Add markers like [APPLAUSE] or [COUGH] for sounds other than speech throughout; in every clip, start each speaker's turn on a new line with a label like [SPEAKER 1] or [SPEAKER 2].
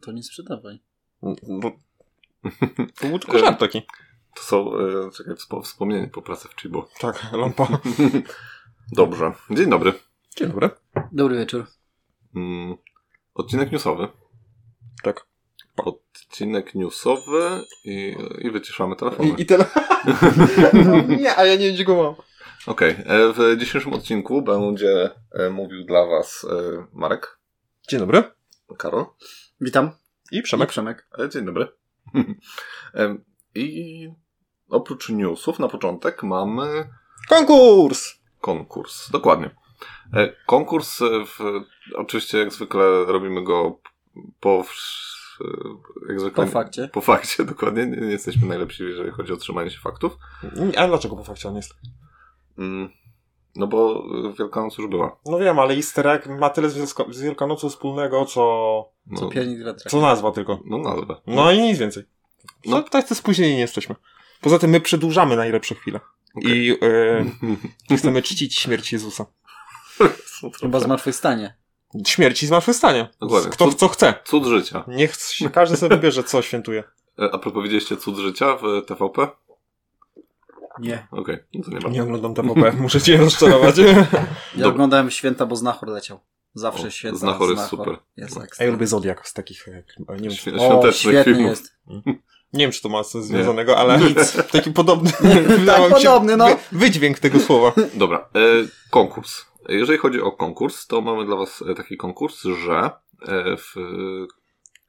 [SPEAKER 1] To nie sprzedawaj.
[SPEAKER 2] Bo...
[SPEAKER 3] [LAUGHS]
[SPEAKER 2] To był tylko żart taki.
[SPEAKER 3] To są, e, czekaj, wspo- wspomnienie po pracy w Chibo.
[SPEAKER 2] Tak, lampa.
[SPEAKER 3] [LAUGHS] Dobrze. Dzień dobry.
[SPEAKER 2] Dzień dobry.
[SPEAKER 1] Dobry wieczór.
[SPEAKER 3] Mm, Odcinek newsowy.
[SPEAKER 2] Tak.
[SPEAKER 3] Odcinek newsowy i, i wyciszamy telefony.
[SPEAKER 2] I, i tyle. No, nie, a ja nie wiem, go mam.
[SPEAKER 3] Okej, e, w dzisiejszym odcinku będzie e, mówił dla Was e, Marek,
[SPEAKER 2] Dzień dobry.
[SPEAKER 3] Karol.
[SPEAKER 1] Witam.
[SPEAKER 2] I Przemek.
[SPEAKER 1] I Przemek.
[SPEAKER 3] E, Dzień dobry. [LAUGHS] Em, I oprócz newsów na początek mamy
[SPEAKER 2] Konkurs!
[SPEAKER 3] konkurs. Dokładnie. E, Konkurs, e, w, oczywiście jak zwykle robimy go po. wsz- e, Jak zwykle,
[SPEAKER 1] Po fakcie.
[SPEAKER 3] Po fakcie, [LAUGHS] dokładnie. Nie, nie jesteśmy najlepsi, jeżeli chodzi o trzymanie się faktów.
[SPEAKER 2] A dlaczego po fakcie on jest?
[SPEAKER 3] Mm, No bo e, Wielkanoc już była.
[SPEAKER 2] No wiem, ale easter egg ma tyle z, Wielko- z Wielkanocą wspólnego, co...
[SPEAKER 3] No,
[SPEAKER 1] Co piernik wiatra.
[SPEAKER 2] co nazwa tylko.
[SPEAKER 3] no nazwę.
[SPEAKER 2] No i nic więcej. No tak to spóźnieni nie jesteśmy. Poza tym my przedłużamy najlepsze chwile.
[SPEAKER 3] Okej.
[SPEAKER 2] I e, chcemy czcić śmierć Jezusa.
[SPEAKER 1] [LAUGHS] Chyba zmartwychwstanie.
[SPEAKER 2] Śmierci zmartwychwstanie.
[SPEAKER 3] Dokładnie.
[SPEAKER 2] Kto w co chce.
[SPEAKER 3] Cud życia.
[SPEAKER 2] Niech się każdy sobie wybierze, co świętuje.
[SPEAKER 3] E, A propos widzieliście cud życia w e, TVP?
[SPEAKER 1] Nie.
[SPEAKER 3] Okej, no to nie ma.
[SPEAKER 2] Nie oglądam TVP, [LAUGHS] muszę cię rozczarować.
[SPEAKER 1] Ja
[SPEAKER 3] Dobra.
[SPEAKER 1] oglądałem święta, bo znachor leciał. Zawsze
[SPEAKER 3] O,
[SPEAKER 1] święta.
[SPEAKER 3] Znachor jest super.
[SPEAKER 1] Jest ekstra.
[SPEAKER 2] Ja lubię Zodiak z takich, jak, nie, wiem, czy-
[SPEAKER 3] Świ-
[SPEAKER 1] o,
[SPEAKER 3] świątecznych
[SPEAKER 1] świetny
[SPEAKER 3] filmów.
[SPEAKER 2] [LAUGHS]
[SPEAKER 1] jest.
[SPEAKER 2] nie wiem, czy to ma coś związanego, ale
[SPEAKER 3] Nic.
[SPEAKER 2] [LAUGHS] taki podobny.
[SPEAKER 1] Tak, podobny, no.
[SPEAKER 2] Wy, wydźwięk tego słowa.
[SPEAKER 3] Dobra, e, konkurs. Jeżeli chodzi o konkurs, to mamy dla Was e, taki konkurs, że e, w,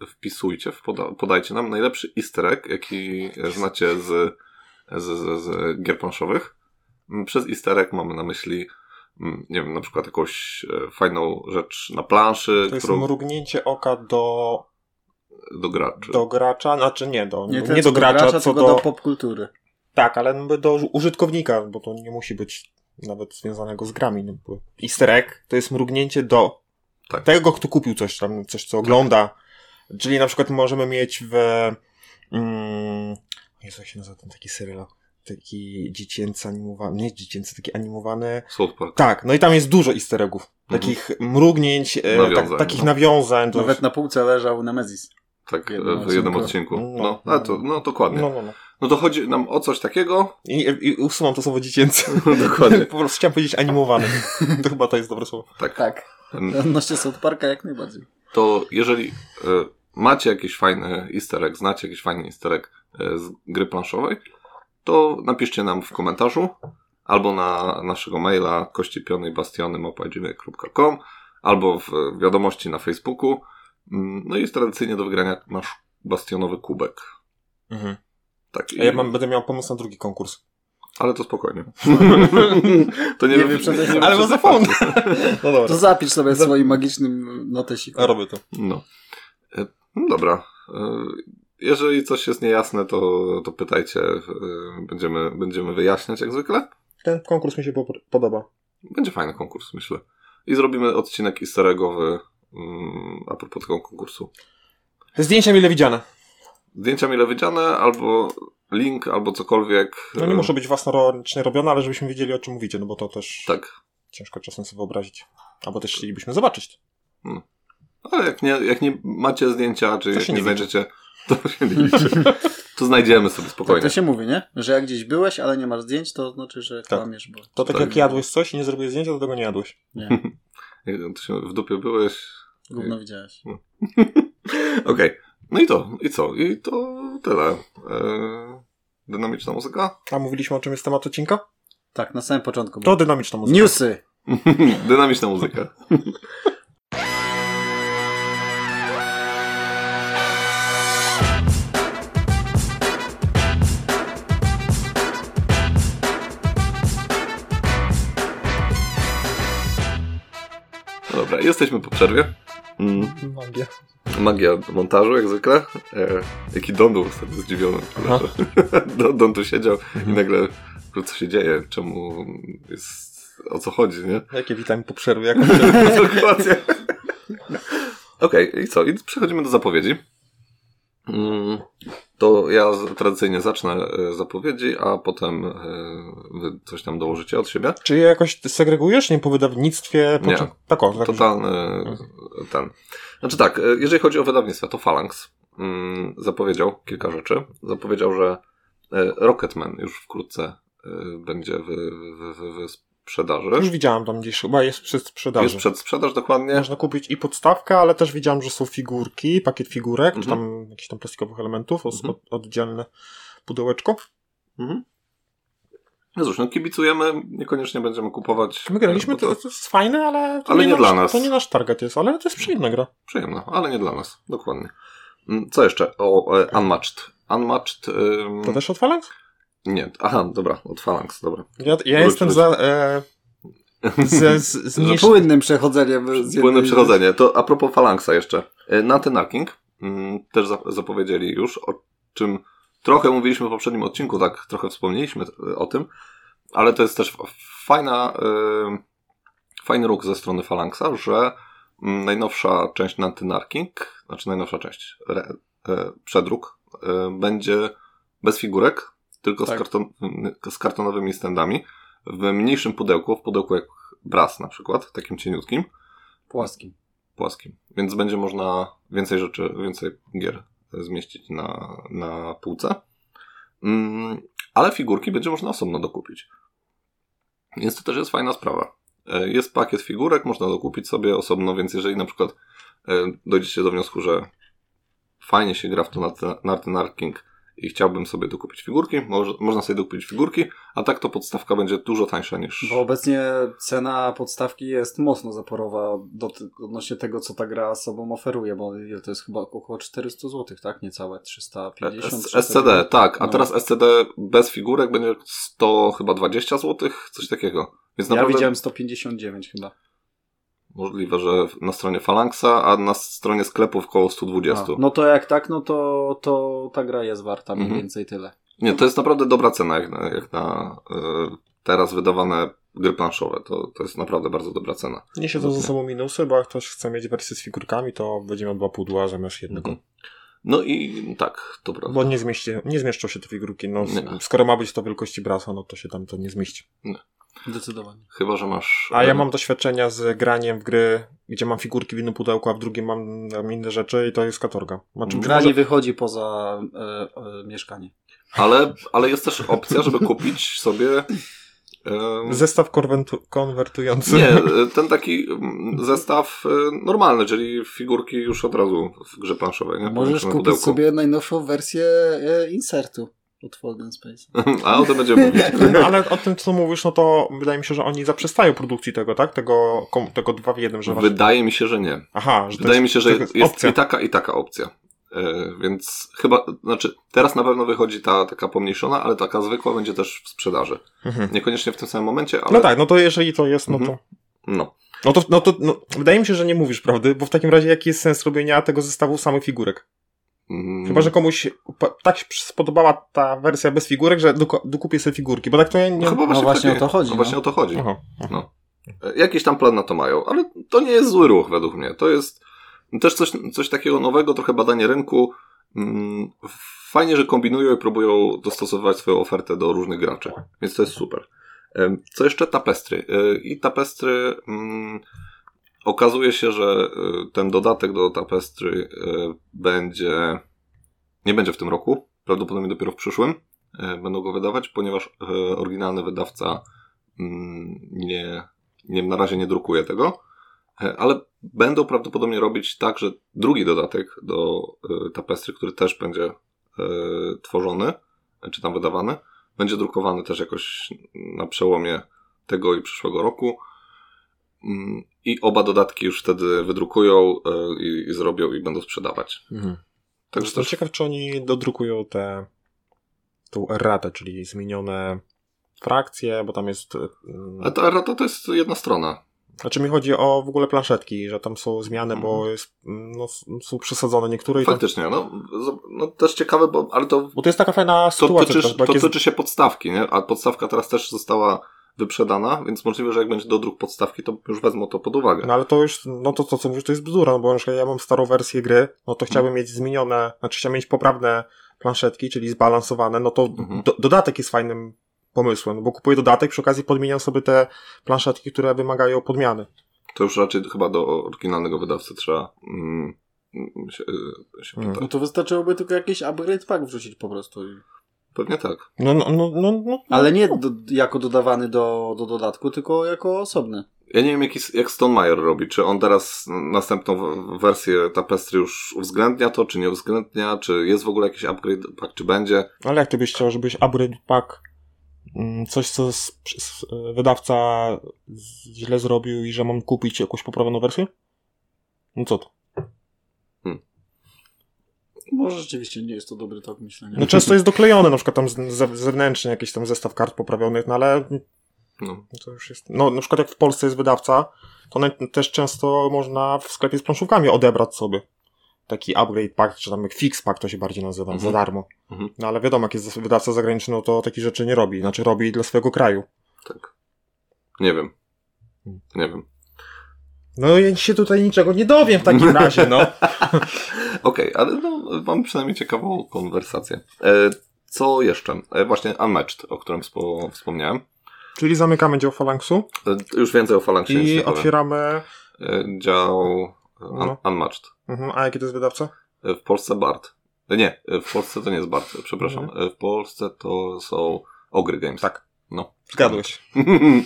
[SPEAKER 3] wpisujcie, w poda, podajcie nam najlepszy easter egg, jaki znacie z, z, z, z gier planszowych. M, Przez easter egg mamy na myśli, m, nie wiem, na przykład jakąś e, fajną rzecz na planszy,
[SPEAKER 2] To jest
[SPEAKER 3] którą
[SPEAKER 2] mrugnięcie oka do,
[SPEAKER 3] do graczy.
[SPEAKER 2] do gracza, znaczy nie do, nie,
[SPEAKER 1] ten,
[SPEAKER 2] do
[SPEAKER 1] co
[SPEAKER 2] gracza, co
[SPEAKER 1] tylko do
[SPEAKER 2] do.
[SPEAKER 1] popkultury.
[SPEAKER 2] Tak, ale jakby do użytkownika, bo to nie musi być nawet związanego z grami. no bo Easter egg to jest mrugnięcie do
[SPEAKER 3] Tak.
[SPEAKER 2] tego, kto kupił coś tam, coś co ogląda. Czyli na przykład możemy mieć w. Mm, Jezu, jak się nazywa ten taki serial? Taki dziecięcy animowany. Nie dziecięcy, taki animowany.
[SPEAKER 3] South Park.
[SPEAKER 2] Tak, no i tam jest dużo easter eggów.
[SPEAKER 3] Mhm.
[SPEAKER 2] Takich mrugnięć, e,
[SPEAKER 3] Nawiązań,
[SPEAKER 2] tak, takich
[SPEAKER 3] no.
[SPEAKER 2] nawiązań. do-
[SPEAKER 1] Nawet na półce leżał Nemezis.
[SPEAKER 3] Tak, e,
[SPEAKER 1] Jednym
[SPEAKER 3] w jednym
[SPEAKER 1] odcinku.
[SPEAKER 3] odcinku.
[SPEAKER 2] No.
[SPEAKER 3] No, ale to, no dokładnie.
[SPEAKER 2] No, no, no.
[SPEAKER 3] No to chodzi nam o coś
[SPEAKER 2] [LAUGHS]
[SPEAKER 3] takiego.
[SPEAKER 2] I, I usunął to słowo dziecięce.
[SPEAKER 3] Dokładnie.
[SPEAKER 2] [LAUGHS] po prostu chciałem powiedzieć animowany. To chyba to jest dobre słowo.
[SPEAKER 3] Tak.
[SPEAKER 1] Tak.
[SPEAKER 3] Em,
[SPEAKER 1] [LAUGHS] Odnośnie South Parka jak najbardziej.
[SPEAKER 3] to jeżeli e, macie jakiś fajny easter egg, znacie jakiś fajny easter egg e, z gry planszowej, to napiszcie nam w komentarzu albo na naszego maila kościepionejbastiony.gmail.com albo w wiadomości na Facebooku. Mm, No i jest tradycyjnie do wygrania nasz bastionowy kubek. Tak,
[SPEAKER 2] A ja
[SPEAKER 3] i-
[SPEAKER 2] mam, będę miał pomysł na drugi konkurs.
[SPEAKER 3] Ale to
[SPEAKER 2] [LAUGHS]
[SPEAKER 3] spokojnie. to
[SPEAKER 1] Nie wyprzedzaj.
[SPEAKER 3] nie
[SPEAKER 2] Ale
[SPEAKER 3] wyprzedzaj
[SPEAKER 2] bo zapomnę.
[SPEAKER 3] faktu.
[SPEAKER 2] No
[SPEAKER 1] To
[SPEAKER 2] dobra.
[SPEAKER 1] zapisz sobie
[SPEAKER 2] Za-
[SPEAKER 1] swoim magicznym notesikiem.
[SPEAKER 2] A robię to.
[SPEAKER 3] No. E, no dobra. E, Jeżeli coś jest niejasne, to, to pytajcie. e, Będziemy, będziemy wyjaśniać jak zwykle.
[SPEAKER 2] Ten konkurs mi się po- podoba.
[SPEAKER 3] Będzie fajny konkurs, myślę. I zrobimy odcinek easter eggowy mm, a propos tego konkursu.
[SPEAKER 2] Zdjęcia mile widziane.
[SPEAKER 3] Zdjęcia mile widziane, albo link, albo cokolwiek.
[SPEAKER 2] No nie
[SPEAKER 3] E,
[SPEAKER 2] muszą być własnoręcznie robione, ale żebyśmy wiedzieli o czym mówicie, no bo to też
[SPEAKER 3] Tak.
[SPEAKER 2] ciężko czasem sobie wyobrazić. Albo też chcielibyśmy zobaczyć.
[SPEAKER 3] Ale jak nie, jak nie macie zdjęcia, czy
[SPEAKER 2] To
[SPEAKER 3] jak
[SPEAKER 2] się
[SPEAKER 3] nie,
[SPEAKER 2] nie
[SPEAKER 3] znajdziecie, to [LAUGHS] się nie liczy. to znajdziemy sobie
[SPEAKER 1] Tak
[SPEAKER 3] spokojnie.
[SPEAKER 1] to się mówi, nie? Że jak gdzieś byłeś, ale nie masz zdjęć, to znaczy, że kłamiesz, bo...
[SPEAKER 2] To tak,
[SPEAKER 3] Tak.
[SPEAKER 2] jak jadłeś coś i nie zrobiłeś zdjęcia, to tego nie jadłeś.
[SPEAKER 1] Nie,
[SPEAKER 3] E, to się w dupie byłeś,
[SPEAKER 1] gówno widziałeś.
[SPEAKER 3] Okej. No i to, i co? I to tyle. Eee, dynamiczna muzyka? [LAUGHS]
[SPEAKER 2] A mówiliśmy o czym jest temat odcinka?
[SPEAKER 1] Tak, na samym początku. było.
[SPEAKER 2] To dynamiczna muzyka.
[SPEAKER 1] Newsy!
[SPEAKER 3] dynamiczna muzyka. No Dobra, jesteśmy po przerwie. Mm.
[SPEAKER 2] Magia.
[SPEAKER 3] Magia montażu, jak zwykle. E, jaki Don był wtedy zdziwiony.
[SPEAKER 2] Aha.
[SPEAKER 3] [LAUGHS] Don, Don tu siedział i nagle, co się dzieje, czemu jest, o co chodzi, nie?
[SPEAKER 2] Jakie witamy po przerwie. Jak...
[SPEAKER 3] Dokładnie. Okej, i co? I przechodzimy do zapowiedzi. Mm, To ja z- tradycyjnie zacznę e, zapowiedzi, a potem e, wy coś tam dołożycie od siebie.
[SPEAKER 2] Czy je jakoś segregujesz, nie po wydawnictwie? Po
[SPEAKER 3] Nie.
[SPEAKER 2] czym- Tak, o, tak.
[SPEAKER 3] Totalny ten. Znaczy tak, e, jeżeli chodzi o wydawnictwa, to Phalanx mm, zapowiedział kilka rzeczy. Zapowiedział, że e, Rocketman już wkrótce e, będzie w, w, w, w sprzedaży.
[SPEAKER 2] Już widziałem tam gdzieś, chyba jest przed sprzedaży.
[SPEAKER 3] Jest przed sprzedaż dokładnie.
[SPEAKER 2] Można kupić i podstawkę, ale też widziałem, że są figurki, pakiet figurek, czy
[SPEAKER 3] Mhm.
[SPEAKER 2] tam jakichś tam plastikowych elementów, os-
[SPEAKER 3] Mhm.
[SPEAKER 2] od, oddzielne pudełeczko.
[SPEAKER 3] Mhm. No cóż, no kibicujemy, niekoniecznie będziemy kupować.
[SPEAKER 2] My graliśmy,
[SPEAKER 3] e, bo
[SPEAKER 2] to, to jest fajne, ale to
[SPEAKER 3] Ale nie
[SPEAKER 2] nasz,
[SPEAKER 3] dla nas.
[SPEAKER 2] To nie nasz target jest, ale to jest przyjemna gra.
[SPEAKER 3] Przyjemne, ale nie dla nas, dokładnie. Mm, Co jeszcze? O, e, Unmatched. Unmatched. Ym...
[SPEAKER 2] To też od Phalanx?
[SPEAKER 3] Nie, aha, dobra, od Phalanx, dobra.
[SPEAKER 2] Ja, ja
[SPEAKER 3] Wróć,
[SPEAKER 2] jestem
[SPEAKER 3] wróć.
[SPEAKER 2] za... E, ze,
[SPEAKER 1] [LAUGHS]
[SPEAKER 2] z, z
[SPEAKER 1] Z
[SPEAKER 2] mniejsz...
[SPEAKER 1] płynnym przechodzeniem. z
[SPEAKER 3] Płynne
[SPEAKER 1] jednej-
[SPEAKER 3] przechodzenie. To a propos Phalanxa jeszcze. E, Natty Nacking mm, też za- zapowiedzieli już, o czym trochę mówiliśmy w poprzednim odcinku, tak trochę wspomnieliśmy t- o tym, ale to jest też f- fajna, em, fajny ruch ze strony Phalanxa, że mm, najnowsza część Natty Nacking, znaczy najnowsza część, re, e, przedruk, e, będzie bez figurek, tylko
[SPEAKER 2] Tak.
[SPEAKER 3] z, karton, m, z kartonowymi standami, w mniejszym pudełku, w pudełku jak bras na przykład, takim cieniutkim,
[SPEAKER 1] Płaskim.
[SPEAKER 3] płaskim. Więc będzie można więcej rzeczy, więcej gier zmieścić na, na półce. Mm, ale figurki będzie można osobno dokupić. Więc to też jest fajna sprawa. E, Jest pakiet figurek, można dokupić sobie osobno, więc jeżeli na przykład e, dojdziecie do wniosku, że fajnie się gra w to Narking i chciałbym sobie dokupić figurki, może, można sobie dokupić figurki, a tak to podstawka będzie dużo tańsza niż...
[SPEAKER 1] Bo obecnie cena podstawki jest mocno zaporowa do, odnośnie tego, co ta gra sobą oferuje, bo ile to jest chyba około 400 zł, tak? Niecałe 350
[SPEAKER 3] S- SCD,
[SPEAKER 1] 300.
[SPEAKER 3] tak. A
[SPEAKER 1] No.
[SPEAKER 3] teraz SCD bez figurek będzie 100, chyba 20 zł, coś takiego. Więc
[SPEAKER 1] Ja
[SPEAKER 3] naprawdę
[SPEAKER 1] widziałem 159 chyba.
[SPEAKER 3] możliwe, że na stronie Phalanxa, a na stronie sklepów koło 120.
[SPEAKER 1] A, No to jak tak, no to, to ta gra jest warta mniej
[SPEAKER 3] Mhm.
[SPEAKER 1] więcej tyle.
[SPEAKER 3] Nie, to jest naprawdę dobra cena, jak na, jak na y, teraz wydawane gry planszowe. To, to jest naprawdę bardzo dobra cena.
[SPEAKER 2] Nie siedzą ze sobą minusy, bo jak ktoś chce mieć wersję z figurkami, to będzie miał dwa pudła zamiast jednego.
[SPEAKER 3] Mhm. No i tak, to prawda.
[SPEAKER 2] Bo nie, zmieści, nie zmieszczą się te figurki. No, z-
[SPEAKER 3] Nie.
[SPEAKER 2] skoro ma być to wielkości brasa, no to się tam to nie zmieści.
[SPEAKER 1] Zdecydowanie.
[SPEAKER 3] Chyba, że masz.
[SPEAKER 2] A
[SPEAKER 3] y,
[SPEAKER 2] ja mam doświadczenia z graniem w gry, gdzie mam figurki w jednym pudełku, a w drugim mam, mam inne rzeczy i to jest katorga. Znaczy,
[SPEAKER 1] Gra
[SPEAKER 2] może-
[SPEAKER 1] nie wychodzi poza e, e, mieszkanie.
[SPEAKER 3] Ale, ale jest też opcja, żeby kupić sobie. y,
[SPEAKER 2] Zestaw konwentu- konwertujący.
[SPEAKER 3] Nie, e, ten taki mm, zestaw e, normalny, czyli figurki już od razu w grze planszowej, nie?
[SPEAKER 1] Możesz
[SPEAKER 3] Powiedzmy, w
[SPEAKER 1] kupić
[SPEAKER 3] pudełku.
[SPEAKER 1] sobie najnowszą wersję e, insertu od Folden Space.
[SPEAKER 3] [LAUGHS] A o tym
[SPEAKER 1] [LAUGHS]
[SPEAKER 3] będziemy mówić.
[SPEAKER 2] No, [LAUGHS] ale o tym, co mówisz, no to wydaje mi się, że oni zaprzestają produkcji tego, tak? Tego, kom- tego dwa w jednym, że właśnie...
[SPEAKER 3] Wydaje mi się, że nie.
[SPEAKER 2] Aha, że to
[SPEAKER 3] Wydaje
[SPEAKER 2] jest,
[SPEAKER 3] mi się, że
[SPEAKER 2] to
[SPEAKER 3] jest, jest
[SPEAKER 2] opcja.
[SPEAKER 3] i tak- taka, i taka opcja. E, Więc chyba, znaczy, teraz na pewno wychodzi ta taka pomniejszona, ale taka zwykła będzie też w sprzedaży.
[SPEAKER 2] Mhm.
[SPEAKER 3] Niekoniecznie w tym samym momencie, ale.
[SPEAKER 2] No tak, no to jeżeli to jest, no
[SPEAKER 3] Mhm.
[SPEAKER 2] to...
[SPEAKER 3] No.
[SPEAKER 2] No to, no to no, wydaje mi się, że nie mówisz prawdy, bo w takim razie jaki jest sens robienia tego zestawu samych figurek?
[SPEAKER 3] Mm,
[SPEAKER 2] Chyba, że komuś pa- tak się spodobała ta wersja bez figurek, że doku- dokupię sobie figurki, bo tak to ja nie...
[SPEAKER 3] No, chyba
[SPEAKER 1] No
[SPEAKER 3] właśnie,
[SPEAKER 1] właśnie
[SPEAKER 3] takie-
[SPEAKER 1] o to chodzi,
[SPEAKER 3] no
[SPEAKER 1] no.
[SPEAKER 3] Właśnie o to chodzi.
[SPEAKER 2] Aha.
[SPEAKER 3] E, Jakiś tam plan na to mają, ale to nie jest zły ruch według mnie. To jest też coś, coś takiego nowego, trochę badanie rynku. Mm, Fajnie, że kombinują i próbują dostosowywać swoją ofertę do różnych graczy, więc to jest super. Em, Co jeszcze? Tapestry. E, I tapestry. mm, Okazuje się, że e, ten dodatek do tapestry e, będzie. Nie będzie w tym roku, prawdopodobnie dopiero w przyszłym e, będą go wydawać, ponieważ e, oryginalny wydawca mm, nie, nie, na razie nie drukuje tego, e, ale będą prawdopodobnie robić tak, że drugi dodatek do e, tapestry, który też będzie e, tworzony, e, czy tam wydawany, będzie drukowany też jakoś na przełomie tego i przyszłego roku. Mm, I oba dodatki już wtedy wydrukują e, i, i zrobią i będą sprzedawać.
[SPEAKER 2] Mhm.
[SPEAKER 3] Także
[SPEAKER 2] Jestem
[SPEAKER 3] też
[SPEAKER 2] ciekaw, czy oni dodrukują te tą erratę, czyli zmienione frakcje, bo tam jest... mm,
[SPEAKER 3] ale ta rata to jest jedna strona.
[SPEAKER 2] Znaczy mi chodzi o w ogóle planszetki, że tam są zmiany, bo jest, mm, no, s- są przesadzone niektóre i tam,
[SPEAKER 3] Mhm. Faktycznie, no, z- no też ciekawe, bo, ale to
[SPEAKER 2] Bo to jest taka fajna
[SPEAKER 3] To,
[SPEAKER 2] sytuacja.
[SPEAKER 3] tyczy,
[SPEAKER 2] też, bo
[SPEAKER 3] to
[SPEAKER 2] jak jest-
[SPEAKER 3] tyczy się podstawki, nie? a podstawka teraz też została wyprzedana, więc możliwe, że jak będzie dodruk podstawki, to już wezmą to pod uwagę.
[SPEAKER 2] No ale to już, no to, to
[SPEAKER 3] Mhm.
[SPEAKER 2] co mówisz, to jest bzdura, no bo na przykład ja mam starą wersję gry, no to chciałbym mieć zmienione, znaczy chciałbym mieć poprawne planszetki, czyli zbalansowane, no to
[SPEAKER 3] Mhm.
[SPEAKER 2] do, dodatek jest fajnym pomysłem, bo kupuję dodatek, przy okazji podmieniam sobie te planszetki, które wymagają podmiany.
[SPEAKER 3] To już raczej chyba do oryginalnego wydawcy trzeba mm, mm, się, y, się
[SPEAKER 2] Mm.
[SPEAKER 3] pytać.
[SPEAKER 1] No to wystarczyłoby tylko jakiś upgrade pack wrzucić po prostu. i-
[SPEAKER 3] Pewnie tak.
[SPEAKER 2] No, no, no, no, no.
[SPEAKER 1] Ale nie do, jako dodawany do, do dodatku, tylko jako osobny.
[SPEAKER 3] Ja nie wiem, jak, jak Stone Meyer robi. Czy on teraz następną w- wersję Tapestry już uwzględnia to, czy nie uwzględnia, czy jest w ogóle jakiś upgrade pack, czy będzie.
[SPEAKER 2] Ale jak ty byś chciał, żebyś upgrade pack mm, coś, co s- s- wydawca z- źle zrobił i że mam kupić jakąś poprawioną wersję? No co to?
[SPEAKER 1] Może rzeczywiście nie jest to dobry tok myślenia. [LAUGHS]
[SPEAKER 2] No często jest doklejone, na przykład tam z- ze- zewnętrznie jakiś tam zestaw kart poprawionych, no ale
[SPEAKER 3] No.
[SPEAKER 2] to już jest... No na przykład jak w Polsce jest wydawca, to na, też często można w sklepie z planszówkami odebrać sobie taki upgrade pack, czy tam jak fix pack to się bardziej nazywa,
[SPEAKER 3] Mhm.
[SPEAKER 2] za darmo.
[SPEAKER 3] Mhm.
[SPEAKER 2] No ale wiadomo, jak jest wydawca zagraniczny, no to takich rzeczy nie robi, znaczy robi dla swojego kraju.
[SPEAKER 3] Tak. Nie wiem. Nie wiem.
[SPEAKER 2] No ja się tutaj niczego nie dowiem w
[SPEAKER 3] [LAUGHS]
[SPEAKER 2] takim razie, no.
[SPEAKER 3] Okej, ale no, mam przynajmniej ciekawą konwersację. E, co jeszcze? E, właśnie Unmatched, o którym spo, wspomniałem.
[SPEAKER 2] Czyli zamykamy dział falangsu
[SPEAKER 3] E, już więcej o Falangsie nic
[SPEAKER 2] i
[SPEAKER 3] nie powiem.
[SPEAKER 2] otwieramy...
[SPEAKER 3] E, dział e, un,
[SPEAKER 2] No.
[SPEAKER 3] Unmatched.
[SPEAKER 2] Mhm, a jaki to jest wydawca?
[SPEAKER 3] E, W Polsce Bart. E, Nie, e, w Polsce to nie jest Bart, e, przepraszam. E, W Polsce to są Ogry Games.
[SPEAKER 2] Mhm. Tak.
[SPEAKER 3] No.
[SPEAKER 2] Zgadłeś.
[SPEAKER 3] [LAUGHS]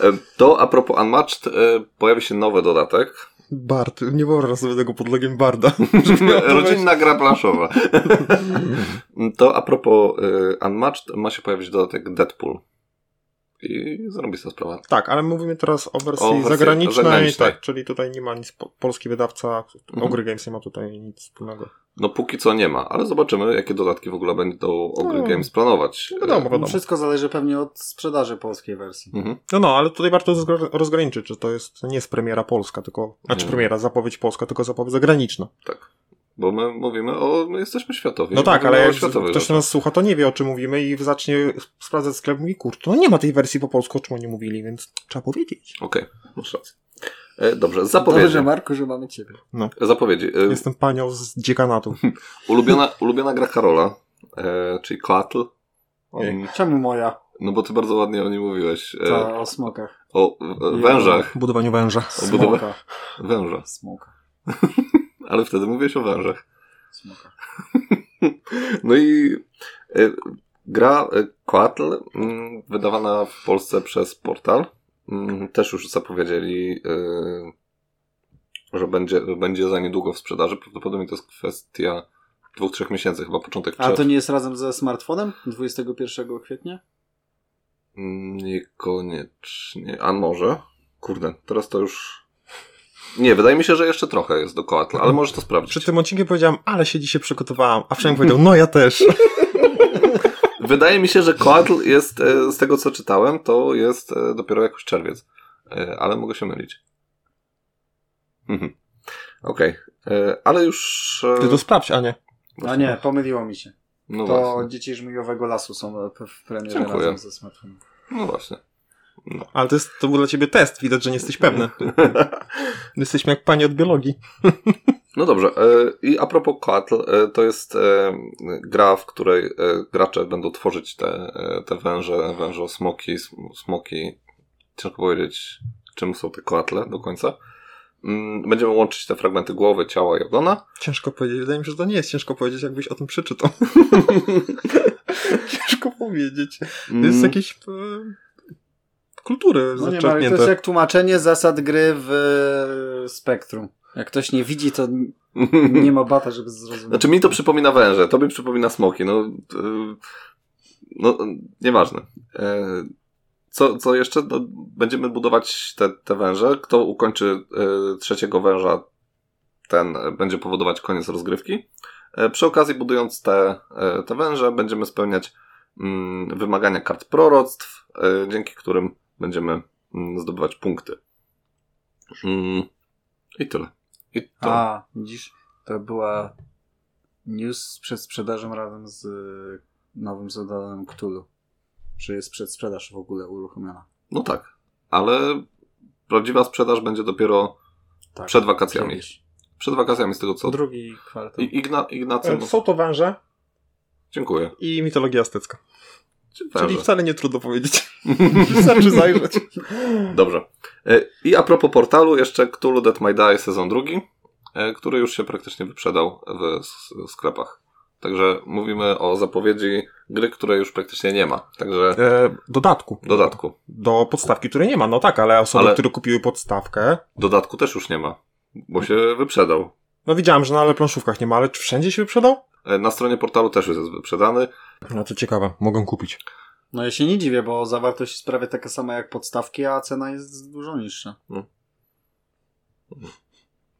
[SPEAKER 3] E, to a propos Unmatched, e, pojawi się nowy dodatek.
[SPEAKER 2] Bard. Nie wyobrażam sobie tego
[SPEAKER 3] [LAUGHS]
[SPEAKER 2] podlegiem Barda.
[SPEAKER 3] Rodzinna gra planszowa. [LAUGHS] to a propos e, Unmatched, ma się pojawić dodatek Deadpool. I zrobi się sprawa.
[SPEAKER 2] Tak, ale mówimy teraz o wersji,
[SPEAKER 3] O wersji
[SPEAKER 2] zagranicznej,
[SPEAKER 3] zagranicznej.
[SPEAKER 2] Tak, czyli tutaj nie ma nic, po, polski wydawca
[SPEAKER 3] Mhm.
[SPEAKER 2] Ogry Games nie ma tutaj nic wspólnego.
[SPEAKER 3] No póki co nie ma, ale zobaczymy, jakie dodatki w ogóle będą Ogry
[SPEAKER 2] No.
[SPEAKER 3] Games planować.
[SPEAKER 2] No wiadomo,
[SPEAKER 1] No
[SPEAKER 2] wiadomo.
[SPEAKER 1] wszystko zależy pewnie od sprzedaży polskiej wersji.
[SPEAKER 3] E, mhm.
[SPEAKER 2] No no, ale tutaj warto rozgro- rozgraniczyć, czy to jest nie jest premiera polska, tylko, znaczy
[SPEAKER 3] Nie.
[SPEAKER 2] premiera, zapowiedź polska, tylko zapowiedź zagraniczna.
[SPEAKER 3] Tak. Bo my mówimy o. My jesteśmy światowi.
[SPEAKER 2] No tak,
[SPEAKER 3] Mówimy
[SPEAKER 2] ale
[SPEAKER 3] o
[SPEAKER 2] jak
[SPEAKER 3] światowych
[SPEAKER 2] ktoś
[SPEAKER 3] rzeczach.
[SPEAKER 2] nas słucha, to nie wie o czym mówimy i zacznie sprawdzać sklep i mówi, kurczę, no nie ma tej wersji po polsku, o czym oni mówili, więc trzeba powiedzieć.
[SPEAKER 3] Okej, masz rację. E, dobrze, zapowiedzi.
[SPEAKER 1] Dobrze, Marku, że mamy ciebie.
[SPEAKER 3] zapowiedzi. E,
[SPEAKER 2] Jestem panią z dziekanatu.
[SPEAKER 3] ulubiona, ulubiona gra Karola, e, czyli Coatl.
[SPEAKER 2] Ojej.
[SPEAKER 1] Czemu moja?
[SPEAKER 3] No bo ty bardzo ładnie o niej mówiłeś. E,
[SPEAKER 2] Tak.
[SPEAKER 1] Ta o smokach.
[SPEAKER 3] O e, wężach.
[SPEAKER 2] W budowaniu węża.
[SPEAKER 3] Obudowa-
[SPEAKER 1] Smoka.
[SPEAKER 3] Węża.
[SPEAKER 1] Smoka.
[SPEAKER 3] Ale wtedy mówiłeś o wężach.
[SPEAKER 1] Smoka.
[SPEAKER 3] No i e, gra e, Coatl, mm, wydawana w Polsce przez Portal. Mm, Też już zapowiedzieli, e, że będzie, będzie za niedługo w sprzedaży. Prawdopodobnie to jest kwestia dwóch, trzech miesięcy, chyba początek
[SPEAKER 1] A
[SPEAKER 3] czerwca.
[SPEAKER 1] to nie jest razem ze smartfonem? 21 kwietnia?
[SPEAKER 3] Mm, Niekoniecznie. A może? Kurde, teraz to już. Nie, wydaje mi się, że jeszcze trochę jest do Coatla, ale może to
[SPEAKER 2] Przy
[SPEAKER 3] sprawdzić.
[SPEAKER 2] tym odcinku powiedziałem, ale się dzisiaj przygotowałam, a Przemek powiedział, no ja
[SPEAKER 3] [LAUGHS]
[SPEAKER 2] też.
[SPEAKER 3] Wydaje mi się, że Coatl jest, e, z tego co czytałem, to jest e, dopiero jakoś czerwiec. E, Ale mogę się mylić. Mhm. Okej, E, ale już. e,
[SPEAKER 2] Ty to sprawdź, a nie.
[SPEAKER 1] No nie, pomyliło mi się.
[SPEAKER 3] No
[SPEAKER 1] To
[SPEAKER 3] właśnie.
[SPEAKER 1] dzieci żmijowego lasu są e, p- w premierze
[SPEAKER 3] Dziękuję.
[SPEAKER 1] razem ze smartfonem.
[SPEAKER 3] No właśnie.
[SPEAKER 2] Ale to, jest, to był dla ciebie test, widać, że nie jesteś pewny. No. Jesteśmy jak pani od biologii.
[SPEAKER 3] [LAUGHS] No dobrze, e, i a propos Coatl, e, to jest e, gra, w której e, gracze będą tworzyć te, e, te węże, węże smoki, sm- smoki. Ciężko powiedzieć, czym są te koatle do końca. Mm, Będziemy łączyć te fragmenty głowy, ciała i ogona.
[SPEAKER 2] Ciężko powiedzieć, wydaje mi się, że to nie jest ciężko powiedzieć, jakbyś o tym przeczytał. [LAUGHS] ciężko powiedzieć. To jest
[SPEAKER 3] Mm,
[SPEAKER 2] jakieś e, kultury
[SPEAKER 1] No nie ma, ale to
[SPEAKER 2] zaczerpnięte.
[SPEAKER 1] jest jak tłumaczenie zasad gry w e, Spektrum. Jak ktoś nie widzi, to n- nie ma bata, żeby zrozumieć.
[SPEAKER 3] Mm. [LAUGHS] Znaczy mi to przypomina węże, tobie przypomina smoki, no... y, No, y, nieważne. E, Co, co jeszcze? No, będziemy budować te, te węże. Kto ukończy e, trzeciego węża, ten e, będzie powodować koniec rozgrywki. E, Przy okazji, budując te, e, te węże, będziemy spełniać mm, wymagania kart proroctw, e, dzięki którym będziemy mm, zdobywać punkty. Mm, I tyle. I tyle.
[SPEAKER 1] A, widzisz, to była news przed sprzedażą razem z e, nowym zadanem Cthulhu. Że jest przedsprzedaż w ogóle uruchomiona.
[SPEAKER 3] No tak, ale prawdziwa sprzedaż będzie dopiero
[SPEAKER 1] Tak.
[SPEAKER 3] przed wakacjami.
[SPEAKER 1] Kiedyś.
[SPEAKER 3] Przed wakacjami, z tego co.
[SPEAKER 1] Drugi kwartał.
[SPEAKER 3] I- Igna, Ignacy. no,
[SPEAKER 2] E, Są to węże,
[SPEAKER 3] Dziękuję.
[SPEAKER 2] i mitologia aztecka. Czyli
[SPEAKER 3] Ciekawe.
[SPEAKER 2] wcale nie trudno powiedzieć. [LAUGHS] Wystarczy zajrzeć.
[SPEAKER 3] Dobrze. E, I a propos portalu, jeszcze Cthulhu That My Die sezon drugi, e, który już się praktycznie wyprzedał w s- sklepach. Także mówimy o zapowiedzi gry, której już praktycznie nie ma. Także
[SPEAKER 2] E, dodatku.
[SPEAKER 3] dodatku.
[SPEAKER 2] Do podstawki, której nie ma, no tak, ale osoby,
[SPEAKER 3] Ale-
[SPEAKER 2] które kupiły podstawkę,
[SPEAKER 3] Dodatku też już nie ma, bo się wyprzedał.
[SPEAKER 2] no widziałem, że na planszówkach nie ma, ale czy wszędzie się wyprzedał?
[SPEAKER 3] E, Na stronie portalu też już jest wyprzedany.
[SPEAKER 2] No to ciekawe, mogę kupić.
[SPEAKER 1] No ja się nie dziwię, bo zawartość jest prawie taka sama jak podstawki, a cena jest dużo niższa.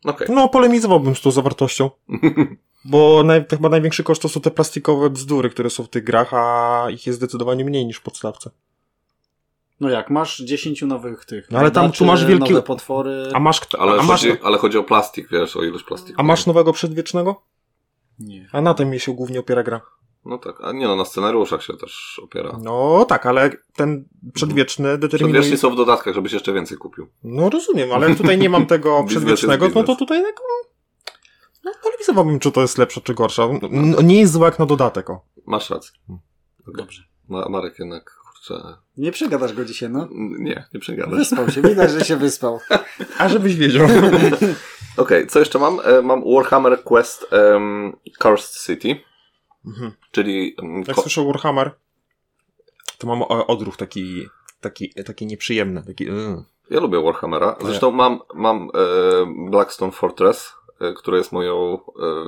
[SPEAKER 3] Okej.
[SPEAKER 2] No, polemizowałbym z tą [LAUGHS] zawartością. Bo naj, to chyba największy koszt to są te plastikowe bzdury, które są w tych grach, a ich jest zdecydowanie mniej niż w podstawce.
[SPEAKER 1] No jak, masz 10 nowych tych.
[SPEAKER 2] No ale tam
[SPEAKER 1] badaczy,
[SPEAKER 2] tu masz wielki-
[SPEAKER 1] Nowe potwory.
[SPEAKER 2] A masz, kto-
[SPEAKER 3] Ale,
[SPEAKER 2] a masz,
[SPEAKER 3] chodzi, ale chodzi o plastik, wiesz, o ilość plastiku.
[SPEAKER 2] a masz nowego przedwiecznego?
[SPEAKER 1] Nie.
[SPEAKER 2] A na tym mi się głównie opiera gra.
[SPEAKER 3] No tak, a nie no, na scenariuszach się też opiera.
[SPEAKER 2] No tak, ale ten przedwieczny determinuje...
[SPEAKER 3] Przedwiecznie są w dodatkach, żebyś jeszcze więcej kupił.
[SPEAKER 2] No rozumiem, ale tutaj nie mam
[SPEAKER 3] [LAUGHS]
[SPEAKER 2] tego
[SPEAKER 3] Biznes jest
[SPEAKER 2] przedwiecznego, no to
[SPEAKER 3] biznes.
[SPEAKER 2] tutaj tak... mm, No, polemizowałbym, czy to jest lepsze, czy gorsze. N- nie jest zła jak na dodatek, o.
[SPEAKER 3] Masz rację.
[SPEAKER 1] Dobrze.
[SPEAKER 3] Ma, Marek jednak, kurczę,
[SPEAKER 1] Nie przegadasz go dzisiaj, no.
[SPEAKER 3] n- nie, nie przegadasz.
[SPEAKER 1] Wyspał się, widać, że się
[SPEAKER 2] [LAUGHS]
[SPEAKER 1] wyspał.
[SPEAKER 2] Tak. A żebyś wiedział.
[SPEAKER 3] Okej, co jeszcze mam? E, mam Warhammer Quest em, Cursed City,
[SPEAKER 2] [LAUGHS] Mhm.
[SPEAKER 3] czyli... em,
[SPEAKER 2] Jak
[SPEAKER 3] ko-
[SPEAKER 2] słyszę Warhammer, to mam o- odruch taki, taki, taki nieprzyjemny. Taki, mm.
[SPEAKER 3] ja lubię Warhammera. Zresztą mam, mam e, Blackstone Fortress, e, które jest moją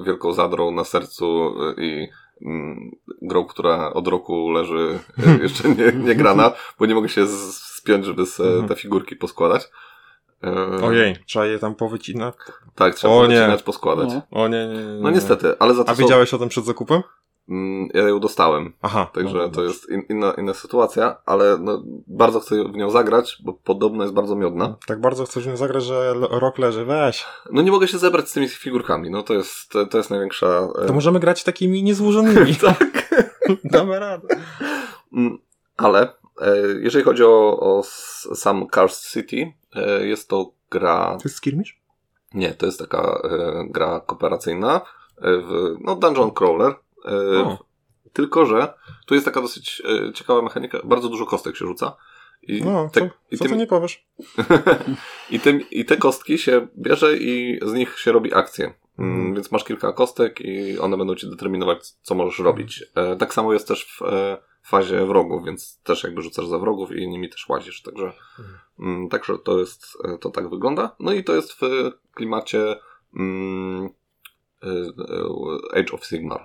[SPEAKER 3] e, wielką zadrą na sercu e, i mm, grą, która od roku leży
[SPEAKER 2] [LAUGHS]
[SPEAKER 3] e, jeszcze nie, nie grana, bo nie mogę się z- spiąć, żeby se
[SPEAKER 2] Mhm.
[SPEAKER 3] te figurki poskładać. E,
[SPEAKER 2] Ojej, trzeba je tam powycinać.
[SPEAKER 3] Tak, trzeba
[SPEAKER 2] O
[SPEAKER 3] o,
[SPEAKER 2] nie.
[SPEAKER 3] wycinać, poskładać.
[SPEAKER 1] No.
[SPEAKER 2] O nie, nie, nie, nie.
[SPEAKER 3] No niestety, ale za to
[SPEAKER 2] A
[SPEAKER 3] są-
[SPEAKER 2] wiedziałeś o tym przed zakupem?
[SPEAKER 3] Mm, Ja ją dostałem.
[SPEAKER 2] Aha.
[SPEAKER 3] Także
[SPEAKER 2] No,
[SPEAKER 3] to jest in, inna, inna sytuacja, ale no, bardzo chcę w nią zagrać, bo podobno jest bardzo miodna.
[SPEAKER 2] Tak bardzo chcesz mi zagrać, że l- rok leży, weź.
[SPEAKER 3] No nie mogę się zebrać z tymi figurkami, no to jest, to, to jest największa... e,
[SPEAKER 2] To
[SPEAKER 3] [LAUGHS]
[SPEAKER 2] możemy grać takimi [LAUGHS] niezłożonymi.
[SPEAKER 3] Tak.
[SPEAKER 2] Damy radę.
[SPEAKER 3] Mm, Ale e, jeżeli chodzi o, o s- sam Cars City, e, jest to gra...
[SPEAKER 2] To jest skirmisz?
[SPEAKER 3] Nie, to jest taka e, gra kooperacyjna, e, w, no dungeon crawler, e,
[SPEAKER 2] O.
[SPEAKER 3] tylko że tu jest taka dosyć e, ciekawa mechanika, bardzo dużo kostek się rzuca. I
[SPEAKER 2] No,
[SPEAKER 3] te-
[SPEAKER 2] co,
[SPEAKER 3] i
[SPEAKER 2] co
[SPEAKER 3] tym-
[SPEAKER 2] ty nie powiesz?
[SPEAKER 3] I, tym, I te kostki się bierze i z nich się robi akcje.
[SPEAKER 2] Mhm.
[SPEAKER 3] Mm, Więc masz kilka kostek i one będą ci determinować, co możesz robić. E, tak samo jest też w e, fazie wrogów, więc też jakby rzucasz za wrogów i nimi też łazisz. Także, mm, także to jest, e, to tak wygląda. No i to jest w e, klimacie mm, e, e, Age of Sigmar, e,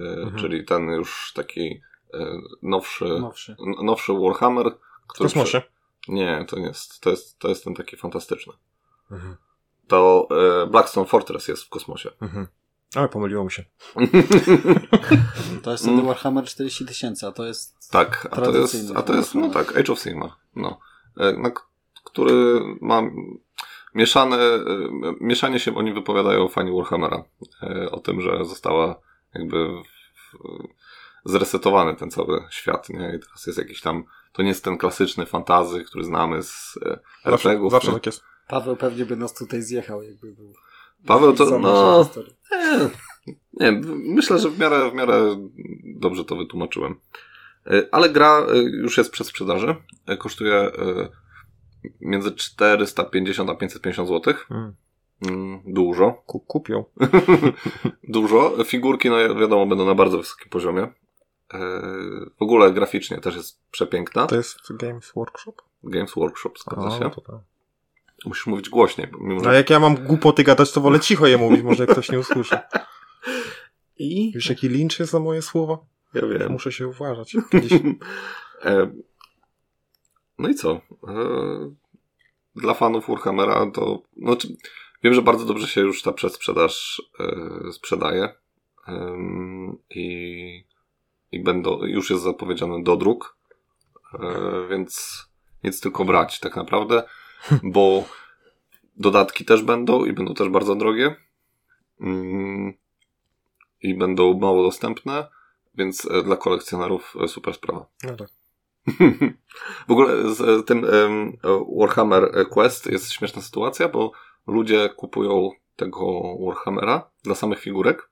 [SPEAKER 2] Mhm.
[SPEAKER 3] czyli ten już taki e, nowszy,
[SPEAKER 1] Nowszy.
[SPEAKER 3] n- nowszy Warhammer.
[SPEAKER 2] W
[SPEAKER 3] Który
[SPEAKER 2] kosmosie.
[SPEAKER 3] nie, to nie jest. To jest, to jest ten taki fantastyczny. To e, Blackstone Fortress jest w kosmosie. [LAUGHS]
[SPEAKER 2] Mhm. Ale pomyliło mi się.
[SPEAKER 1] To jest
[SPEAKER 3] Mm.
[SPEAKER 1] wtedy Warhammer 40 tysięcy, a to jest...
[SPEAKER 3] tak, a to jest,
[SPEAKER 1] Tradycyjny
[SPEAKER 3] a to jest no
[SPEAKER 1] Warhammer.
[SPEAKER 3] tak, Age of Sigmar. No, e, na, k- który ma mieszane, e, mieszanie się oni wypowiadają fani Warhammera e, o tym, że została jakby w, zresetowany ten cały świat, nie? I teraz jest jakiś tam, to nie jest ten klasyczny fantazy, który znamy z e,
[SPEAKER 2] Zawsze,
[SPEAKER 3] RPGów,
[SPEAKER 2] zawsze
[SPEAKER 3] nie?
[SPEAKER 2] tak jest.
[SPEAKER 1] Paweł pewnie by nas tutaj zjechał, jakby był.
[SPEAKER 3] Paweł to,
[SPEAKER 1] Za
[SPEAKER 3] no,
[SPEAKER 1] naszą historię.
[SPEAKER 3] Nie, Nie, myślę, że w miarę, w miarę dobrze to wytłumaczyłem. E, Ale gra e, już jest przez sprzedaży. E, Kosztuje e, między 450 a 550 zł.
[SPEAKER 2] Mm.
[SPEAKER 3] Dużo.
[SPEAKER 2] Ku- Kupią.
[SPEAKER 3] No. Dużo. Figurki, no wiadomo, będą na bardzo wysokim poziomie. E, W ogóle graficznie też jest przepiękna.
[SPEAKER 2] To jest Games Workshop?
[SPEAKER 3] Games Workshop, zgadza
[SPEAKER 2] no
[SPEAKER 3] się.
[SPEAKER 2] to tak.
[SPEAKER 3] Musisz mówić głośniej, mimo
[SPEAKER 2] A
[SPEAKER 3] że...
[SPEAKER 2] jak No ja mam głupoty gadać, to wolę cicho je mówić, może jak ktoś nie usłyszy.
[SPEAKER 1] I...
[SPEAKER 2] Wiesz, jaki lincz jest za moje słowa?
[SPEAKER 3] Ja wiem.
[SPEAKER 2] Muszę się uważać.
[SPEAKER 3] [LAUGHS]
[SPEAKER 2] Kiedyś...
[SPEAKER 3] E, No i co? E, Dla fanów Warhammera to. Znaczy, wiem, że bardzo dobrze się już ta przedsprzedaż e, sprzedaje. Em, I, i będą, już jest zapowiedziany dodruk. E, Więc nic tylko brać tak naprawdę, bo dodatki też będą i będą też bardzo drogie. Mm, I będą mało dostępne, więc e, dla kolekcjonerów e, super sprawa.
[SPEAKER 2] No tak.
[SPEAKER 3] W ogóle z e, tym em, e, Warhammer Quest jest śmieszna sytuacja, bo ludzie kupują tego Warhammera dla samych figurek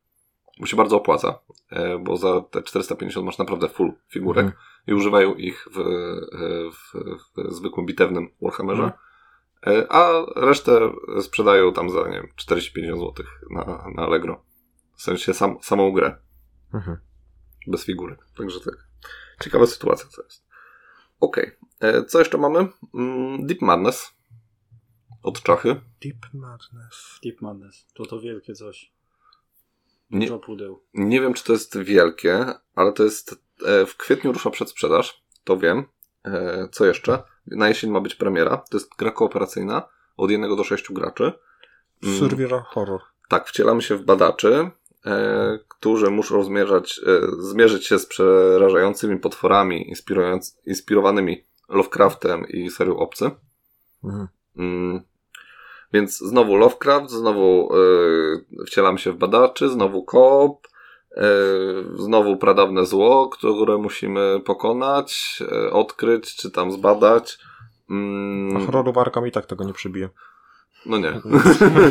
[SPEAKER 3] bo się bardzo opłaca, e, bo za te 450 masz naprawdę full figurek
[SPEAKER 2] Mhm.
[SPEAKER 3] i używają ich w, e, w, w zwykłym bitewnym Warhammerze,
[SPEAKER 2] Mhm.
[SPEAKER 3] e, a resztę sprzedają tam za, nie wiem, 40-50 zł na, na Allegro. W sensie sam, samą grę,
[SPEAKER 2] Mhm.
[SPEAKER 3] bez figurek. Także tak. Ciekawa sytuacja to jest. Okej. E, Co jeszcze mamy? Mm, Deep Madness od Czachy.
[SPEAKER 2] Deep Madness.
[SPEAKER 1] Deep Madness. To to wielkie coś.
[SPEAKER 3] Nie-
[SPEAKER 1] Dużo pudeł.
[SPEAKER 3] Nie wiem, czy to jest wielkie, ale to jest. E, w kwietniu rusza przedsprzedaż. To wiem. E, co jeszcze? Na jesień ma być premiera. To jest gra kooperacyjna od jednego do sześciu graczy. Mm.
[SPEAKER 2] Survival Horror.
[SPEAKER 3] Tak, wcielamy się w badaczy, e, którzy muszą zmierzać, e, zmierzyć się z przerażającymi potworami inspirując, inspirowanymi Lovecraftem i serią Obcy.
[SPEAKER 2] Mhm.
[SPEAKER 3] Mm. Więc znowu Lovecraft, znowu e, wcielam się w badaczy, znowu koop, e, znowu pradawne zło, które musimy pokonać, e, odkryć czy tam zbadać.
[SPEAKER 2] A
[SPEAKER 3] Mm,
[SPEAKER 2] horroru warka mi tak tego nie przybije.
[SPEAKER 3] no nie.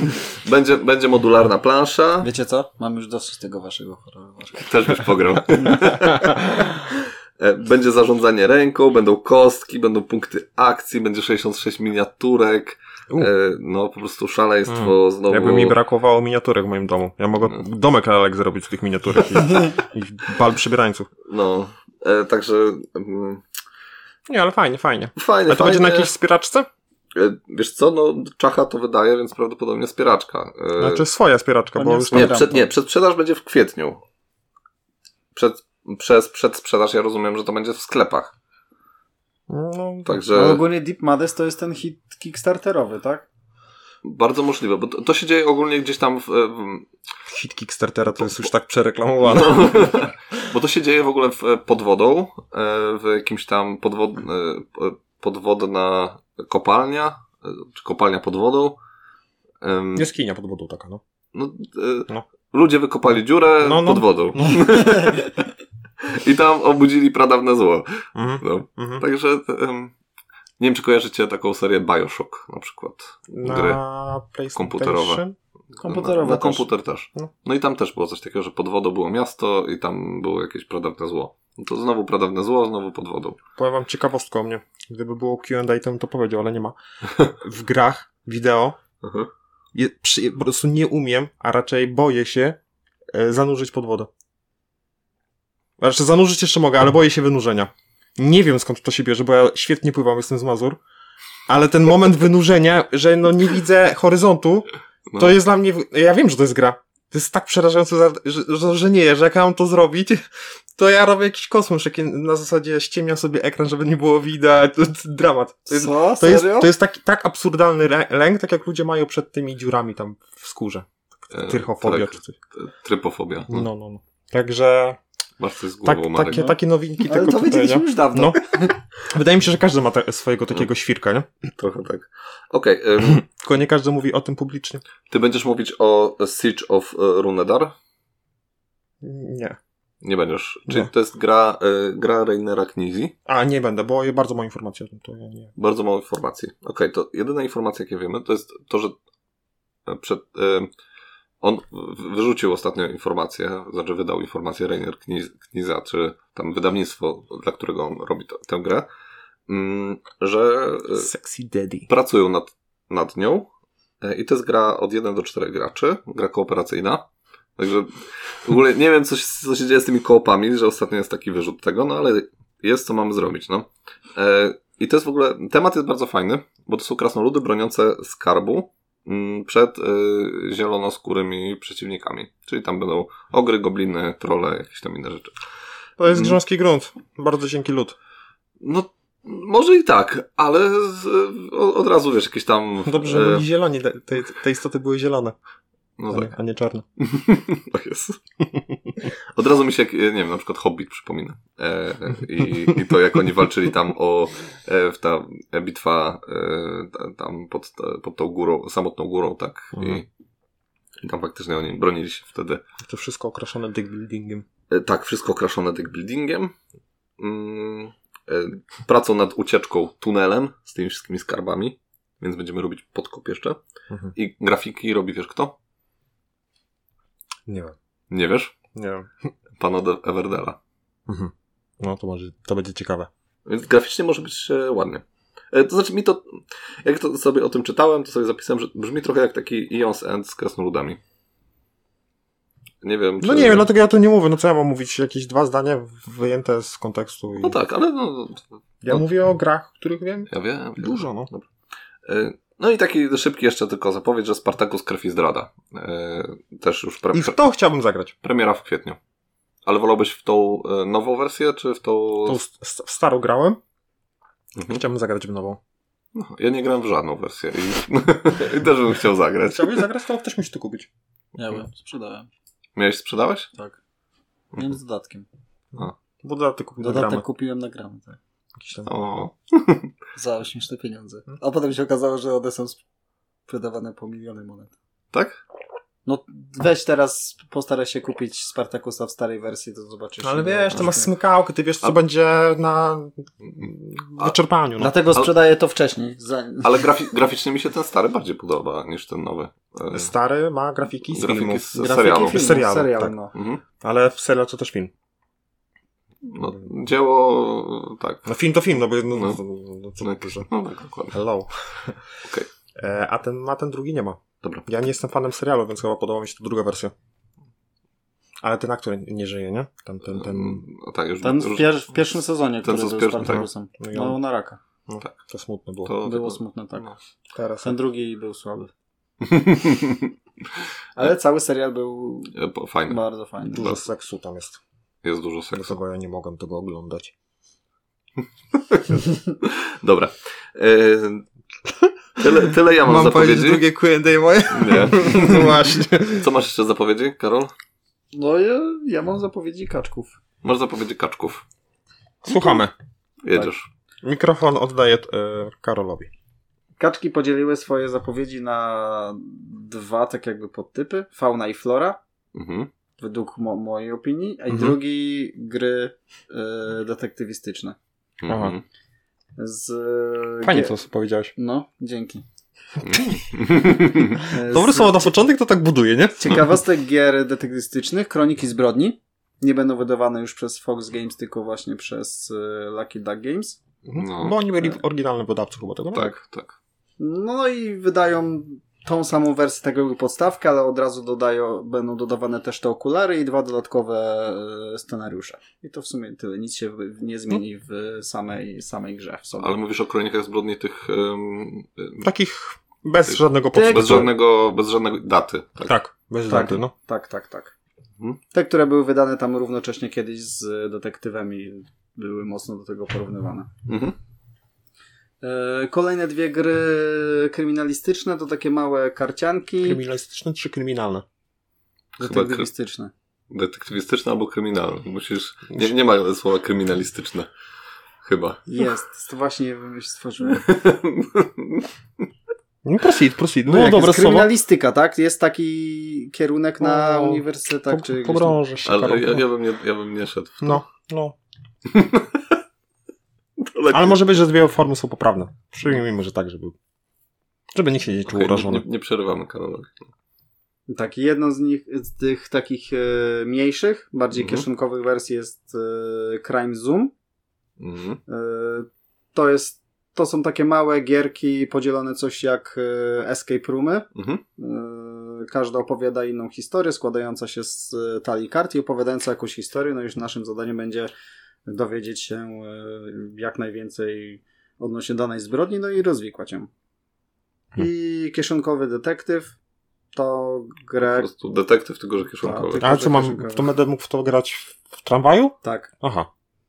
[SPEAKER 3] [LAUGHS] będzie, będzie modularna plansza.
[SPEAKER 1] Wiecie co? Mam już dosyć tego waszego horroru.
[SPEAKER 3] Też byś pograł. [LAUGHS] E, Będzie zarządzanie ręką, będą kostki, będą punkty akcji, będzie 66 miniaturek.
[SPEAKER 2] U. Mm.
[SPEAKER 3] E, No po prostu szaleństwo znowu.
[SPEAKER 2] Jakby mi brakowało miniaturek w moim domu. Ja mogę
[SPEAKER 3] Mm.
[SPEAKER 2] domek Alek zrobić z tych miniaturek i,
[SPEAKER 3] [LAUGHS]
[SPEAKER 2] i bal przybierańców.
[SPEAKER 3] No, e, także mm,
[SPEAKER 2] Nie, ale fajnie, fajnie.
[SPEAKER 3] fajnie,
[SPEAKER 2] A to
[SPEAKER 3] fajnie.
[SPEAKER 2] będzie na jakiejś wspieraczce?
[SPEAKER 3] E, Wiesz co, no Czacha to wydaje, więc prawdopodobnie spieraczka. E,
[SPEAKER 2] Znaczy swoja wspieraczka, bo
[SPEAKER 1] Nie,
[SPEAKER 2] już tam...
[SPEAKER 3] nie, przed, nie, przedsprzedaż będzie w kwietniu. Przed, przez przedsprzedaż ja rozumiem, że to będzie w sklepach.
[SPEAKER 2] No,
[SPEAKER 3] tak.
[SPEAKER 1] Ale
[SPEAKER 3] Także
[SPEAKER 1] ogólnie Deep Madness to jest ten hit kickstarterowy, tak?
[SPEAKER 3] bardzo możliwe, bo to, to się dzieje ogólnie gdzieś tam w, e, w, [LAUGHS]
[SPEAKER 2] hit Kickstartera to jest już tak przereklamowane.
[SPEAKER 3] No, bo to się dzieje w ogóle w, pod wodą, e, w jakimś tam podwod, e, podwodna kopalnia, e, czy kopalnia pod wodą. Em,
[SPEAKER 2] Jaskinia pod wodą taka, no.
[SPEAKER 3] No, e,
[SPEAKER 2] No.
[SPEAKER 3] Ludzie wykopali dziurę
[SPEAKER 2] No, no.
[SPEAKER 3] pod wodą
[SPEAKER 2] No.
[SPEAKER 3] [LAUGHS] i tam obudzili pradawne zło.
[SPEAKER 2] Mhm,
[SPEAKER 3] No.
[SPEAKER 2] mhm.
[SPEAKER 3] Także em, nie wiem, czy kojarzycie taką serię Bioshock na przykład. Gry.
[SPEAKER 2] Na PlayStation?
[SPEAKER 3] komputerowe.
[SPEAKER 1] Komputerowe
[SPEAKER 3] Na, na
[SPEAKER 1] też.
[SPEAKER 3] komputer też.
[SPEAKER 2] No.
[SPEAKER 3] No i tam też było coś takiego, że pod wodą było miasto i tam było jakieś pradawne zło. No to znowu pradawne zło, znowu pod wodą.
[SPEAKER 2] Powiem wam ciekawostkę o mnie. Gdyby było Q&A, to bym to powiedział, ale nie ma. W grach, wideo,
[SPEAKER 3] Mhm.
[SPEAKER 2] je, przy, po prostu nie umiem, a raczej boję się e, zanurzyć pod wodę. Znaczy zanurzyć jeszcze mogę, ale boję się wynurzenia. Nie wiem skąd to się bierze, bo ja świetnie pływam, jestem z Mazur, ale ten moment wynurzenia, że no nie widzę horyzontu,
[SPEAKER 3] No.
[SPEAKER 2] to jest dla mnie, w- ja wiem, że to jest gra. To jest tak przerażające, za- że, że, że nie, że jak ja mam to zrobić, to ja robię jakiś kosmos, jaki na zasadzie ściemniam sobie ekran, żeby nie było widać, to jest dramat. To jest
[SPEAKER 1] Co?
[SPEAKER 2] to jest,
[SPEAKER 1] Serio?
[SPEAKER 2] to jest taki, tak absurdalny rę- lęk, tak jak ludzie mają przed tymi dziurami tam w skórze.
[SPEAKER 3] E,
[SPEAKER 2] Tyrchofobia
[SPEAKER 3] tak,
[SPEAKER 2] czy coś.
[SPEAKER 3] Trypofobia.
[SPEAKER 2] No, no, no. Także
[SPEAKER 3] Masz coś z
[SPEAKER 2] tak,
[SPEAKER 3] głową, Marek.
[SPEAKER 2] takie, takie
[SPEAKER 1] Ale
[SPEAKER 2] nowinki
[SPEAKER 1] to
[SPEAKER 2] tego tygodnia.
[SPEAKER 1] wiedzieliśmy już dawno.
[SPEAKER 2] No. Wydaje mi się, że każdy ma te, swojego takiego świrka, nie?
[SPEAKER 3] Trochę tak. Okej, em,
[SPEAKER 2] Tylko nie każdy mówi o tym publicznie.
[SPEAKER 3] ty będziesz mówić o Siege of e, Runedar?
[SPEAKER 2] Nie.
[SPEAKER 3] Nie będziesz. Czyli
[SPEAKER 2] Nie.
[SPEAKER 3] to jest gra, e, gra Reinera Knizi.
[SPEAKER 2] A, nie będę, bo ja bardzo mało informacji o tym. To ja nie.
[SPEAKER 3] Bardzo mało informacji. Okej, to jedyna informacja, jakie wiemy, to jest to, że e, przed, e, on w- wyrzucił ostatnio informację, znaczy wydał informację Reiner Kniz, Kniza, czy tam wydawnictwo, dla którego on robi to, tę grę, mm, że e,
[SPEAKER 2] Sexy Daddy.
[SPEAKER 3] pracują nad, nad nią E, i to jest gra od 1 do 4 graczy, gra kooperacyjna. Także w ogóle nie wiem, co się, co się dzieje z tymi koopami, że ostatnio jest taki wyrzut tego, no ale jest, co mamy zrobić, no. E, I to jest w ogóle, temat jest bardzo fajny, bo to są krasnoludy broniące skarbu mm, przed y, zielonoskórymi przeciwnikami. Czyli tam będą ogry, gobliny, trole, jakieś tam inne rzeczy.
[SPEAKER 2] To jest
[SPEAKER 3] Mm.
[SPEAKER 2] grząski grunt. Bardzo cienki lód.
[SPEAKER 3] No, może i tak, ale z, o, od razu, wiesz, jakieś tam...
[SPEAKER 2] Dobrze, że byli zieloni. Te, te, te istoty były zielone,
[SPEAKER 3] E. no
[SPEAKER 2] a,
[SPEAKER 3] tak.
[SPEAKER 2] nie, a nie czarne.
[SPEAKER 3] Tak jest. Od razu mi się, jak, nie wiem, na przykład Hobbit przypomina. E, i, I to, jak oni walczyli tam o e, w ta e, bitwa e, ta, tam pod, ta, pod tą górą, samotną górą, tak?
[SPEAKER 2] Mhm.
[SPEAKER 3] I, I tam faktycznie oni bronili się wtedy.
[SPEAKER 2] To wszystko okraszone deck buildingiem.
[SPEAKER 3] E, tak, wszystko okraszone deckbuildingiem. Mm, e, pracą nad ucieczką tunelem z tymi wszystkimi skarbami, więc będziemy robić podkop jeszcze.
[SPEAKER 2] Mhm.
[SPEAKER 3] I grafiki robi, wiesz kto?
[SPEAKER 2] Nie wiem.
[SPEAKER 3] Nie wiesz?
[SPEAKER 2] Nie wiem.
[SPEAKER 3] Pana De- Everdela.
[SPEAKER 2] Mhm. No to może, to będzie ciekawe.
[SPEAKER 3] Więc graficznie może być e, ładnie. E, to znaczy mi to, jak to sobie o tym czytałem, to sobie zapisałem, że brzmi trochę jak taki Ion's End z krasnoludami. Nie wiem,
[SPEAKER 2] No
[SPEAKER 3] czy-
[SPEAKER 2] nie wiem, dlatego ja tu nie mówię, no co ja mam mówić, jakieś dwa zdania wyjęte z kontekstu i...
[SPEAKER 3] No tak, ale no,
[SPEAKER 2] Ja
[SPEAKER 3] no.
[SPEAKER 2] mówię o grach, których wiem
[SPEAKER 3] ja wiem.
[SPEAKER 2] dużo, no.
[SPEAKER 3] E, No i taki szybki jeszcze tylko zapowiedź, że Spartacus Krew i Zdrada. E, Też już pre-
[SPEAKER 2] I w to chciałbym zagrać.
[SPEAKER 3] premiera w kwietniu. Ale wolałbyś w tą e, nową wersję, czy w tą...
[SPEAKER 2] To s- s- w starą grałem,
[SPEAKER 3] Mhm.
[SPEAKER 2] chciałbym zagrać w nową.
[SPEAKER 3] No, ja nie grałem w żadną wersję i, i [LAUGHS] też bym chciał zagrać.
[SPEAKER 2] Chciałbyś zagrać, to ktoś musi to kupić.
[SPEAKER 1] Ja bym sprzedałem,
[SPEAKER 3] Miałeś, sprzedałeś?
[SPEAKER 1] tak. Miałem z dodatkiem.
[SPEAKER 2] Bo dodatek kupił
[SPEAKER 1] Dodatek
[SPEAKER 2] Mhm. gramy.
[SPEAKER 1] kupiłem na gramy, tak.
[SPEAKER 2] Jakiś tam-
[SPEAKER 3] O,
[SPEAKER 1] Za śmieszne pieniądze. A potem się okazało, że one są sprzedawane po miliony monet.
[SPEAKER 3] tak?
[SPEAKER 1] No weź teraz, postaraj się kupić Spartakusa w starej wersji, to zobaczysz.
[SPEAKER 2] No ale
[SPEAKER 1] ile-
[SPEAKER 2] wiesz, to masz
[SPEAKER 1] ile-
[SPEAKER 2] smykałkę, ty wiesz, co
[SPEAKER 3] A-
[SPEAKER 2] będzie na
[SPEAKER 3] A-
[SPEAKER 2] wyczerpaniu. No.
[SPEAKER 1] Dlatego
[SPEAKER 3] Ale-
[SPEAKER 1] sprzedaję to wcześniej. zanim-
[SPEAKER 3] Ale grafi- graficznie mi się ten stary bardziej podoba niż ten nowy. E,
[SPEAKER 2] Stary ma grafiki z
[SPEAKER 3] Grafiki
[SPEAKER 2] filmu.
[SPEAKER 3] z
[SPEAKER 1] Grafiki
[SPEAKER 3] serialu.
[SPEAKER 1] filmu,
[SPEAKER 2] Serialu,
[SPEAKER 1] serialu
[SPEAKER 2] tak.
[SPEAKER 1] no.
[SPEAKER 3] Mhm.
[SPEAKER 2] Ale w serialu to też film.
[SPEAKER 3] No, dzieło... e, tak.
[SPEAKER 2] No film to film, no bo no,
[SPEAKER 3] No.
[SPEAKER 2] no. no, co
[SPEAKER 3] No,
[SPEAKER 2] dużo.
[SPEAKER 3] no tak, dokładnie.
[SPEAKER 2] Hello.
[SPEAKER 3] [LAUGHS] Okej.
[SPEAKER 2] E, A ten, a ten drugi nie ma.
[SPEAKER 3] Dobra.
[SPEAKER 2] Ja nie jestem fanem serialu, więc chyba podoba mi się ta druga wersja. Ale ten aktor nie żyje, nie? Ten, ten, ten,
[SPEAKER 3] No, tak, już,
[SPEAKER 1] Ten w,
[SPEAKER 3] już,
[SPEAKER 1] pier- w pierwszym sezonie,
[SPEAKER 3] co
[SPEAKER 1] który
[SPEAKER 3] z
[SPEAKER 1] był
[SPEAKER 3] pierwszym,
[SPEAKER 1] Spartakusem.
[SPEAKER 2] tak. No i
[SPEAKER 1] No
[SPEAKER 2] on-
[SPEAKER 1] na raka.
[SPEAKER 2] no,
[SPEAKER 3] tak.
[SPEAKER 2] to smutne było.
[SPEAKER 3] to-
[SPEAKER 1] Było smutno, tak.
[SPEAKER 3] No.
[SPEAKER 2] Teraz
[SPEAKER 1] Ten drugi był
[SPEAKER 3] [LAUGHS]
[SPEAKER 1] słaby. Ale cały serial był
[SPEAKER 3] E, po- Fajne.
[SPEAKER 1] bardzo fajny.
[SPEAKER 2] dużo seksu tam jest.
[SPEAKER 3] Jest dużo seksu.
[SPEAKER 2] Dlatego ja nie mogłem tego oglądać.
[SPEAKER 3] Dobra. E, tyle, tyle ja mam, zapowiedzi.
[SPEAKER 2] Q&A moje? [LAUGHS]
[SPEAKER 3] Nie.
[SPEAKER 2] No właśnie.
[SPEAKER 3] Co masz jeszcze zapowiedzi, Karol?
[SPEAKER 1] No ja, ja mam zapowiedzi kaczków.
[SPEAKER 3] Masz zapowiedzi kaczków.
[SPEAKER 2] Słuchamy.
[SPEAKER 3] Jedziesz.
[SPEAKER 2] Mikrofon oddaję e, Karolowi.
[SPEAKER 1] Kaczki podzieliły swoje zapowiedzi na dwa tak jakby podtypy. Fauna i flora,
[SPEAKER 2] Tak.
[SPEAKER 3] Mhm.
[SPEAKER 1] według mo- mojej opinii, a i
[SPEAKER 2] Mhm.
[SPEAKER 1] drugi gry y, detektywistyczne.
[SPEAKER 3] Mhm.
[SPEAKER 2] Aha.
[SPEAKER 1] Z,
[SPEAKER 2] Fajnie
[SPEAKER 1] gie-
[SPEAKER 2] to co powiedziałeś.
[SPEAKER 1] No,
[SPEAKER 2] [LAUGHS]
[SPEAKER 1] dzięki.
[SPEAKER 3] Mhm.
[SPEAKER 1] E,
[SPEAKER 2] Dobre
[SPEAKER 1] z
[SPEAKER 2] słowo na początek to tak buduje, nie?
[SPEAKER 1] Ciekawostek gier detektywistycznych, Kroniki Zbrodni. Nie będą wydawane już przez Fox Games, tylko właśnie przez y, Lucky Duck Games.
[SPEAKER 3] No.
[SPEAKER 2] Bo oni byli oryginalnym wydawcą chyba tego, nie?
[SPEAKER 3] Tak, tak.
[SPEAKER 1] No i wydają tą samą wersję tego jakby podstawkę, ale od razu dodają, będą dodawane też te okulary i dwa dodatkowe e, scenariusze. I to w sumie tyle. Nic się w- nie zmieni w samej, samej grze w sobie.
[SPEAKER 3] Ale mówisz o kronikach zbrodni tych em, em,
[SPEAKER 2] Takich bez
[SPEAKER 3] Tych-
[SPEAKER 2] żadnego
[SPEAKER 1] Tych-
[SPEAKER 2] podstawu.
[SPEAKER 3] bez żadnego, bez żadnego daty. Tak.
[SPEAKER 2] Tak, bez
[SPEAKER 1] Tak.
[SPEAKER 2] żadnego, no.
[SPEAKER 1] Tak, tak, tak.
[SPEAKER 3] Mhm.
[SPEAKER 1] Te, które były wydane tam równocześnie kiedyś z detektywami, były mocno do tego porównywane.
[SPEAKER 3] Mhm.
[SPEAKER 1] E, Kolejne dwie gry kryminalistyczne to takie małe karcianki
[SPEAKER 2] Kryminalistyczne czy kryminalne?
[SPEAKER 1] detektywistyczne.
[SPEAKER 3] Detektywistyczne albo kryminalne. Musisz. Nie, nie ma słowa kryminalistyczne. Chyba.
[SPEAKER 1] Jest, to właśnie wymyśl- stworzyłem.
[SPEAKER 2] No proceed, proceed.
[SPEAKER 1] No
[SPEAKER 2] No
[SPEAKER 1] jak
[SPEAKER 2] dobre
[SPEAKER 1] jest
[SPEAKER 2] słowo.
[SPEAKER 1] kryminalistyka, tak? Jest taki kierunek Tak, na
[SPEAKER 2] O,
[SPEAKER 1] uniwersytetach czy gdzieś tam.
[SPEAKER 2] Pogrążę No, się,
[SPEAKER 3] Ale
[SPEAKER 2] Karol.
[SPEAKER 3] ja, ja, bym nie, ja bym nie szedł. w to.
[SPEAKER 2] No, no.
[SPEAKER 3] To tak-
[SPEAKER 2] Ale może być, że dwie formy są poprawne. Przyjmijmy, że tak, żeby... Żeby nikt się nie czuł
[SPEAKER 3] Okej, no, nie,
[SPEAKER 2] urażony.
[SPEAKER 3] nie przerywamy Karola.
[SPEAKER 1] Tak, jedną z nich, z tych takich e, mniejszych, bardziej
[SPEAKER 3] Mhm.
[SPEAKER 1] kieszonkowych wersji jest e, Crime Zoom.
[SPEAKER 3] Mhm.
[SPEAKER 1] E, to jest, to są takie małe gierki podzielone coś jak e, escape roomy.
[SPEAKER 3] Mhm.
[SPEAKER 1] Yy, Każda opowiada inną historię, składająca się z y, talii kart i opowiadająca jakąś historię. No już naszym zadaniem będzie dowiedzieć się y, jak najwięcej odnośnie danej zbrodni, no i rozwikłać ją.
[SPEAKER 2] Hmm.
[SPEAKER 1] I kieszonkowy detektyw to
[SPEAKER 3] Po
[SPEAKER 1] grę.
[SPEAKER 3] prostu detektyw, tylko że
[SPEAKER 1] Tak,
[SPEAKER 3] kieszonkowy.
[SPEAKER 1] tylko-
[SPEAKER 2] A co mam,
[SPEAKER 1] Proszę,
[SPEAKER 2] to będę mógł w to grać w, w tramwaju?
[SPEAKER 1] Tak.
[SPEAKER 2] Aha.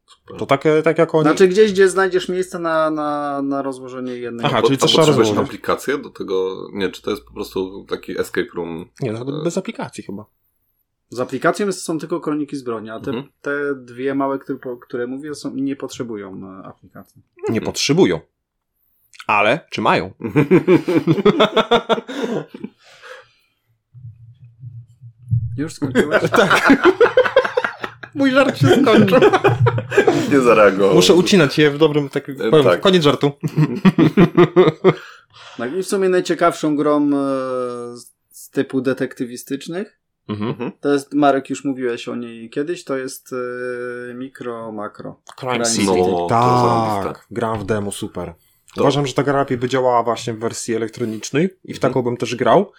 [SPEAKER 3] Super.
[SPEAKER 2] To takie, tak jak oni...
[SPEAKER 1] Znaczy gdzieś, gdzie znajdziesz miejsce na, na, na rozłożenie jednej.
[SPEAKER 2] Aha,
[SPEAKER 3] Po-
[SPEAKER 2] czyli
[SPEAKER 3] a
[SPEAKER 2] coś trzeba
[SPEAKER 3] potrzebujesz
[SPEAKER 2] rozłożyć.
[SPEAKER 3] aplikację do tego? Nie, czy to jest po prostu taki escape room?
[SPEAKER 2] Nie, nawet bez aplikacji chyba.
[SPEAKER 1] Z aplikacją są tylko kroniki z broni, a te,
[SPEAKER 3] Mhm. [LAUGHS]
[SPEAKER 1] te dwie małe, które, po- które mówię, są, nie potrzebują e, aplikacji.
[SPEAKER 2] Nie potrzebują. Ale
[SPEAKER 3] [LAUGHS]
[SPEAKER 2] czy mają?
[SPEAKER 1] Już skończyłeś?
[SPEAKER 3] Tak.
[SPEAKER 2] Mój żart się skończył.
[SPEAKER 3] nie zareagował.
[SPEAKER 2] Muszę ucinać je w dobrym tak,
[SPEAKER 3] E,
[SPEAKER 2] powiem,
[SPEAKER 3] tak.
[SPEAKER 2] Koniec żartu.
[SPEAKER 1] Tak, i w sumie najciekawszą grą e, z- z typu detektywistycznych
[SPEAKER 2] Mhm.
[SPEAKER 1] To jest, Marek, już mówiłeś o niej kiedyś, to jest e, mikro, makro.
[SPEAKER 2] Crime
[SPEAKER 1] Crime
[SPEAKER 2] City.
[SPEAKER 1] City.
[SPEAKER 3] No, to
[SPEAKER 2] tak,
[SPEAKER 3] zarąbiste.
[SPEAKER 2] grałem w demo, super.
[SPEAKER 3] To- Mhm.
[SPEAKER 2] Uważam, że ta gra lepiej by działała właśnie w wersji elektronicznej i w taką bym też grał,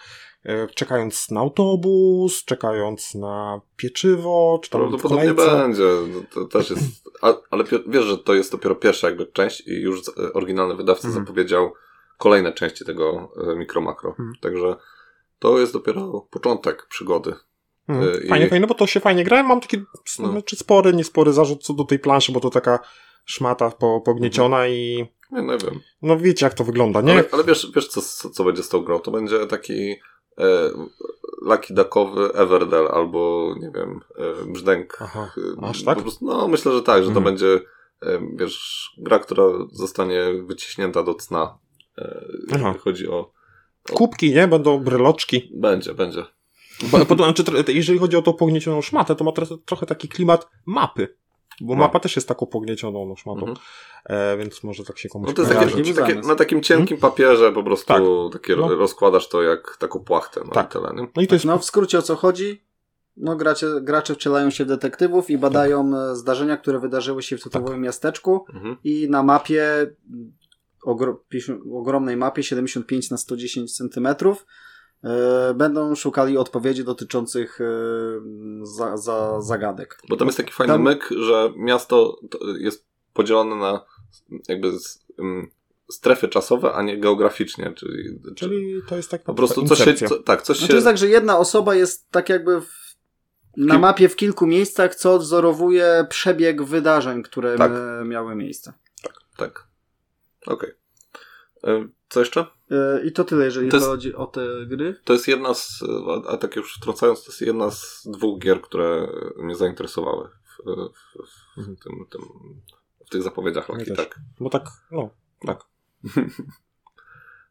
[SPEAKER 2] e, czekając na autobus, czekając na pieczywo, czy tam w
[SPEAKER 3] Prawdopodobnie
[SPEAKER 2] kolejce.
[SPEAKER 3] będzie. No, To też jest, a, ale pi- wiesz, że to jest dopiero pierwsza jakby część i już z- e, oryginalny wydawca
[SPEAKER 2] Mhm.
[SPEAKER 3] zapowiedział kolejne części tego e, mikro-makro.
[SPEAKER 2] Mhm.
[SPEAKER 3] Także to jest dopiero początek przygody.
[SPEAKER 2] Mhm.
[SPEAKER 3] e, i-
[SPEAKER 2] Fajnie, fajnie, bo to się fajnie grałem. Mam taki
[SPEAKER 3] No.
[SPEAKER 2] znaczy spory, niespory zarzut co do tej planszy, bo to taka szmata po, pognieciona i
[SPEAKER 3] Nie, nie wiem.
[SPEAKER 2] no wiecie jak to wygląda, nie?
[SPEAKER 3] Mhm. Ale, ale wiesz, wiesz co, co, co będzie z tą grą? To będzie taki e, laki dakowy Everdell albo, nie wiem, e, brzdęk.
[SPEAKER 2] Aha.
[SPEAKER 3] E,
[SPEAKER 2] Aż tak?
[SPEAKER 3] Po prostu, no, myślę, że tak, że to
[SPEAKER 2] Mhm.
[SPEAKER 3] będzie e, wiesz, gra, która zostanie wyciśnięta do cna. E,
[SPEAKER 2] Aha.
[SPEAKER 3] jeżeli chodzi o.
[SPEAKER 2] Kubki, nie? Będą bryloczki.
[SPEAKER 3] Będzie, będzie.
[SPEAKER 2] Bo, bo, znaczy, tro- jeżeli chodzi o tą pogniecioną szmatę, to ma tro, trochę taki klimat mapy. Bo
[SPEAKER 3] No.
[SPEAKER 2] mapa też jest taką pogniecioną no, szmatą.
[SPEAKER 3] Mhm.
[SPEAKER 2] E, więc może tak się komuś
[SPEAKER 3] No to jest
[SPEAKER 2] kojarzy.
[SPEAKER 3] takie,
[SPEAKER 1] kojarzy.
[SPEAKER 3] takie, na takim cienkim papierze po prostu
[SPEAKER 2] Mhm. Tak.
[SPEAKER 3] takie
[SPEAKER 2] No.
[SPEAKER 3] rozkładasz to jak taką płachtę na
[SPEAKER 2] Tak.
[SPEAKER 3] tak. tyle, nie?
[SPEAKER 2] No i to jest...
[SPEAKER 1] No w skrócie o co chodzi? No gracie, gracze wcielają się w detektywów i badają e, zdarzenia, które wydarzyły się w tytułowym miasteczku
[SPEAKER 3] Mhm.
[SPEAKER 1] i na mapie, m, ogro, pięćdziesiąt- ogromnej mapie 75 na 110 cm e, będą szukali odpowiedzi dotyczących e, za, za, zagadek.
[SPEAKER 3] Bo tam jest
[SPEAKER 2] No,
[SPEAKER 3] taki fajny
[SPEAKER 1] Tam-
[SPEAKER 3] myk, że miasto to jest podzielone na jakby z, ym, strefy czasowe, a nie geograficznie, czyli, czyli
[SPEAKER 2] Czyli to Znaczy, jest tak
[SPEAKER 3] po prostu coś się,
[SPEAKER 2] incepcja.
[SPEAKER 3] co, tak, coś
[SPEAKER 1] No
[SPEAKER 3] się
[SPEAKER 1] to jest tak, że jedna osoba jest tak jakby w, na
[SPEAKER 3] Kim-
[SPEAKER 1] mapie w kilku miejscach, co odwzorowuje przebieg wydarzeń, które
[SPEAKER 3] Tak.
[SPEAKER 1] e, miały miejsce.
[SPEAKER 3] Tak. Okej. Y, Co jeszcze?
[SPEAKER 1] E, I to tyle, jeżeli
[SPEAKER 3] To jest-
[SPEAKER 1] chodzi o te gry.
[SPEAKER 3] To jest jedna z, a, a tak już wtrącając, to jest jedna z dwóch gier, które mnie zainteresowały w, w,
[SPEAKER 2] Mhm.
[SPEAKER 3] w, tym, tym, w tych zapowiedziach
[SPEAKER 2] Mnie
[SPEAKER 3] Lucky,
[SPEAKER 2] też.
[SPEAKER 3] tak.
[SPEAKER 2] Bo tak, no, tak.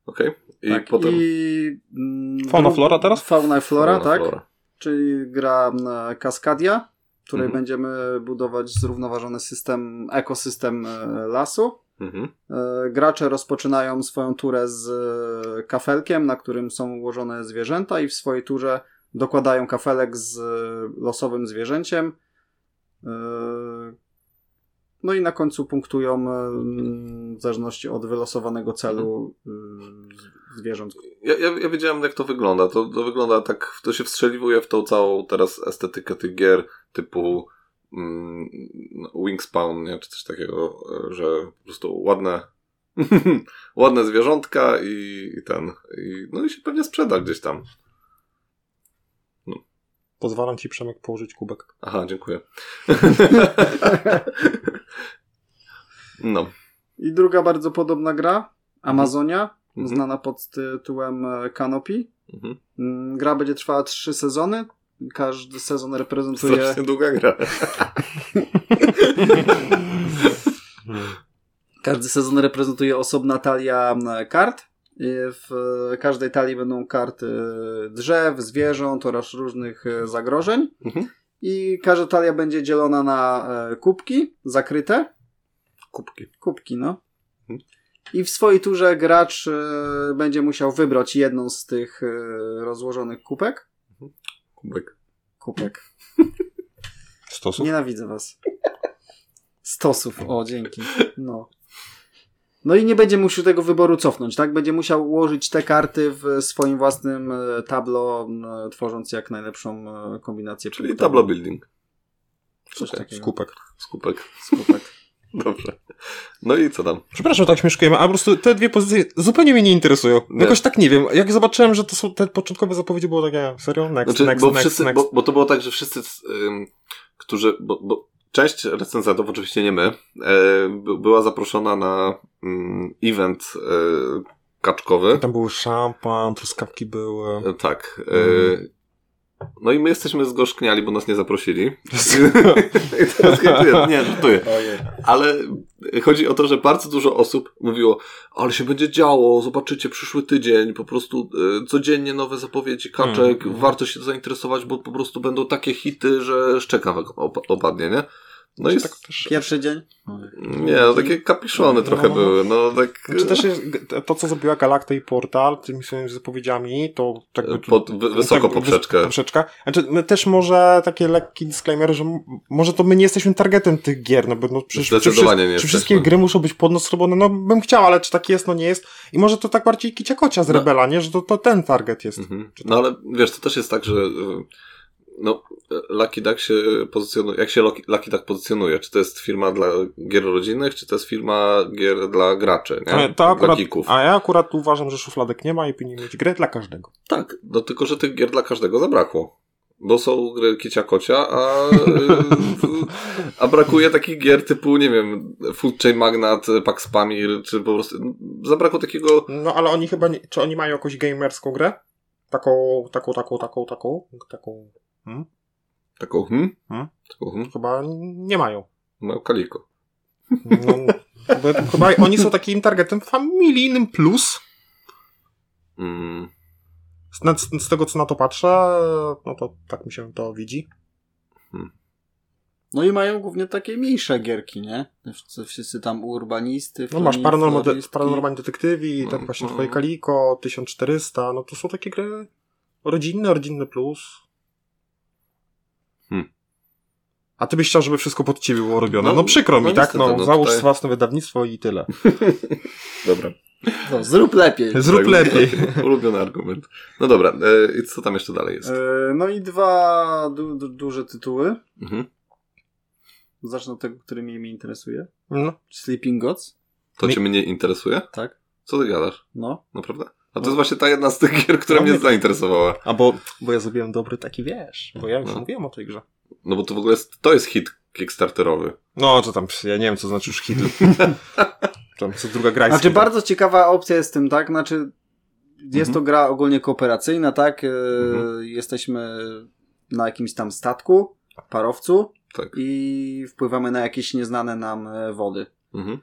[SPEAKER 3] Okej. I
[SPEAKER 1] tak.
[SPEAKER 3] potem...
[SPEAKER 1] I, mm,
[SPEAKER 2] Fauna
[SPEAKER 1] dru-
[SPEAKER 2] Flora teraz?
[SPEAKER 1] Fauna i Flora,
[SPEAKER 3] Fauna
[SPEAKER 1] tak.
[SPEAKER 3] Flora.
[SPEAKER 1] Czyli gra e, Kaskadia, w której
[SPEAKER 3] Mhm.
[SPEAKER 1] będziemy budować zrównoważony system, ekosystem e, lasu.
[SPEAKER 3] Mhm.
[SPEAKER 1] E, Gracze rozpoczynają swoją turę z e, kafelkiem, na którym są ułożone zwierzęta, i w swojej turze dokładają kafelek z e, losowym zwierzęciem. E, No i na końcu punktują e, w zależności od wylosowanego celu
[SPEAKER 3] Mhm.
[SPEAKER 1] e, zwierząt.
[SPEAKER 3] Ja, ja, ja wiedziałem, jak to wygląda. To, to wygląda tak, to się wstrzeliwuje w tą całą teraz estetykę tych gier typu mm, no, Wingspawn, nie? czy coś takiego, e, że po prostu ładne [LAUGHS] ładne zwierzątka i, i ten. I, no i się pewnie sprzeda gdzieś tam.
[SPEAKER 2] Pozwalam ci, Przemek, położyć kubek.
[SPEAKER 3] Aha, dziękuję. [LAUGHS] no.
[SPEAKER 1] I druga bardzo podobna gra, Amazonia,
[SPEAKER 3] Mhm.
[SPEAKER 1] znana pod tytułem e, Canopy.
[SPEAKER 3] Mhm.
[SPEAKER 1] Mm, Gra będzie trwała trzy sezony. Każdy sezon reprezentuje
[SPEAKER 3] Strasznie długa gra.
[SPEAKER 1] Każdy sezon reprezentuje osobna talia m, kart. I W e, każdej talii będą karty e, drzew, zwierząt oraz różnych e, zagrożeń.
[SPEAKER 3] Mhm.
[SPEAKER 1] I każda talia będzie dzielona na e, kubki zakryte.
[SPEAKER 3] Kubki.
[SPEAKER 1] Kubki, no.
[SPEAKER 3] Mhm.
[SPEAKER 1] I w swojej turze gracz e, będzie musiał wybrać jedną z tych e, rozłożonych kubek.
[SPEAKER 3] Kubek.
[SPEAKER 1] Kubek.
[SPEAKER 2] Stosów?
[SPEAKER 1] Nienawidzę was. Stosów, o dzięki. No. No i nie będzie musiał tego wyboru cofnąć, tak? Będzie musiał ułożyć te karty w swoim własnym e, tablo, m, e, tworząc jak najlepszą e, kombinację.
[SPEAKER 3] Czyli
[SPEAKER 1] punktową.
[SPEAKER 3] tablo building.
[SPEAKER 1] Coś
[SPEAKER 3] Okej,
[SPEAKER 1] takiego.
[SPEAKER 2] Skupek.
[SPEAKER 3] Skupek.
[SPEAKER 1] Skupek.
[SPEAKER 3] Dobrze. No i co tam?
[SPEAKER 2] Przepraszam, że tak śmieszkujemy, a po prostu te dwie pozycje zupełnie mnie nie interesują.
[SPEAKER 3] Nie.
[SPEAKER 2] Jakoś tak nie wiem. Jak zobaczyłem, że to są te początkowe zapowiedzi, było takie, serio? Next,
[SPEAKER 3] Znaczy,
[SPEAKER 2] next,
[SPEAKER 3] bo,
[SPEAKER 2] next,
[SPEAKER 3] wszyscy,
[SPEAKER 2] next.
[SPEAKER 3] Bo, bo to było tak, że wszyscy, ym, którzy. Bo, bo część recenzentów, oczywiście nie my, e, by- była zaproszona na mm, event e, kaczkowy.
[SPEAKER 2] Tam był szampan, truskawki
[SPEAKER 3] [LAUGHS]
[SPEAKER 2] były.
[SPEAKER 3] E, Tak. E,
[SPEAKER 2] Mhm.
[SPEAKER 3] No i my jesteśmy zgorzkniali, bo nas nie zaprosili. [LAUGHS] I teraz nie, nie, żartuję. Ale chodzi o to, że bardzo dużo osób mówiło, ale się będzie działo, zobaczycie przyszły tydzień, po prostu e, codziennie nowe zapowiedzi kaczek,
[SPEAKER 2] Mhm.
[SPEAKER 3] warto się zainteresować, bo po prostu będą takie hity, że szczeka wam opa- opadnie, nie? No i
[SPEAKER 2] tak też...
[SPEAKER 1] Pierwszy dzień?
[SPEAKER 3] nie, no, takie kapiszony trochę
[SPEAKER 2] No.
[SPEAKER 3] były. No tak
[SPEAKER 2] Znaczy też jest, to, co zrobiła Galacta i Portal tymi swoimi zapowiedziami, to tak
[SPEAKER 3] e, pod, wy, wysoko poprzeczkę.
[SPEAKER 2] poprzeczka. Znaczy, my też może taki lekki disclaimer, że m- może to my nie jesteśmy targetem tych gier, no bo no, przecież,
[SPEAKER 3] Zdecydowanie nie
[SPEAKER 2] czy, wszy- czy
[SPEAKER 3] jesteśmy.
[SPEAKER 2] wszystkie gry muszą być pod nos robione, no bym chciał, ale czy tak jest, no nie jest. I może to tak bardziej kicia kocia z
[SPEAKER 3] No.
[SPEAKER 2] Rebela, nie? Że to, to ten target jest.
[SPEAKER 3] Mhm. No ale wiesz, to też jest tak, że y, no, y, Lucky Duck się pozycjonuje, jak się Lucky, Lucky Duck pozycjonuje? Czy to jest firma dla gier rodzinnych, czy to jest firma gier dla graczy, nie?
[SPEAKER 2] Ale to
[SPEAKER 3] dla
[SPEAKER 2] akurat,
[SPEAKER 3] geeków.
[SPEAKER 2] a ja akurat uważam, że szufladek nie ma i powinien mieć grę dla każdego.
[SPEAKER 3] Tak, no tylko, że tych gier dla każdego zabrakło. Bo są gry kicia kocia,
[SPEAKER 2] [LAUGHS]
[SPEAKER 3] a, y, a brakuje takich gier typu, nie wiem, Food Chain Magnat, Pax Pamir, czy po prostu zabrakło takiego
[SPEAKER 2] No ale oni chyba, nie, czy oni mają jakąś gamerską grę? Taką, taką, taką, taką, taką, taką,
[SPEAKER 3] taką hmm?
[SPEAKER 2] Hmm?
[SPEAKER 3] Taką hmm?
[SPEAKER 2] chyba nie mają.
[SPEAKER 3] Mają kaliko.
[SPEAKER 2] No, bo chyba oni są takim targetem familijnym plus.
[SPEAKER 3] Mm.
[SPEAKER 2] Z, na- z tego co na to patrzę, no to tak mi się to widzi.
[SPEAKER 1] No i mają głównie takie mniejsze gierki, nie? Wszyscy- Wszyscy tam urbanisty.
[SPEAKER 2] No masz
[SPEAKER 1] florist-
[SPEAKER 2] paranormal, de-
[SPEAKER 1] floristki.
[SPEAKER 2] paranormalni detektywi, tak właśnie
[SPEAKER 3] Mhm.
[SPEAKER 2] twoje Kaliko, 1400, no to są takie gry rodzinne, rodzinne plus.
[SPEAKER 3] Hmm.
[SPEAKER 2] A ty byś chciał, żeby wszystko pod ciebie było robione.
[SPEAKER 3] No,
[SPEAKER 2] No, przykro
[SPEAKER 3] no
[SPEAKER 2] mi, tak?
[SPEAKER 3] niestety,
[SPEAKER 2] No,
[SPEAKER 3] no
[SPEAKER 2] załóż
[SPEAKER 3] tutaj-
[SPEAKER 2] własne wydawnictwo i [LAUGHS] tyle.
[SPEAKER 3] Dobra.
[SPEAKER 1] No, zrób lepiej.
[SPEAKER 2] Zrób
[SPEAKER 3] Tak,
[SPEAKER 2] [LAUGHS]
[SPEAKER 3] [LAUGHS]
[SPEAKER 2] lepiej.
[SPEAKER 3] Ulubiony argument. No dobra, e, i co tam jeszcze dalej jest?
[SPEAKER 1] E, No i dwa du- du- duże tytuły.
[SPEAKER 3] Mhm.
[SPEAKER 1] Zacznę od tego, który mnie, mnie interesuje.
[SPEAKER 2] No.
[SPEAKER 1] Sleeping Gods.
[SPEAKER 3] To
[SPEAKER 2] Mi-
[SPEAKER 3] cię mnie interesuje?
[SPEAKER 1] Tak.
[SPEAKER 3] Co ty gadasz?
[SPEAKER 1] No.
[SPEAKER 3] Naprawdę? A to jest właśnie ta jedna z tych gier, która
[SPEAKER 2] No,
[SPEAKER 3] mnie
[SPEAKER 2] nie-
[SPEAKER 3] zainteresowała.
[SPEAKER 2] A bo, bo ja zrobiłem dobry taki, wiesz, bo ja już
[SPEAKER 3] No.
[SPEAKER 2] mówiłem o tej grze.
[SPEAKER 3] No bo to w ogóle jest, to jest hit kickstarterowy.
[SPEAKER 2] No, to tam, ja nie wiem, co znaczy już hit.
[SPEAKER 1] [LAUGHS]
[SPEAKER 2] tam co druga gra jest
[SPEAKER 1] Znaczy
[SPEAKER 2] hitem.
[SPEAKER 1] bardzo ciekawa opcja jest z tym, tak? Znaczy jest to gra ogólnie kooperacyjna, tak? E,
[SPEAKER 3] Mhm.
[SPEAKER 1] Jesteśmy na jakimś tam statku, parowcu
[SPEAKER 3] Tak.
[SPEAKER 1] i wpływamy na jakieś nieznane nam e, wody.
[SPEAKER 3] Mhm.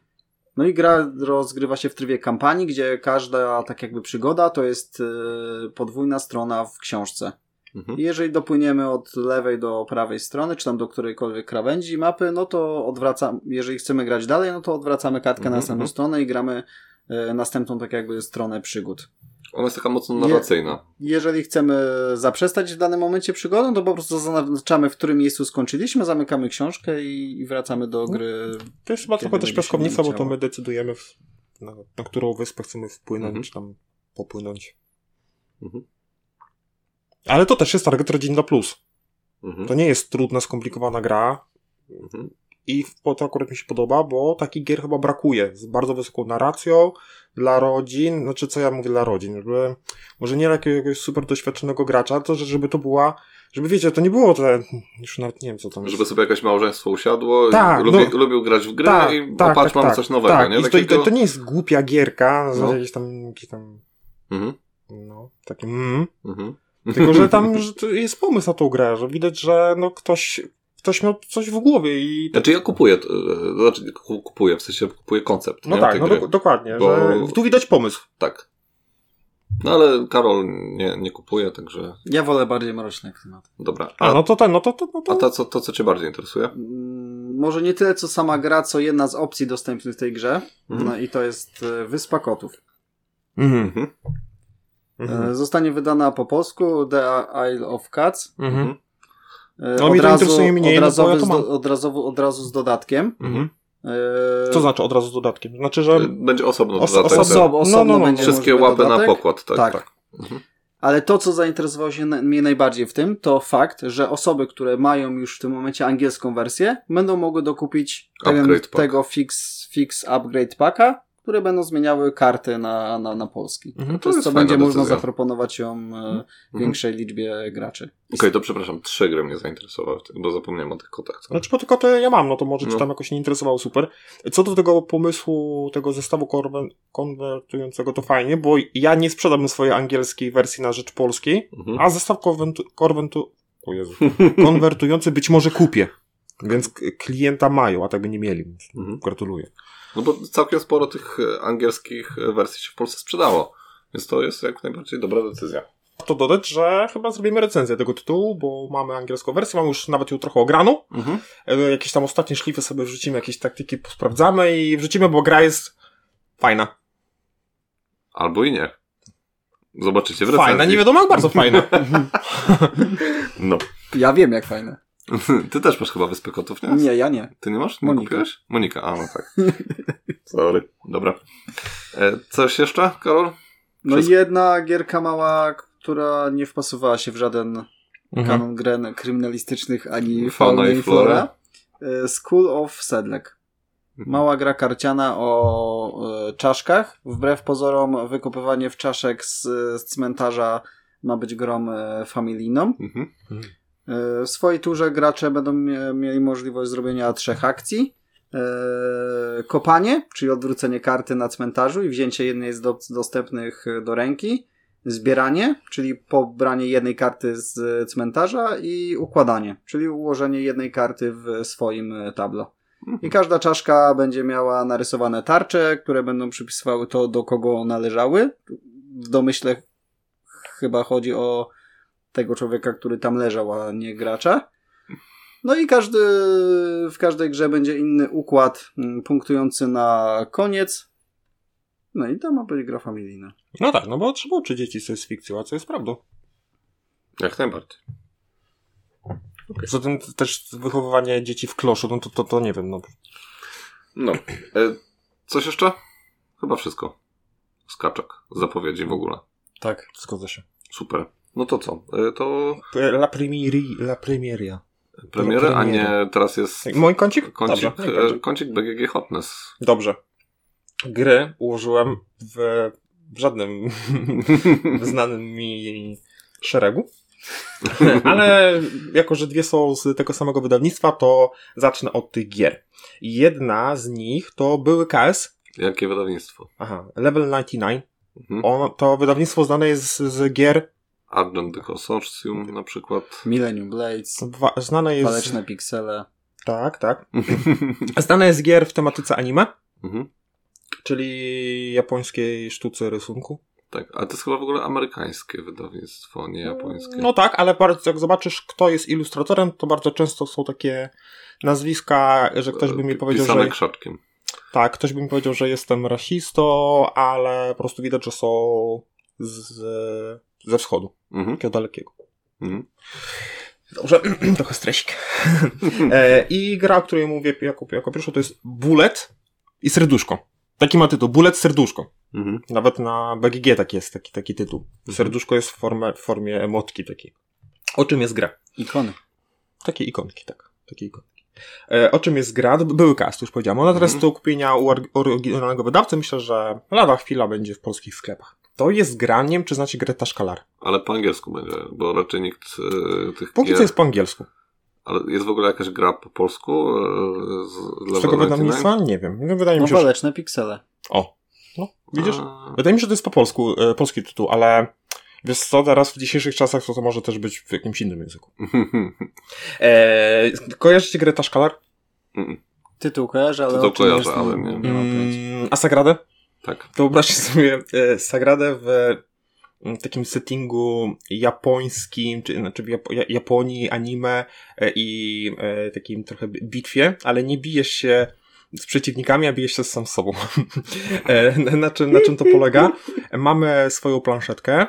[SPEAKER 1] No i gra rozgrywa się w trybie kampanii, gdzie każda tak jakby przygoda to jest e, podwójna strona w książce.
[SPEAKER 3] Mhm.
[SPEAKER 1] I jeżeli dopłyniemy od lewej do prawej strony, czy tam do którejkolwiek krawędzi mapy, no to odwracamy, jeżeli chcemy grać dalej, no to odwracamy kartkę
[SPEAKER 3] Mhm,
[SPEAKER 1] na następną
[SPEAKER 3] mhm.
[SPEAKER 1] stronę i gramy e, następną tak jakby stronę przygód.
[SPEAKER 3] Ona jest taka mocno
[SPEAKER 1] Je-
[SPEAKER 3] narracyjna.
[SPEAKER 1] Jeżeli chcemy zaprzestać w danym momencie przygodą, to po prostu zaznaczamy, w którym miejscu skończyliśmy, zamykamy książkę i, i wracamy do
[SPEAKER 3] Mhm.
[SPEAKER 1] gry.
[SPEAKER 2] To jest chyba
[SPEAKER 1] Kiedy
[SPEAKER 2] trochę też
[SPEAKER 1] będzie się
[SPEAKER 2] piaskownica, bo to
[SPEAKER 1] chciało.
[SPEAKER 2] my decydujemy, w, na, na którą wyspę chcemy wpłynąć,
[SPEAKER 3] Mhm.
[SPEAKER 2] czy tam popłynąć.
[SPEAKER 3] Mhm.
[SPEAKER 2] Ale to też jest target Rodzinna Plus.
[SPEAKER 3] Mhm.
[SPEAKER 2] To nie jest trudna, skomplikowana gra
[SPEAKER 3] Mhm.
[SPEAKER 2] i w- po- to akurat mi się podoba, bo takich gier chyba brakuje. Z bardzo wysoką narracją dla rodzin, znaczy co ja mówię dla rodzin, żeby, może nie dla jakiegoś super doświadczonego gracza, to że- żeby to była, żeby wiecie, to nie było te, już nawet nie wiem co tam jest.
[SPEAKER 3] Żeby sobie jakieś małżeństwo usiadło,
[SPEAKER 2] Tak,
[SPEAKER 3] tak, lubi,
[SPEAKER 2] no.
[SPEAKER 3] lubił grać w gry i tak, patrz, mamy coś nowego,
[SPEAKER 2] tak.
[SPEAKER 3] nie?
[SPEAKER 2] I to, i to, to nie jest głupia gierka,
[SPEAKER 3] No.
[SPEAKER 2] no. jakieś tam, jakieś tam
[SPEAKER 3] Mhm.
[SPEAKER 2] No,
[SPEAKER 3] [LAUGHS]
[SPEAKER 2] takie mm.
[SPEAKER 3] Mhm.
[SPEAKER 2] Tylko, że tam że to jest pomysł na tą grę, że widać, że no ktoś, ktoś miał coś w głowie i...
[SPEAKER 3] [LAUGHS] Znaczy ja kupuję, to, e, znaczy ku- kupuję, w sensie kupuję koncept,
[SPEAKER 2] No
[SPEAKER 3] nie?
[SPEAKER 2] tak,
[SPEAKER 3] Tej
[SPEAKER 2] no
[SPEAKER 3] gry.
[SPEAKER 2] dok- dokładnie,
[SPEAKER 3] Bo-
[SPEAKER 2] że tu widać pomysł.
[SPEAKER 3] Tak. No ale Karol nie, nie kupuje, także
[SPEAKER 1] Ja wolę bardziej mroczne klimaty.
[SPEAKER 3] dobra.
[SPEAKER 2] A,
[SPEAKER 3] A,
[SPEAKER 2] no to ten, no to, to, no to...
[SPEAKER 3] a to, co, to, co cię bardziej interesuje?
[SPEAKER 1] Mm, Może nie tyle co sama gra, co jedna z opcji dostępnych w tej grze.
[SPEAKER 3] Mhm.
[SPEAKER 1] No i to jest e, Wyspa Kotów.
[SPEAKER 2] Mhm.
[SPEAKER 3] Mhm.
[SPEAKER 2] Mhm.
[SPEAKER 1] E, Zostanie wydana po polsku The Isle of Cats.
[SPEAKER 2] Mhm.
[SPEAKER 1] E,
[SPEAKER 2] No, mnie to interesuje mniej,
[SPEAKER 1] od,
[SPEAKER 2] no, bo ja
[SPEAKER 1] razu
[SPEAKER 2] to
[SPEAKER 1] z
[SPEAKER 2] mam.
[SPEAKER 1] do, od, razu, od razu z dodatkiem.
[SPEAKER 2] Mhm.
[SPEAKER 1] E,
[SPEAKER 2] Co znaczy od razu z dodatkiem? Znaczy, że...
[SPEAKER 3] E, Będzie osobno
[SPEAKER 2] Os-
[SPEAKER 3] dodatek.
[SPEAKER 2] osobno-
[SPEAKER 3] tak.
[SPEAKER 1] Osobno, osobno
[SPEAKER 2] No, no, no.
[SPEAKER 1] będzie
[SPEAKER 3] Wszystkie
[SPEAKER 1] możliwy
[SPEAKER 3] łapy na
[SPEAKER 1] dodatek.
[SPEAKER 3] pokład, tak. tak.
[SPEAKER 1] Tak. Ale to, co zainteresowało się na, mnie najbardziej w tym, to fakt, że osoby, które mają już w tym momencie angielską wersję, będą mogły dokupić pewien,
[SPEAKER 3] Upgrade pack.
[SPEAKER 1] tego fix, fix upgrade packa, które będą zmieniały karty na, na, na polski.
[SPEAKER 2] Mhm,
[SPEAKER 1] Przez co
[SPEAKER 3] fajna
[SPEAKER 1] będzie można
[SPEAKER 3] decyzja. Mhm.
[SPEAKER 1] zaproponować ją e, większej liczbie graczy.
[SPEAKER 3] Okej, to przepraszam, trzy gry mnie zainteresowały, w tym, bo zapomniałem o tych kotach. Co?
[SPEAKER 2] Znaczy, bo tylko to ja mam, no to może
[SPEAKER 3] No.
[SPEAKER 2] ci tam jakoś nie interesowało, super. Co do tego pomysłu, tego zestawu korwe- konwertującego, to fajnie, bo ja nie sprzedam swojej angielskiej wersji na rzecz polskiej,
[SPEAKER 3] Mhm.
[SPEAKER 2] A zestaw konwentu, konwentu, o Jezu, konwertujący być może kupię. Więc k- klienta mają, a tak by nie mieli. więc
[SPEAKER 3] Mhm.
[SPEAKER 2] Gratuluję.
[SPEAKER 3] No bo całkiem sporo tych e, angielskich e, wersji się w Polsce sprzedało, więc to jest jak najbardziej dobra decyzja.
[SPEAKER 2] warto dodać, że chyba zrobimy recenzję tego tytułu, bo mamy angielską wersję, mamy już nawet ją trochę ograną.
[SPEAKER 3] Mhm.
[SPEAKER 2] E, Jakieś tam ostatnie szlify sobie wrzucimy, jakieś taktyki sprawdzamy i wrzucimy, bo gra jest fajna.
[SPEAKER 3] Albo i nie. Zobaczycie w recenzji.
[SPEAKER 2] Fajna, nie wiadomo jak bardzo fajna.
[SPEAKER 3] No. [LAUGHS]
[SPEAKER 1] Ja wiem, jak fajne.
[SPEAKER 3] Ty też masz chyba Wyspę Kotów, nie?
[SPEAKER 1] Nie, ja nie.
[SPEAKER 3] Ty nie masz? Nie
[SPEAKER 1] Monika.
[SPEAKER 3] kupiłeś? Monika, a no tak. Sorry. Dobra. E, coś jeszcze, Karol?
[SPEAKER 1] No
[SPEAKER 3] Przez-
[SPEAKER 1] jedna gierka mała, która nie wpasowała się w żaden
[SPEAKER 2] Mhm.
[SPEAKER 1] kanon gren kryminalistycznych ani
[SPEAKER 3] Fauna
[SPEAKER 1] fauna
[SPEAKER 3] i
[SPEAKER 1] i flora. E, School of Sedlek. Mała gra karciana o e, czaszkach. Wbrew pozorom wykopywanie w czaszek z, z cmentarza ma być grą e, familijną.
[SPEAKER 3] Mhm.
[SPEAKER 1] E, W swojej turze gracze będą mie- mieli możliwość zrobienia trzech akcji. E, Kopanie, czyli odwrócenie karty na cmentarzu i wzięcie jednej z do, dostępnych e, do ręki. Zbieranie, czyli pobranie jednej karty z e, cmentarza i układanie, czyli ułożenie jednej karty w swoim e, tablo. I każda czaszka będzie miała narysowane tarcze, które będą przypisywały to, do kogo należały. W domyśle chyba chodzi o tego człowieka, który tam leżał, a nie gracza. No i każdy, w każdej grze będzie inny układ mm, punktujący na koniec. No i to ma być gra familijna.
[SPEAKER 2] No tak, no bo trzeba uczyć dzieci, co jest fikcją, a co jest prawdą.
[SPEAKER 3] Jak najbardziej.
[SPEAKER 2] Zatem t- też wychowywanie dzieci w kloszu, no to, to, to nie wiem, no.
[SPEAKER 3] No. E, coś jeszcze? Chyba wszystko. Skaczek. Zapowiedzi w ogóle.
[SPEAKER 2] Tak. Zgodzę się.
[SPEAKER 3] Super. No to co? E, to
[SPEAKER 2] E, La, primiri, la primieria.
[SPEAKER 3] premierę, a
[SPEAKER 2] No, premierę.
[SPEAKER 3] nie teraz jest
[SPEAKER 2] Tak, Mój kącik?
[SPEAKER 3] kącik,
[SPEAKER 2] Dobrze. mój
[SPEAKER 3] e,
[SPEAKER 2] kącik.
[SPEAKER 3] kącik BGG Hotness.
[SPEAKER 2] Dobrze. Gry ułożyłem w, w żadnym znanym mi szeregu. Ale jako, że dwie są z tego samego wydawnictwa, to zacznę od tych gier. Jedna z nich to były KS,
[SPEAKER 3] Jakie wydawnictwo?
[SPEAKER 2] aha, Level 99.
[SPEAKER 3] Mhm.
[SPEAKER 2] On, to wydawnictwo znane jest z, z gier,
[SPEAKER 3] Argent the Consortium na
[SPEAKER 2] [LAUGHS]
[SPEAKER 3] przykład.
[SPEAKER 1] Millennium Blades,
[SPEAKER 2] wa- znane jest...
[SPEAKER 1] waleczne piksele.
[SPEAKER 2] Tak, tak. Znane jest gier w tematyce anime,
[SPEAKER 3] mhm.
[SPEAKER 2] czyli japońskiej sztuce rysunku.
[SPEAKER 3] Tak, ale to jest chyba w ogóle amerykańskie wydawnictwo, nie japońskie.
[SPEAKER 2] No tak, ale bardzo, jak zobaczysz, kto jest ilustratorem, to bardzo często są takie nazwiska, że ktoś by mi
[SPEAKER 3] Pi-
[SPEAKER 2] powiedział,
[SPEAKER 3] E, Pisane
[SPEAKER 2] że.
[SPEAKER 3] krzaczkiem.
[SPEAKER 2] Tak, ktoś by mi powiedział, że jestem rasistą, ale po prostu widać, że są z, ze wschodu,
[SPEAKER 3] Mhm.
[SPEAKER 2] takiego dalekiego. [LAUGHS]
[SPEAKER 3] Mhm.
[SPEAKER 2] Dobrze, [CLEARS THROAT] trochę stresik. e, I gra, o której mówię jako, jako pierwsza, to jest Bullet i Serduszko. Taki ma tytuł, Bullet Serduszko.
[SPEAKER 3] Mhm.
[SPEAKER 2] Nawet na BGG tak jest, taki, taki tytuł.
[SPEAKER 3] Mhm.
[SPEAKER 2] Serduszko jest w, formie, w formie emotki takiej. O czym jest gra?
[SPEAKER 1] Ikony.
[SPEAKER 2] Takie ikonki, tak. Takie ikonki. E, o czym jest gra? B- Były cast, już powiedziałem. Ona teraz
[SPEAKER 3] Mhm.
[SPEAKER 2] do kupienia u org- oryginalnego wydawcy. Myślę, że lada chwila będzie w polskich sklepach. To jest gra, nie wiem, czy znacie grę Taszkalar.
[SPEAKER 3] Ale po angielsku będzie, bo raczej nikt e, tych
[SPEAKER 2] Póki
[SPEAKER 3] gier...
[SPEAKER 2] co jest po angielsku.
[SPEAKER 3] Ale jest w ogóle jakaś gra po polsku? e, Z,
[SPEAKER 2] Z tego wydawnictwa? Nie wiem. No, wydaje mi
[SPEAKER 1] No
[SPEAKER 2] się, że...
[SPEAKER 1] waleczne piksele.
[SPEAKER 2] O. No, widzisz?
[SPEAKER 3] A, [LAUGHS]
[SPEAKER 2] Wydaje mi się, że to jest po polsku, e, polski tytuł, ale wiesz co, teraz w dzisiejszych czasach to, to może też być w jakimś innym języku. E, kojarzycie grę Taszkalar?
[SPEAKER 3] Mm,
[SPEAKER 1] Tytuł kojarzę, ale
[SPEAKER 3] Tytuł
[SPEAKER 1] o czym
[SPEAKER 3] kojarzę,
[SPEAKER 1] jest, No,
[SPEAKER 3] ale nie-
[SPEAKER 1] mam pojęcia.
[SPEAKER 2] Mm, a Sagradę?
[SPEAKER 3] tak.
[SPEAKER 2] To wyobraźcie sobie e, Sagradę w e, takim settingu japońskim, czy znaczy w Japo- Ja- Japonii, anime e, i e, takim trochę bi- bitwie, ale nie bijesz się z przeciwnikami, a bijesz się sam z sobą. [LAUGHS] E, na- na, czym, na czym to polega? Mamy swoją planszetkę,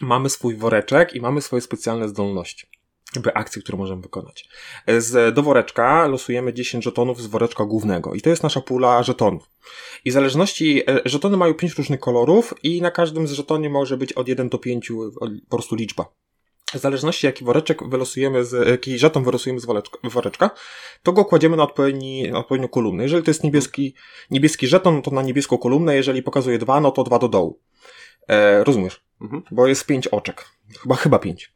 [SPEAKER 2] mamy swój woreczek i mamy swoje specjalne zdolności. Jakby akcje, które możemy wykonać. E, Z, do woreczka losujemy 10 żetonów z woreczka głównego i to jest nasza pula żetonów. I w zależności, e, żetony mają pięć różnych kolorów i na każdym z żetonie może być od 1 do 5 po prostu liczba. W zależności jaki woreczek wylosujemy, z, e, jaki żeton wylosujemy z woreczka, woreczka to go kładziemy na, odpowiedni, na odpowiednią kolumnę. Jeżeli to jest niebieski, niebieski żeton, to na niebieską kolumnę, jeżeli pokazuje dwa, no to dwa do dołu. E, rozumiesz?
[SPEAKER 3] Mhm.
[SPEAKER 2] Bo jest pięć oczek. Chyba, chyba pięć.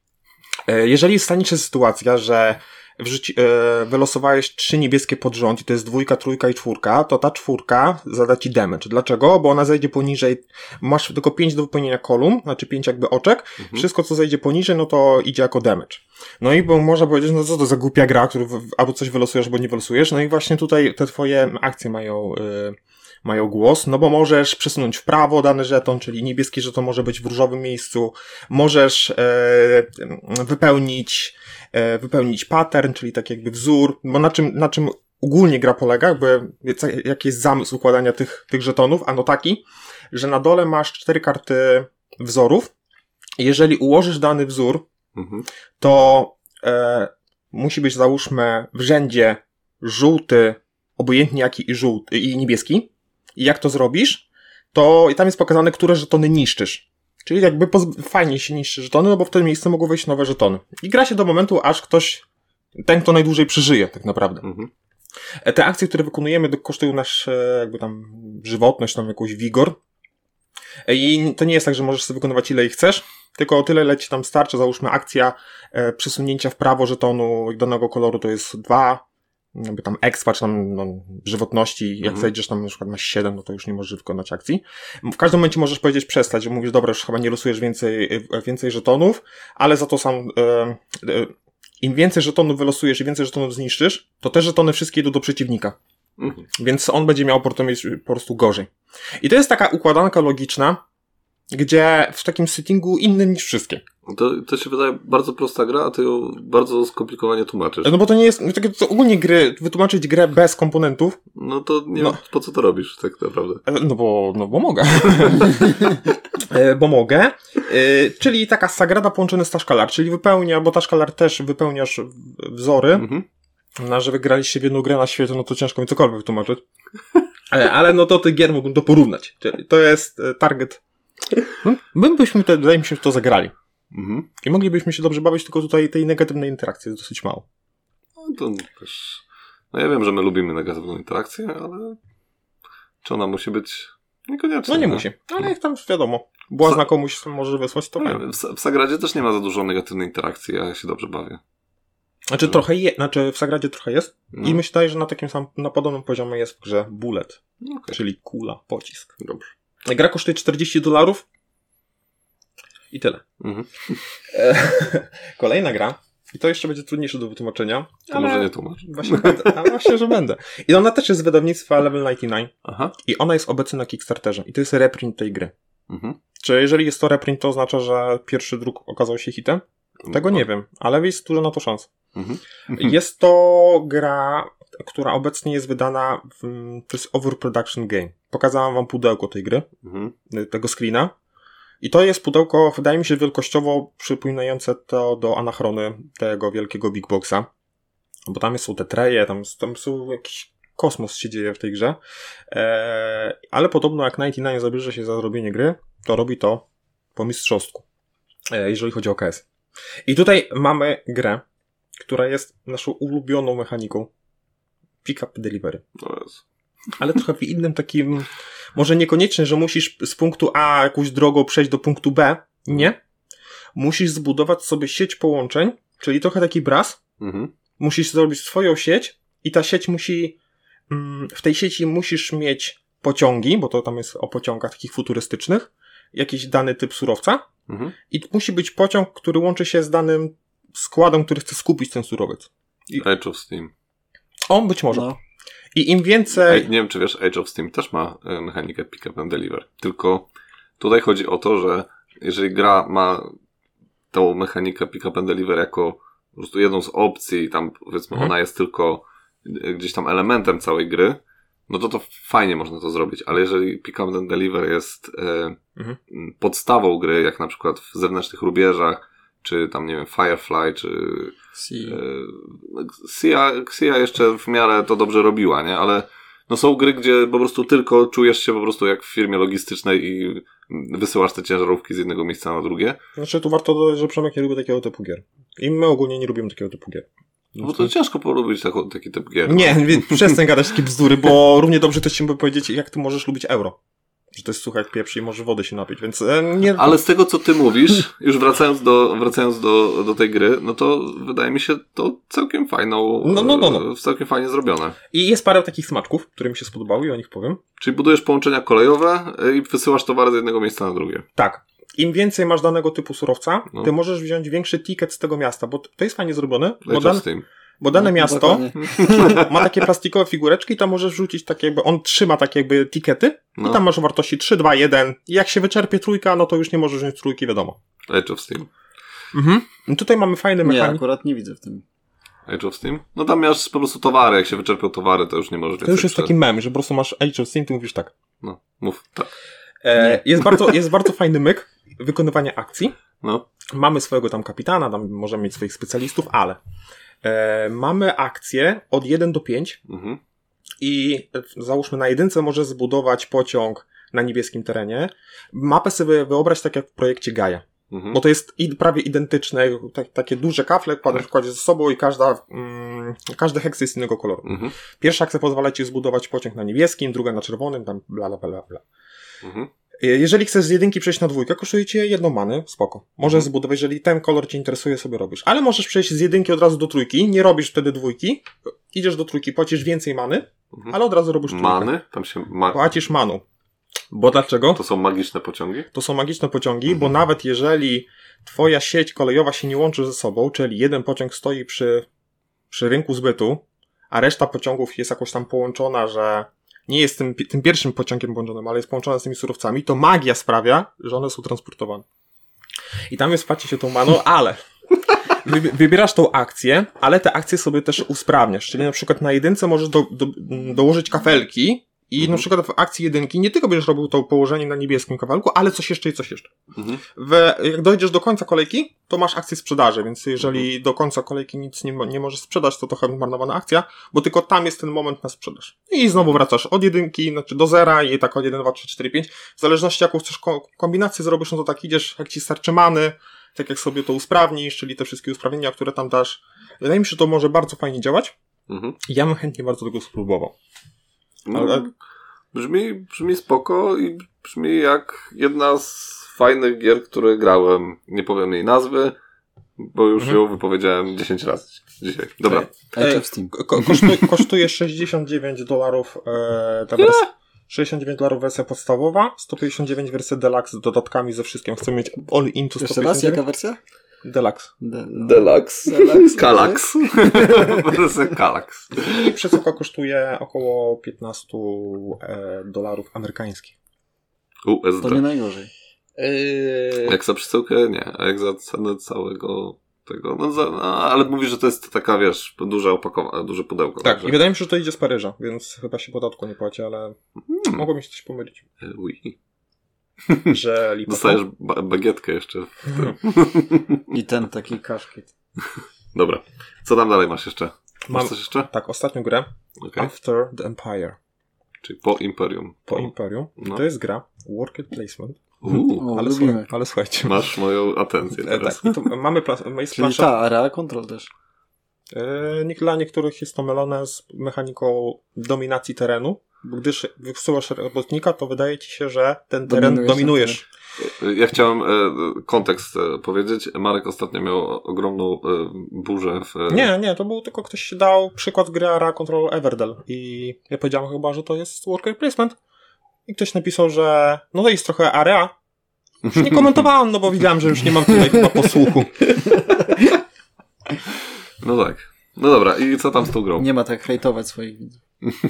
[SPEAKER 2] E, jeżeli stanie się sytuacja, że wrzuci, e, wylosowałeś trzy niebieskie pod rząd i to jest dwójka, trójka i czwórka, to ta czwórka zada ci damage. Dlaczego? Bo ona zejdzie poniżej, masz tylko pięć do wypełnienia kolumn, znaczy pięć jakby oczek,
[SPEAKER 3] Mhm.
[SPEAKER 2] wszystko co zejdzie poniżej, no to idzie jako damage. No i bo można powiedzieć, no co to za głupia gra, który w- albo coś wylosujesz, albo nie wylosujesz, no i właśnie tutaj te twoje akcje mają, y, mają głos, no bo możesz przesunąć w prawo dany żeton, czyli niebieski żeton może być w różowym miejscu, możesz e, wypełnić, e, wypełnić pattern, czyli tak jakby wzór, bo na czym, na czym ogólnie gra polega, jakby, jak- jaki jest zamysł układania tych, tych żetonów, ano taki, że na dole masz cztery karty wzorów, jeżeli ułożysz dany wzór
[SPEAKER 3] Mhm.
[SPEAKER 2] to e, musi być załóżmy w rzędzie żółty, obojętnie jaki i żółty i niebieski. I jak to zrobisz, to i tam jest pokazane, które żetony niszczysz. Czyli jakby pozb- fajnie się niszczy żetony, no bo w tym miejscu mogą wejść nowe żetony. I gra się do momentu, aż ktoś, ten kto najdłużej przeżyje tak naprawdę.
[SPEAKER 3] Mhm.
[SPEAKER 2] E, Te akcje, które wykonujemy, do- kosztują nasz e, jakby tam żywotność, tam jakąś wigor. E, I to nie jest tak, że możesz sobie wykonywać ile ich chcesz, tylko o tyle, ile ci tam starczy. Załóżmy akcja e, przesunięcia w prawo żetonu danego koloru to jest dwa, jakby tam expa, czy tam no, żywotności. Jak
[SPEAKER 3] Mhm.
[SPEAKER 2] zejdziesz tam na przykład masz siedem, no to już nie możesz wykonać akcji. W każdym momencie możesz powiedzieć przestać, że mówisz, dobra, już chyba nie losujesz więcej, e, więcej żetonów, ale za to sam e, e, im więcej żetonów wylosujesz i więcej żetonów zniszczysz, to te żetony wszystkie idą do przeciwnika.
[SPEAKER 3] Mhm.
[SPEAKER 2] Więc on będzie miał po prostu- mieć y, po prostu gorzej. I to jest taka układanka logiczna, gdzie w takim settingu innym niż wszystkie.
[SPEAKER 3] To, to się wydaje bardzo prosta gra, a ty ją bardzo skomplikowanie tłumaczysz.
[SPEAKER 2] No bo to nie jest, no takie to ogólnie gry, wytłumaczyć grę bez komponentów,
[SPEAKER 3] No to nie
[SPEAKER 2] No.
[SPEAKER 3] wiem, po co to robisz tak naprawdę.
[SPEAKER 2] e, no bo, no bo mogę. [LAUGHS] E, bo mogę. E, Czyli taka sagrada połączona z taszkalar, czyli wypełnia, bo taszkalar też wypełniasz w- wzory,
[SPEAKER 3] Mhm.
[SPEAKER 2] No, że wygraliście w jedną grę na świecie, no to ciężko mi cokolwiek wytłumaczyć. [LAUGHS] Ale, ale no to tych gier mógłbym to porównać. Czyli To jest e, target. No, My byśmy, te, wydaje mi się, w to zagrali.
[SPEAKER 3] Mhm.
[SPEAKER 2] I moglibyśmy się dobrze bawić, tylko tutaj tej negatywnej interakcji jest dosyć mało.
[SPEAKER 3] No to też... No ja wiem, że my lubimy negatywną interakcję, ale czy ona musi być? Niekoniecznie.
[SPEAKER 2] No nie
[SPEAKER 3] no.
[SPEAKER 2] musi. Ale jak tam wiadomo, błazna
[SPEAKER 3] Co-
[SPEAKER 2] komuś może wysłać, to
[SPEAKER 3] No, nie
[SPEAKER 2] fajnie.
[SPEAKER 3] wiem, w, Sa- w Sagradzie też nie ma za dużo negatywnej interakcji, ja się dobrze bawię.
[SPEAKER 2] Znaczy trochę je, znaczy w Sagradzie trochę jest.
[SPEAKER 3] No.
[SPEAKER 2] I myślę, że na takim samym, na podobnym poziomie jest w grze bullet,
[SPEAKER 3] No, okej.
[SPEAKER 2] czyli kula, pocisk.
[SPEAKER 3] Dobrze.
[SPEAKER 2] Gra kosztuje 40 dolarów i tyle.
[SPEAKER 3] Mhm.
[SPEAKER 2] E, [LAUGHS] Kolejna gra. I to jeszcze będzie trudniejsze do wytłumaczenia.
[SPEAKER 3] To
[SPEAKER 2] Ale
[SPEAKER 3] może nie tłumacz.
[SPEAKER 2] Właśnie, będę, a właśnie, że będę. I ona też jest z wydawnictwa Level 99
[SPEAKER 3] Aha.
[SPEAKER 2] i ona jest obecna na Kickstarterze. I to jest reprint tej gry.
[SPEAKER 3] Mhm.
[SPEAKER 2] Czy jeżeli jest to reprint, to oznacza, że pierwszy druk okazał się hitem? Tego nie wiem, ale jest dużo na to szans.
[SPEAKER 3] No. Mhm.
[SPEAKER 2] Jest to gra, która obecnie jest wydana w, przez Overproduction Game. Pokazałam wam pudełko tej gry
[SPEAKER 3] Mhm.
[SPEAKER 2] y, tego screena. I to jest pudełko, wydaje mi się, wielkościowo przypominające to do anachrony tego wielkiego Big Boxa. Bo tam są te treje, tam, tam są jakiś kosmos się dzieje w tej grze. Eee, ale podobno jak 99 zabierze się za zrobienie gry, to robi to po mistrzostku. Eee, jeżeli chodzi o KS. I tutaj mamy grę, która jest naszą ulubioną mechaniką. Pick up delivery
[SPEAKER 3] No jest.
[SPEAKER 2] ale trochę w innym takim, może niekoniecznie, że musisz z punktu A jakąś drogą przejść do punktu B. Nie. Musisz zbudować sobie sieć połączeń, czyli trochę taki braz.
[SPEAKER 3] Mhm.
[SPEAKER 2] Musisz zrobić swoją sieć i ta sieć musi, mm, w tej sieci musisz mieć pociągi, bo to tam jest o pociągach takich futurystycznych, jakiś dany typ surowca
[SPEAKER 3] Mhm.
[SPEAKER 2] i musi być pociąg, który łączy się z danym składem, który chce skupić ten surowiec.
[SPEAKER 3] Age of Steam.
[SPEAKER 2] On być może.
[SPEAKER 1] No.
[SPEAKER 2] I im
[SPEAKER 3] Ej,
[SPEAKER 2] więcej...
[SPEAKER 3] nie wiem, czy wiesz, Age of Steam też ma e, mechanikę pick up and deliver. Tylko tutaj chodzi o to, że jeżeli gra ma tą mechanikę pick up and deliver jako po prostu jedną z opcji, tam powiedzmy
[SPEAKER 2] Mhm.
[SPEAKER 3] ona jest tylko e, gdzieś tam elementem całej gry, no to to fajnie można to zrobić, ale jeżeli pick up and deliver jest e,
[SPEAKER 2] Mhm.
[SPEAKER 3] m, podstawą gry, jak na przykład w zewnętrznych rubieżach, czy tam, nie wiem, Firefly, czy
[SPEAKER 1] Si.
[SPEAKER 3] E, Xia, Xia jeszcze w miarę to dobrze robiła, nie? Ale no są gry, gdzie po prostu tylko czujesz się po prostu jak w firmie logistycznej i wysyłasz te ciężarówki z jednego miejsca na drugie.
[SPEAKER 2] Znaczy tu warto dodać, że Przemek nie lubi takiego typu gier. I my ogólnie nie lubimy takiego typu gier.
[SPEAKER 3] No bo
[SPEAKER 2] Mhm.
[SPEAKER 3] to ciężko porobić taką, taki typ gier. no.
[SPEAKER 2] Nie, [LAUGHS] więc przestań gadać takie bzdury, bo równie dobrze ktoś ci mógł powiedzieć, jak ty możesz lubić euro. Że to jest suche jak pieprz i może wody się napić, więc e, nie...
[SPEAKER 3] Ale z tego, co ty mówisz, już wracając do, wracając do, do tej gry, no to wydaje mi się to całkiem fajną,
[SPEAKER 2] No, no, no, no.
[SPEAKER 3] e, całkiem fajnie zrobione.
[SPEAKER 2] I jest parę takich smaczków, które mi się spodobały i o nich powiem.
[SPEAKER 3] Czyli budujesz połączenia kolejowe e, i wysyłasz towary z jednego miejsca na drugie.
[SPEAKER 2] Tak. Im więcej masz danego typu surowca,
[SPEAKER 3] No.
[SPEAKER 2] ty możesz wziąć większy ticket z tego miasta, bo to jest fajnie zrobione. Bo
[SPEAKER 3] Age of
[SPEAKER 2] dan...
[SPEAKER 3] Steam.
[SPEAKER 2] Bo dane
[SPEAKER 1] No,
[SPEAKER 2] miasto
[SPEAKER 1] dokładnie.
[SPEAKER 2] ma takie plastikowe figureczki i tam możesz wrzucić tak jakby, on trzyma tak jakby tikety
[SPEAKER 3] No.
[SPEAKER 2] i tam masz wartości 3, 2, 1 i jak się wyczerpie trójka, no to już nie możesz wziąć trójki, wiadomo.
[SPEAKER 3] No, Age of Steam.
[SPEAKER 2] Mhm. No tutaj mamy fajny
[SPEAKER 1] Nie,
[SPEAKER 2] mechanizm.
[SPEAKER 1] akurat nie widzę w tym.
[SPEAKER 3] Age of Steam? No tam miałeś po prostu towary, jak się wyczerpią towary, to już nie możesz
[SPEAKER 2] To
[SPEAKER 3] więcej
[SPEAKER 2] już jest
[SPEAKER 3] prze-
[SPEAKER 2] taki mem, że po prostu masz Age of Steam, ty mówisz tak.
[SPEAKER 3] No, mów, tak.
[SPEAKER 2] E, jest, bardzo, jest bardzo fajny myk wykonywania akcji.
[SPEAKER 3] No,
[SPEAKER 2] Mamy swojego tam kapitana, tam możemy mieć swoich specjalistów, ale e, mamy akcje od 1 do 5
[SPEAKER 3] mhm.
[SPEAKER 2] i e, załóżmy na jedynce możesz zbudować pociąg na niebieskim terenie. Mapę sobie wyobraź tak jak w projekcie Gaia,
[SPEAKER 3] mhm.
[SPEAKER 2] bo to jest i, prawie identyczne, tak, takie duże kafle
[SPEAKER 3] Tak.
[SPEAKER 2] kładziesz, kładziesz ze sobą i każda, mm, każdy heks jest innego koloru.
[SPEAKER 3] Mhm.
[SPEAKER 2] Pierwsza akcja pozwala ci zbudować pociąg na niebieskim, druga na czerwonym, tam bla bla bla bla.
[SPEAKER 3] Mhm.
[SPEAKER 2] Jeżeli chcesz z jedynki przejść na dwójkę, kosztuje cię jedną manę, spoko. Możesz
[SPEAKER 3] Mhm.
[SPEAKER 2] zbudować, jeżeli ten kolor cię interesuje, sobie robisz. Ale możesz przejść z jedynki od razu do trójki, nie robisz wtedy dwójki, idziesz do trójki, płacisz więcej many,
[SPEAKER 3] Mhm.
[SPEAKER 2] ale od razu robisz trójkę.
[SPEAKER 3] Many? Tam się ma...
[SPEAKER 2] Płacisz manu. Bo dlaczego?
[SPEAKER 3] To są magiczne pociągi?
[SPEAKER 2] To są magiczne pociągi,
[SPEAKER 3] Mhm.
[SPEAKER 2] bo nawet jeżeli twoja sieć kolejowa się nie łączy ze sobą, czyli jeden pociąg stoi przy, przy rynku zbytu, a reszta pociągów jest jakoś tam połączona, że nie jest tym, pi- tym pierwszym pociągiem połączonym, ale jest połączona z tymi surowcami, to magia sprawia, że one są transportowane. I tam jest, płaci się tą maną, ale [LAUGHS] wybi- wybierasz tą akcję, ale te akcje sobie też usprawniasz, czyli na przykład na jedynce możesz do, do, dołożyć kafelki i na
[SPEAKER 3] Mhm.
[SPEAKER 2] przykład w akcji jedynki nie tylko będziesz robił to położenie na niebieskim kawałku, ale coś jeszcze i coś jeszcze.
[SPEAKER 3] Mhm.
[SPEAKER 2] We, jak dojdziesz do końca kolejki, to masz akcję sprzedaży, więc jeżeli do końca kolejki nic nie, mo- nie możesz sprzedać, to trochę marnowana akcja, bo tylko tam jest ten moment na sprzedaż. I znowu wracasz od jedynki, znaczy do zera i tak od 1, 2, 3, 4, 5. W zależności jaką chcesz ko- kombinację zrobisz, no to tak idziesz, jak ci starczy many, tak jak sobie to usprawnisz, czyli te wszystkie usprawnienia, które tam dasz. Wydaje mi się, że to może bardzo fajnie działać.
[SPEAKER 3] Mhm.
[SPEAKER 2] Ja bym chętnie bardzo tego spróbował.
[SPEAKER 3] No,
[SPEAKER 2] Ale-
[SPEAKER 3] Brzmi, brzmi spoko i brzmi jak jedna z fajnych gier, które grałem. Nie powiem jej nazwy, bo już
[SPEAKER 2] Mhm.
[SPEAKER 3] ją wypowiedziałem 10 razy dzisiaj. Dobra.
[SPEAKER 1] Age
[SPEAKER 2] Ej,
[SPEAKER 1] of Steam.
[SPEAKER 2] Ko- ko- kosztuje, kosztuje 69 dolarów e, ta wersja. 69 dolarów wersja podstawowa, 159 wersja deluxe z dodatkami ze wszystkim. Chcę mieć all in to
[SPEAKER 1] Jeszcze raz, jaka
[SPEAKER 2] 159
[SPEAKER 1] wersja?
[SPEAKER 2] deluxe.
[SPEAKER 1] De-
[SPEAKER 3] Deluxe.
[SPEAKER 1] Deluxe.
[SPEAKER 3] Kalax. [LAUGHS] Wersja Kalax.
[SPEAKER 2] I przesyłka kosztuje około 15 e, dolarów amerykańskich.
[SPEAKER 1] To nie
[SPEAKER 3] USD.
[SPEAKER 1] najgorzej.
[SPEAKER 3] Jak za przesyłkę? Nie. A jak za cenę całego tego? No, za, no, ale mówisz, że to jest taka, wiesz, duże opakowanie, duże pudełko.
[SPEAKER 2] Tak, i
[SPEAKER 3] Także...
[SPEAKER 2] wydaje mi się, że to idzie z Paryża, więc chyba się podatku nie płaci, ale
[SPEAKER 3] Hmm.
[SPEAKER 2] mogło mi się coś pomylić,
[SPEAKER 3] e, Ui.
[SPEAKER 2] że lipa.
[SPEAKER 3] Dostajesz ba- bagietkę jeszcze.
[SPEAKER 1] I ten taki kaszkiet.
[SPEAKER 3] Dobra. Co tam dalej masz jeszcze? Masz
[SPEAKER 2] Mam,
[SPEAKER 3] coś jeszcze?
[SPEAKER 2] tak, ostatnią grę.
[SPEAKER 3] Okej.
[SPEAKER 2] After the Empire.
[SPEAKER 3] Czyli po Imperium.
[SPEAKER 2] Po Imperium.
[SPEAKER 3] No.
[SPEAKER 2] To jest gra Worked Placement.
[SPEAKER 3] Uuu,
[SPEAKER 1] O,
[SPEAKER 2] Ale,
[SPEAKER 1] lubimy.
[SPEAKER 2] słuchaj, ale słuchajcie. [LAUGHS]
[SPEAKER 3] masz moją atencję
[SPEAKER 2] No, E,
[SPEAKER 3] teraz.
[SPEAKER 2] tak, i to mamy pla- jest
[SPEAKER 1] Czyli
[SPEAKER 2] plansza.
[SPEAKER 1] ta area control też.
[SPEAKER 2] E, nie- dla niektórych jest to mylone z mechaniką dominacji terenu, gdyż wysyłasz robotnika, to wydaje ci się, że ten teren
[SPEAKER 1] Dominujesz
[SPEAKER 2] dominujesz.
[SPEAKER 1] na
[SPEAKER 2] tak.
[SPEAKER 3] Ja chciałem e, kontekst e, powiedzieć. Marek ostatnio miał ogromną e, burzę w... e,
[SPEAKER 2] Nie, nie, to był tylko ktoś dał przykład gry Ara Control Everdell i ja powiedziałem chyba, że to jest worker placement i ktoś napisał, że no to jest trochę area. Już [LAUGHS] nie komentowałem, no bo widziałem, że już nie mam tutaj chyba [LAUGHS] posłuchu.
[SPEAKER 3] No tak. No dobra, i co tam z tą grą?
[SPEAKER 1] Nie ma tak hejtować swoich widzów.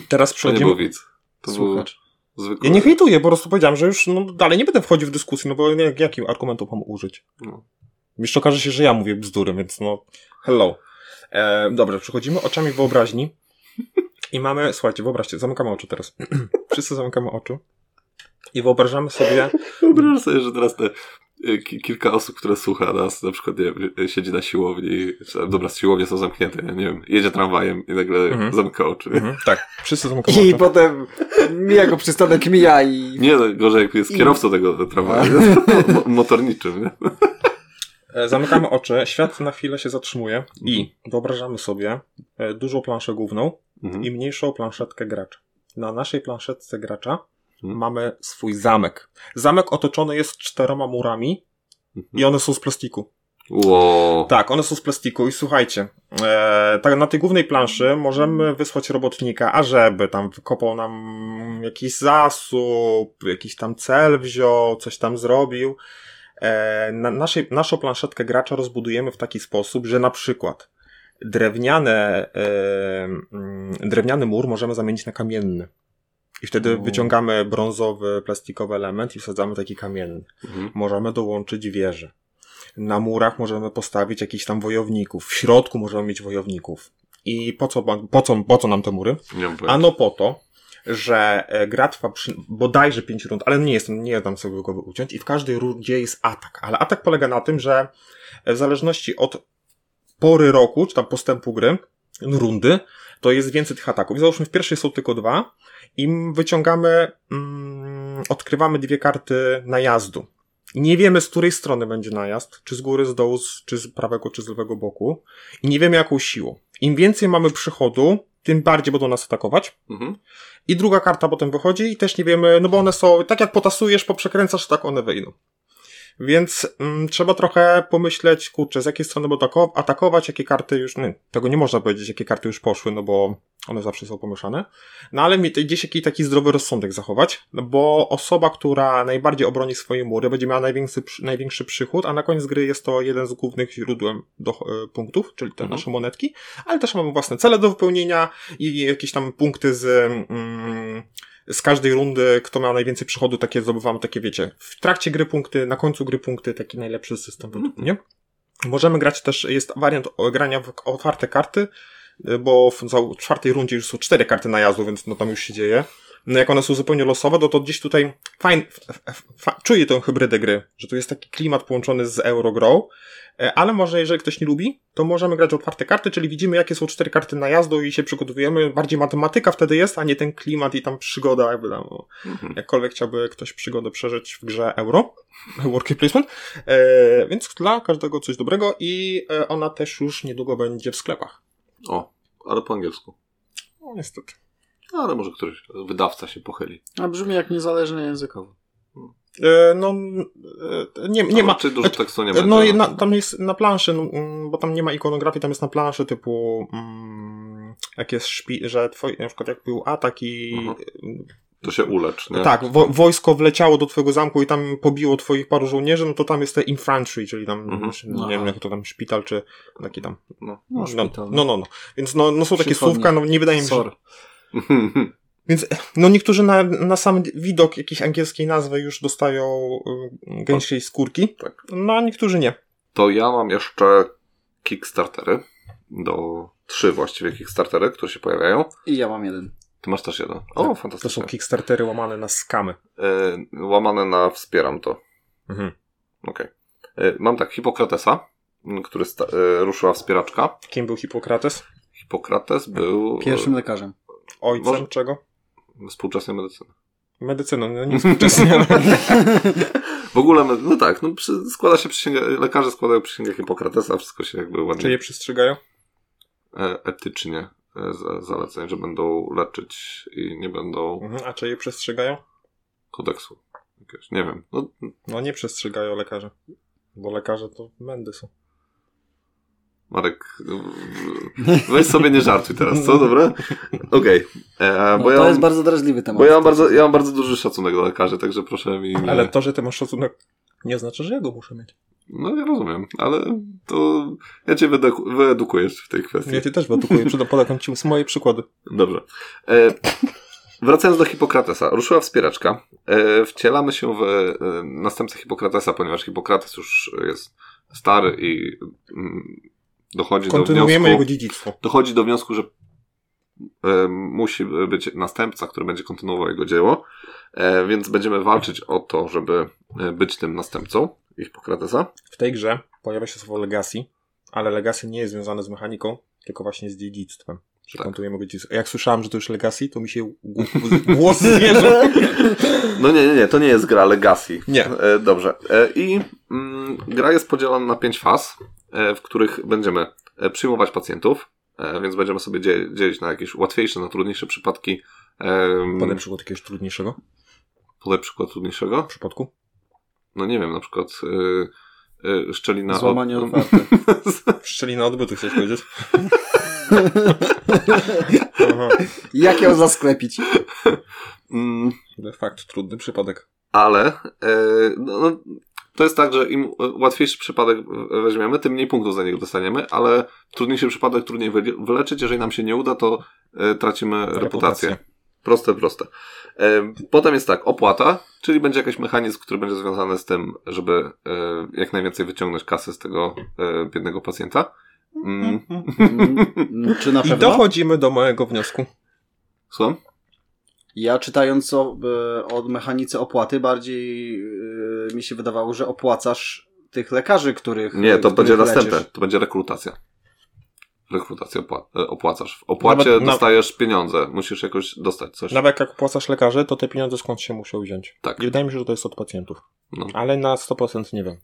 [SPEAKER 2] Teraz
[SPEAKER 3] to nie był
[SPEAKER 2] przechodzimy...
[SPEAKER 3] widz. To
[SPEAKER 1] Słuchacz.
[SPEAKER 3] był zwykły...
[SPEAKER 2] Ja nie hejtuję, po prostu powiedziałem, że już no, dalej nie będę wchodził w dyskusję, no bo jak, jakim argumentu mam użyć?
[SPEAKER 3] No.
[SPEAKER 2] Jeszcze okaże się, że ja mówię bzdury, więc no. Hello. E, dobrze, przechodzimy oczami wyobraźni. I mamy, słuchajcie, wyobraźcie, zamykamy oczy teraz. [CLEARS THROAT] Wszyscy zamykamy oczy. I wyobrażamy sobie.
[SPEAKER 3] Wyobrażasz sobie, że teraz te e, ki- kilka osób, które słucha nas, na przykład nie, wiem, e, siedzi na siłowni, czy, dobra, siłownie są zamknięte, nie wiem, jedzie tramwajem i nagle
[SPEAKER 2] Mhm.
[SPEAKER 3] zamyka oczy.
[SPEAKER 2] Mhm, [CLEARS THROAT] tak, wszyscy zamykamy
[SPEAKER 1] I
[SPEAKER 2] oczy.
[SPEAKER 1] potem mija go przystanek, mija i...
[SPEAKER 3] Nie, no, gorzej jak jest kierowcą tego tramwaju, mo- motorniczym, nie?
[SPEAKER 2] E, zamykamy oczy, świat na chwilę się zatrzymuje. I wyobrażamy sobie e, dużą planszę główną
[SPEAKER 3] Mhm.
[SPEAKER 2] i mniejszą planszetkę gracza. Na naszej planszetce gracza
[SPEAKER 3] Mhm.
[SPEAKER 2] mamy swój zamek. Zamek otoczony jest czteroma murami
[SPEAKER 3] Mhm.
[SPEAKER 2] i one są z plastiku.
[SPEAKER 3] Wow.
[SPEAKER 2] Tak, one są z plastiku i słuchajcie, e, tak na tej głównej planszy możemy wysłać robotnika, ażeby tam wykopał nam jakiś zasób, jakiś tam cel wziął, coś tam zrobił. E, na naszej, naszą planszetkę gracza rozbudujemy w taki sposób, że na przykład drewniane, e, mm, drewniany mur możemy zamienić na kamienny. I wtedy
[SPEAKER 1] O.
[SPEAKER 2] wyciągamy brązowy, plastikowy element i wsadzamy taki kamienny.
[SPEAKER 3] Mhm.
[SPEAKER 2] Możemy dołączyć wieże. Na murach możemy postawić jakichś tam wojowników. W środku możemy mieć wojowników. I po co, ma- po co, po co nam te mury?
[SPEAKER 3] Nie mam pojęcia.
[SPEAKER 2] Ano po to, że e, gra trwa przy, bodajże 5 rund, ale nie jestem, nie dam sobie głowy uciąć i w każdej rundzie jest atak. Ale atak polega na tym, że e, w zależności od pory roku, czy tam postępu gry, rundy, to jest więcej tych ataków. I załóżmy w pierwszej są tylko dwa i m- wyciągamy, mm, odkrywamy dwie karty najazdu. I nie wiemy, z której strony będzie najazd, czy z góry, z dołu, z- czy z prawego, czy z lewego boku. I nie wiemy, jaką siłą. Im więcej mamy przychodu, tym bardziej będą nas atakować.
[SPEAKER 3] Mhm.
[SPEAKER 2] I druga karta potem wychodzi i też nie wiemy, no bo one są, tak jak potasujesz, poprzekręcasz, tak one wyjdą. Więc mm, trzeba trochę pomyśleć, kurczę, z jakiej strony będą atako- atakować, jakie karty już, nie, tego nie można powiedzieć, jakie karty już poszły, no bo one zawsze są pomieszane. No ale mi- gdzieś jakiś taki zdrowy rozsądek zachować, no bo osoba, która najbardziej obroni swoje mury, będzie miała największy, przy- największy przychód, a na koniec gry jest to jeden z głównych źródłem do, e, punktów, czyli te
[SPEAKER 3] Mhm.
[SPEAKER 2] nasze monetki, ale też mamy własne cele do wypełnienia i jakieś tam punkty z, mm, z każdej rundy, kto ma najwięcej przychodu, takie zdobywamy, takie wiecie, w trakcie gry punkty, na końcu gry punkty, taki najlepszy system według mnie. Możemy grać też, jest wariant o- grania w otwarte karty, y, bo w za- czwartej rundzie już są cztery karty najazdu, więc no tam już się dzieje. No jak one są zupełnie losowe, no to gdzieś tutaj fajn, f- f- fa, czuję tę hybrydę gry, że tu jest taki klimat połączony z Eurogrow, E, ale może jeżeli ktoś nie lubi, to możemy grać w otwarte karty, czyli widzimy jakie są cztery karty najazdu i się przygotowujemy. Bardziej matematyka wtedy jest, a nie ten klimat i tam przygoda, jakby tam, o,
[SPEAKER 3] Mhm.
[SPEAKER 2] jakkolwiek chciałby ktoś przygodę przeżyć w grze Euro, [LAUGHS] Worker Placement. E, więc dla każdego coś dobrego i e, ona też już niedługo będzie w sklepach.
[SPEAKER 3] O, ale po angielsku.
[SPEAKER 2] No niestety.
[SPEAKER 3] No, ale może któryś wydawca się pochyli.
[SPEAKER 1] A brzmi jak niezależny językowo.
[SPEAKER 2] E, no, e, nie, nie
[SPEAKER 3] Ale
[SPEAKER 2] ma...
[SPEAKER 3] Czy dużo tekstu nie będzie?
[SPEAKER 2] No i na, tam jest na planszy, no, mm, bo tam nie ma ikonografii, tam jest na planszy typu mm, jak jest szpi, że twoi, na przykład jak był atak i mm,
[SPEAKER 3] Mhm. To się ulecz, nie?
[SPEAKER 2] tak, wo, wojsko wleciało do twojego zamku i tam pobiło twoich paru żołnierzy, no to tam jest te infantry, czyli tam
[SPEAKER 3] Mhm.
[SPEAKER 2] już
[SPEAKER 1] No.
[SPEAKER 2] nie wiem jak to tam szpital czy taki tam.
[SPEAKER 3] No.
[SPEAKER 1] No,
[SPEAKER 2] no,
[SPEAKER 1] szpital,
[SPEAKER 2] no, no, no. Więc no, no są takie
[SPEAKER 1] Przychodnie.
[SPEAKER 2] słówka, no nie wydaje mi się, że
[SPEAKER 1] Sorry.
[SPEAKER 3] [LAUGHS]
[SPEAKER 2] no niektórzy na, na sam widok jakiejś angielskiej nazwy już dostają y, gęsiej skórki,
[SPEAKER 3] Tak.
[SPEAKER 2] no a niektórzy nie.
[SPEAKER 3] To ja mam jeszcze Kickstartery. Do trzy właściwie Kickstartery, które się pojawiają.
[SPEAKER 1] I ja mam jeden.
[SPEAKER 3] Ty masz też jeden. O,
[SPEAKER 2] Tak, To są
[SPEAKER 3] fantastycznie.
[SPEAKER 2] kickstartery łamane na skamy.
[SPEAKER 3] E, łamane na wspieram to.
[SPEAKER 2] Mhm.
[SPEAKER 3] Okej. E, Mam tak, Hipokratesa, m, który sta- e, ruszyła wspieraczka.
[SPEAKER 2] Kim był Hipokrates?
[SPEAKER 3] Hipokrates był
[SPEAKER 1] Pierwszym lekarzem.
[SPEAKER 2] Ojcem
[SPEAKER 3] Może-
[SPEAKER 2] czego?
[SPEAKER 3] e, współczesnej medycyny.
[SPEAKER 2] Medycyną,
[SPEAKER 3] [LAUGHS]
[SPEAKER 2] no nie współczesnie, ale...
[SPEAKER 3] W ogóle, me- no tak, no, przy, składa się przysięga, lekarze składają przysięgę Hipokratesa, wszystko się jakby
[SPEAKER 2] Czy je
[SPEAKER 3] ładnie
[SPEAKER 2] przestrzegają?
[SPEAKER 3] e, etycznie e, za- zaleceń, że będą leczyć i nie będą
[SPEAKER 2] Mhm. A czy je przestrzegają?
[SPEAKER 3] kodeksu. Jakiegoś, nie wiem. No,
[SPEAKER 2] No nie przestrzegają lekarze. Bo lekarze to mędy są.
[SPEAKER 3] Marek, w- weź sobie nie żartuj teraz, co? Dobra? Okej. E,
[SPEAKER 1] No,
[SPEAKER 3] Bo
[SPEAKER 1] to
[SPEAKER 3] ja mam-
[SPEAKER 1] jest bardzo drażliwy temat.
[SPEAKER 3] Bo
[SPEAKER 1] [LAUGHS]
[SPEAKER 3] ja mam, bardzo, ja mam bardzo duży szacunek do lekarzy, także proszę mi. Nie...
[SPEAKER 2] Ale to, że ty masz szacunek, nie znaczy, że ja go muszę mieć.
[SPEAKER 3] No ja rozumiem, ale to ja cię wyedu- wyedukujesz w tej kwestii.
[SPEAKER 2] Ja ty też produkuję, przed podam ci moje przykłady.
[SPEAKER 3] Dobrze. E, wracając do Hipokratesa. Ruszyła wspieraczka. E, wcielamy się w e, następcę Hipokratesa, ponieważ Hipokrates już jest stary i mm, dochodzi do wniosku...
[SPEAKER 2] Kontynuujemy jego dziedzictwo.
[SPEAKER 3] dochodzi do wniosku, że e, musi być następca, który będzie kontynuował jego dzieło, e, więc będziemy walczyć o to, żeby e, być tym następcą Hipokratesa.
[SPEAKER 2] W tej grze pojawia się słowo legacy, ale legacy nie jest związane z mechaniką, tylko właśnie z dziedzictwem. Że
[SPEAKER 3] Tak.
[SPEAKER 2] kontynuujemy go dziedzictwo. Jak słyszałem, że to już legacy, to mi się gł- głos
[SPEAKER 3] [LAUGHS]
[SPEAKER 2] zwierzę.
[SPEAKER 3] No nie, nie, nie, to nie jest gra Legacy.
[SPEAKER 2] Nie.
[SPEAKER 3] E, dobrze. E, I mm, gra jest podzielona na pięć faz, e, w których będziemy e, przyjmować pacjentów, e, więc będziemy sobie dzie- dzielić na jakieś łatwiejsze, na trudniejsze przypadki. em,
[SPEAKER 2] Podaj przykład jakiegoś trudniejszego
[SPEAKER 3] Podaj przykład trudniejszego.
[SPEAKER 2] przypadku.
[SPEAKER 3] No nie wiem, na przykład y, y, szczelina... od-
[SPEAKER 1] Złamanie otwarte.
[SPEAKER 2] Szczelina odbytu,
[SPEAKER 3] [LAUGHS]
[SPEAKER 2] chcesz powiedzieć?
[SPEAKER 1] [LAUGHS] Jak ją zasklepić?
[SPEAKER 3] Mm,
[SPEAKER 2] Fakt, trudny przypadek.
[SPEAKER 3] ale e, no, no, To jest tak, że im łatwiejszy przypadek weźmiemy, tym mniej punktów za niego dostaniemy, ale trudniejszy przypadek trudniej wyli- wyleczyć. Jeżeli nam się nie uda, to e, tracimy reputację. Proste, proste. E, Potem jest tak, opłata, czyli będzie jakiś mechanizm, który będzie związany z tym, żeby e, jak najwięcej wyciągnąć kasy z tego e, biednego pacjenta. Mm,
[SPEAKER 1] Mm, Czy na
[SPEAKER 2] I
[SPEAKER 1] pewno?
[SPEAKER 2] dochodzimy do mojego wniosku.
[SPEAKER 3] Słucham?
[SPEAKER 1] Ja czytając o, e, o mechanice opłaty, bardziej e, mi się wydawało, że opłacasz tych lekarzy, których.
[SPEAKER 3] Nie, to
[SPEAKER 1] których
[SPEAKER 3] będzie
[SPEAKER 1] leczysz.
[SPEAKER 3] następne. To będzie rekrutacja. Rekrutację opła- e, opłacasz. W opłacie
[SPEAKER 2] Nawet na-
[SPEAKER 3] dostajesz pieniądze. Musisz jakoś dostać coś.
[SPEAKER 2] Nawet jak płacasz lekarzy, to te pieniądze skąd się muszą wziąć?
[SPEAKER 3] Tak.
[SPEAKER 2] I wydaje mi się, że to jest od pacjentów.
[SPEAKER 3] No.
[SPEAKER 2] Ale na 100% nie wiem.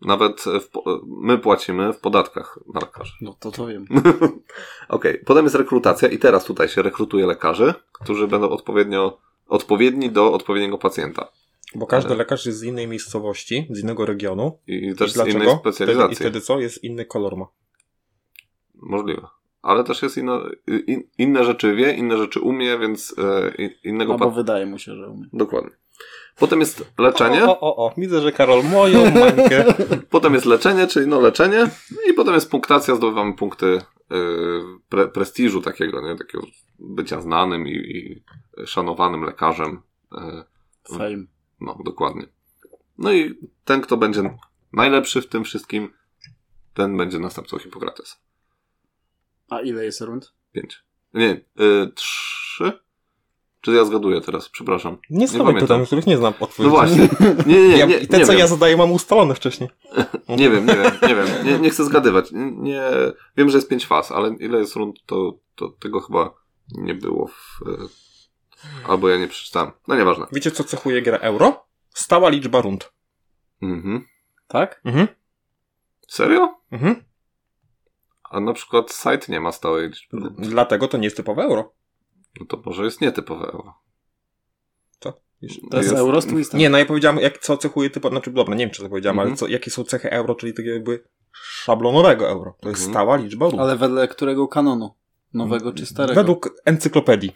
[SPEAKER 3] Nawet e, w, po- e, my płacimy w podatkach na lekarzy.
[SPEAKER 1] No to to wiem.
[SPEAKER 3] Okej, potem jest rekrutacja i teraz tutaj się rekrutuje lekarzy, którzy będą odpowiednio odpowiedni do odpowiedniego pacjenta.
[SPEAKER 2] Bo każdy
[SPEAKER 3] Ale-
[SPEAKER 2] lekarz jest z innej miejscowości, z innego regionu.
[SPEAKER 3] I, i
[SPEAKER 2] I
[SPEAKER 3] też z
[SPEAKER 2] dlaczego?
[SPEAKER 3] innej
[SPEAKER 2] Wtedy, I
[SPEAKER 3] specjalizacji.
[SPEAKER 2] wtedy co? Jest inny kolor ma.
[SPEAKER 3] Możliwe. Ale też jest inna, in, inne rzeczy wie, inne rzeczy umie, więc e, in- innego
[SPEAKER 1] No bo
[SPEAKER 3] pa-
[SPEAKER 1] wydaje mu się, że umie.
[SPEAKER 3] Dokładnie. Potem jest leczenie.
[SPEAKER 2] O, o, o, o. Widzę, że Karol [LAUGHS] moją mańkę.
[SPEAKER 3] Potem jest leczenie, czyli no leczenie. I potem jest punktacja, zdobywamy punkty e, pre, prestiżu takiego, nie? Takiego bycia znanym i, i szanowanym lekarzem. E,
[SPEAKER 1] Fame.
[SPEAKER 3] No, dokładnie. No i ten, kto będzie najlepszy w tym wszystkim, ten będzie następcą Hipokratesa.
[SPEAKER 1] A ile jest rund?
[SPEAKER 3] Pięć. Nie, y, trzy? Czy ja zgaduję teraz? Przepraszam.
[SPEAKER 2] Nie stawiam
[SPEAKER 3] pamiętam.
[SPEAKER 2] pytań, których nie znam odpowiedzi. [LAUGHS]
[SPEAKER 3] No właśnie. Nie, nie, nie.
[SPEAKER 2] Ja,
[SPEAKER 3] nie,
[SPEAKER 2] I te,
[SPEAKER 3] nie
[SPEAKER 2] co
[SPEAKER 3] wiem.
[SPEAKER 2] ja zadaję, mam ustalone wcześniej.
[SPEAKER 3] Nie wiem, nie wiem, nie wiem. Nie, nie chcę zgadywać. Nie, wiem, że jest pięć faz, ale ile jest rund, to, to tego chyba nie było w... y, Albo ja nie przeczytałem. No nieważne.
[SPEAKER 2] Wiecie, co cechuje gra euro? Stała liczba rund.
[SPEAKER 3] Mhm.
[SPEAKER 1] Tak?
[SPEAKER 2] Mhm.
[SPEAKER 3] Serio?
[SPEAKER 2] Mhm.
[SPEAKER 3] A na przykład site nie ma stałej liczby.
[SPEAKER 2] No.
[SPEAKER 3] rund.
[SPEAKER 2] Dlatego to nie jest typowe euro.
[SPEAKER 3] No to może jest nietypowe euro.
[SPEAKER 1] To jest,
[SPEAKER 3] Jest- tak.
[SPEAKER 1] euro z twistem.
[SPEAKER 2] Nie, no ja powiedziałem, jak, co cechuje typowe, znaczy dobra, nie wiem, czy to powiedziałem,
[SPEAKER 3] Mhm.
[SPEAKER 2] ale co, jakie są cechy euro, czyli takiego jakby szablonowego euro. To jest
[SPEAKER 3] Mhm.
[SPEAKER 2] stała liczba rund.
[SPEAKER 1] Ale wedle którego kanonu? Nowego czy starego?
[SPEAKER 2] no. Według encyklopedii.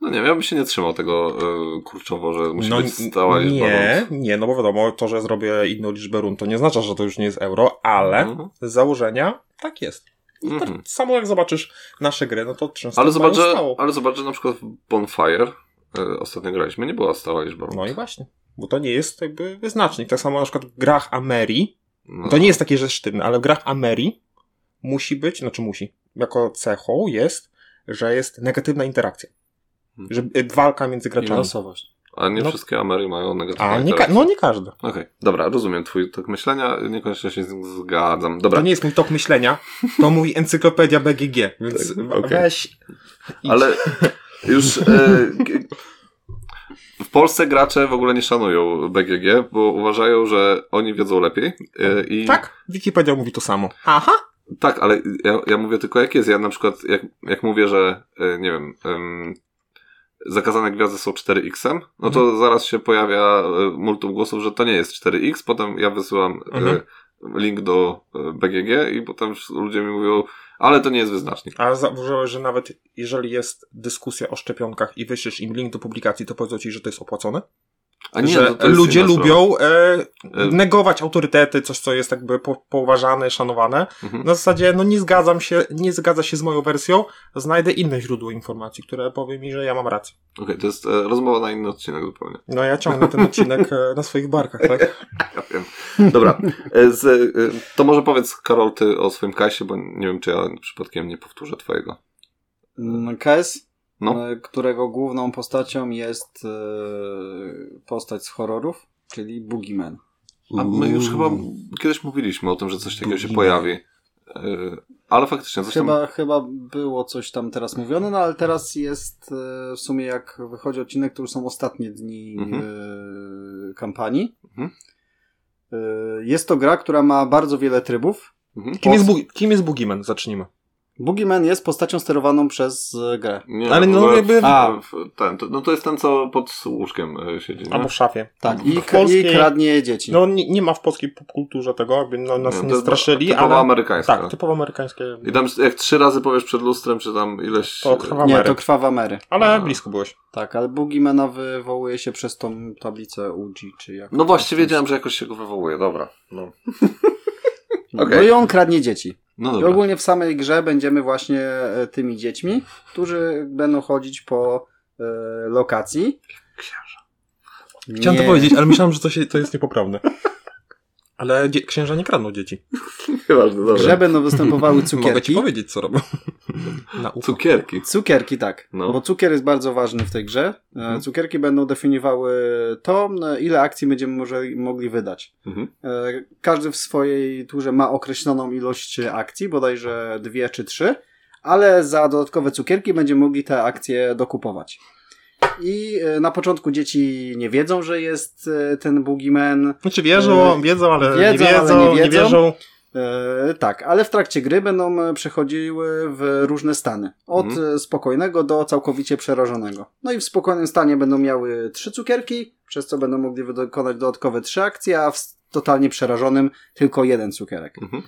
[SPEAKER 3] No nie, wiem, ja bym się nie trzymał tego y, kurczowo, że musi być stała
[SPEAKER 2] No nie,
[SPEAKER 3] liczba rund.
[SPEAKER 2] nie, no bo wiadomo, to, że zrobię inną liczbę rund, to nie oznacza, że to już nie jest euro, ale
[SPEAKER 3] Mhm.
[SPEAKER 2] z założenia tak jest. I tak
[SPEAKER 3] Mhm.
[SPEAKER 2] samo jak zobaczysz nasze gry, no to często
[SPEAKER 3] Ale
[SPEAKER 2] mają
[SPEAKER 3] zobacz, że,
[SPEAKER 2] stałą.
[SPEAKER 3] ale zobacz, że na przykład w Bonfire y, ostatnio graliśmy, nie była stała liczba rund.
[SPEAKER 2] No i właśnie. Bo to nie jest jakby wyznacznik. Tak samo na przykład w grach Ameri,
[SPEAKER 3] No.
[SPEAKER 2] to nie jest takie, że sztywne, ale w grach Ameri musi być, znaczy musi, jako cechą jest, że jest negatywna interakcja.
[SPEAKER 3] Mhm.
[SPEAKER 2] Że y, walka między
[SPEAKER 1] I
[SPEAKER 2] graczami.
[SPEAKER 1] losowość.
[SPEAKER 3] A nie
[SPEAKER 2] no.
[SPEAKER 3] wszystkie Amery mają negatywne
[SPEAKER 2] A nie ka-
[SPEAKER 3] interakcje.
[SPEAKER 2] no nie każdy.
[SPEAKER 3] Okej, dobra, rozumiem twój tok myślenia, niekoniecznie się z nim zgadzam. Dobra,
[SPEAKER 2] To nie jest mój tok myślenia, to mój [LAUGHS] encyklopedia BGG, więc
[SPEAKER 3] Tak,
[SPEAKER 2] wa-
[SPEAKER 3] okej.
[SPEAKER 2] weź. idź.
[SPEAKER 3] ale już... Y, g- w Polsce gracze w ogóle nie szanują BGG, bo uważają, że oni wiedzą lepiej. y, I
[SPEAKER 2] Tak? Wikipedia mówi to samo. Aha!
[SPEAKER 3] Tak, ale ja, ja mówię tylko jak jest. Ja na przykład, jak, jak mówię, że e, nie wiem, em, zakazane gwiazdy są 4x, no to
[SPEAKER 2] Mhm.
[SPEAKER 3] zaraz się pojawia e, multum głosów, że to nie jest 4x. Potem ja wysyłam e,
[SPEAKER 2] Mhm.
[SPEAKER 3] link do e, BGG i potem już ludzie mi mówią, ale to nie jest wyznacznik.
[SPEAKER 2] A zauważyłeś, że nawet jeżeli jest dyskusja o szczepionkach i wyślesz im link do publikacji, to powiedzą ci, że to jest opłacone?
[SPEAKER 3] A nie,
[SPEAKER 2] że
[SPEAKER 3] no to jest
[SPEAKER 2] ludzie
[SPEAKER 3] inna sprawa.
[SPEAKER 2] lubią e,
[SPEAKER 3] E,
[SPEAKER 2] negować autorytety, coś co jest jakby po, poważane, szanowane.
[SPEAKER 3] mhm.
[SPEAKER 2] Na zasadzie, no nie zgadzam się, nie zgadza się z moją wersją, znajdę inne źródło informacji, które powie mi, że ja mam rację.
[SPEAKER 3] Okej, to jest e, rozmowa na inny odcinek zupełnie.
[SPEAKER 2] No ja ciągnę ten odcinek e, na swoich barkach, tak?
[SPEAKER 3] Ja wiem. Dobra, e, z, e, to może powiedz Karol ty o swoim kasie, bo nie wiem, czy ja przypadkiem nie powtórzę twojego.
[SPEAKER 1] Mm, KS,
[SPEAKER 3] No.
[SPEAKER 1] e, którego główną postacią jest e, postać z horrorów, czyli Boogeyman.
[SPEAKER 3] A my już chyba
[SPEAKER 1] Mm.
[SPEAKER 3] kiedyś mówiliśmy o tym, że coś takiego się pojawi. Yy, Ale faktycznie, zresztą
[SPEAKER 1] Chyba, chyba było coś tam teraz mówione, no ale teraz jest e, w sumie jak wychodzi odcinek, to już są ostatnie dni
[SPEAKER 3] Mhm.
[SPEAKER 1] e, kampanii.
[SPEAKER 3] Mhm.
[SPEAKER 1] E, Jest to gra, która ma bardzo wiele trybów.
[SPEAKER 3] Mhm.
[SPEAKER 2] Kim jest, Bu- kim jest Boogeyman? Zacznijmy.
[SPEAKER 1] Boogeyman jest postacią sterowaną przez e, grę.
[SPEAKER 3] Nie,
[SPEAKER 2] Ale
[SPEAKER 3] w
[SPEAKER 2] no
[SPEAKER 3] ogóle
[SPEAKER 2] jakby-
[SPEAKER 3] w-
[SPEAKER 1] A.
[SPEAKER 3] w- ten, to, no to jest ten, co pod łóżkiem e, siedzi, nie?
[SPEAKER 2] Albo w szafie.
[SPEAKER 3] Mhm.
[SPEAKER 1] Tak,
[SPEAKER 2] W
[SPEAKER 1] i, k-
[SPEAKER 2] polskiej-
[SPEAKER 1] i kradnie dzieci.
[SPEAKER 2] No nie, nie ma w polskiej popkulturze tego, jakby no, nas
[SPEAKER 3] to
[SPEAKER 2] nie,
[SPEAKER 3] jest
[SPEAKER 2] straszyli,
[SPEAKER 3] typowo
[SPEAKER 2] ale...
[SPEAKER 3] amerykańska.
[SPEAKER 2] Tak, typowo amerykańskie.
[SPEAKER 3] I tam jak trzy razy powiesz przed lustrem, czy tam ileś...
[SPEAKER 2] To krwawa
[SPEAKER 1] nie,
[SPEAKER 2] Mary.
[SPEAKER 1] to krwawa Mary.
[SPEAKER 2] Ale
[SPEAKER 3] A.
[SPEAKER 2] blisko byłeś.
[SPEAKER 1] Tak, ale Boogiemana wywołuje się przez tą tablicę UG, czy jak.
[SPEAKER 3] No właśnie, wiedziałem, że jakoś się go wywołuje, dobra. No,
[SPEAKER 1] No,
[SPEAKER 3] okej.
[SPEAKER 1] no i on kradnie dzieci.
[SPEAKER 3] no
[SPEAKER 1] I
[SPEAKER 3] dobra.
[SPEAKER 1] ogólnie w samej grze będziemy właśnie e, tymi dziećmi, którzy będą chodzić po e, lokacji. Księża.
[SPEAKER 2] Chciałem to powiedzieć, ale myślałem, że to, się, to jest niepoprawne. [LAUGHS] Ale dzie- księża nie kradną dzieci.
[SPEAKER 3] Nieważne,
[SPEAKER 1] W grze będą występowały
[SPEAKER 2] [LAUGHS] Mogę ci
[SPEAKER 1] cukierki.
[SPEAKER 2] powiedzieć, co robią. Na ucho.
[SPEAKER 3] Cukierki.
[SPEAKER 1] Cukierki, tak.
[SPEAKER 3] No.
[SPEAKER 1] Bo cukier jest bardzo ważny w tej grze. E,
[SPEAKER 3] Mhm.
[SPEAKER 1] Cukierki będą definiowały to, e, ile akcji będziemy może, mogli wydać.
[SPEAKER 3] Mhm.
[SPEAKER 1] E, Każdy w swojej turze ma określoną ilość akcji, bodajże dwie czy trzy, ale za dodatkowe cukierki będziemy mogli te akcje dokupować. I e, na początku dzieci nie wiedzą, że jest e, ten Boogeyman.
[SPEAKER 2] Znaczy wierzą, wiedzą, ale,
[SPEAKER 1] Wiedzą,
[SPEAKER 2] nie,
[SPEAKER 1] ale
[SPEAKER 2] wiedzą,
[SPEAKER 1] nie
[SPEAKER 2] nie
[SPEAKER 1] wiedzą.
[SPEAKER 2] wierzą.
[SPEAKER 1] E, tak, ale w trakcie gry będą e, przechodziły w różne stany. Od
[SPEAKER 3] Mhm.
[SPEAKER 1] e, spokojnego do całkowicie przerażonego. No i w spokojnym stanie będą miały trzy cukierki, przez co będą mogli wykonać dodatkowe trzy akcje, a w s- totalnie przerażonym tylko jeden cukierek.
[SPEAKER 3] Mhm.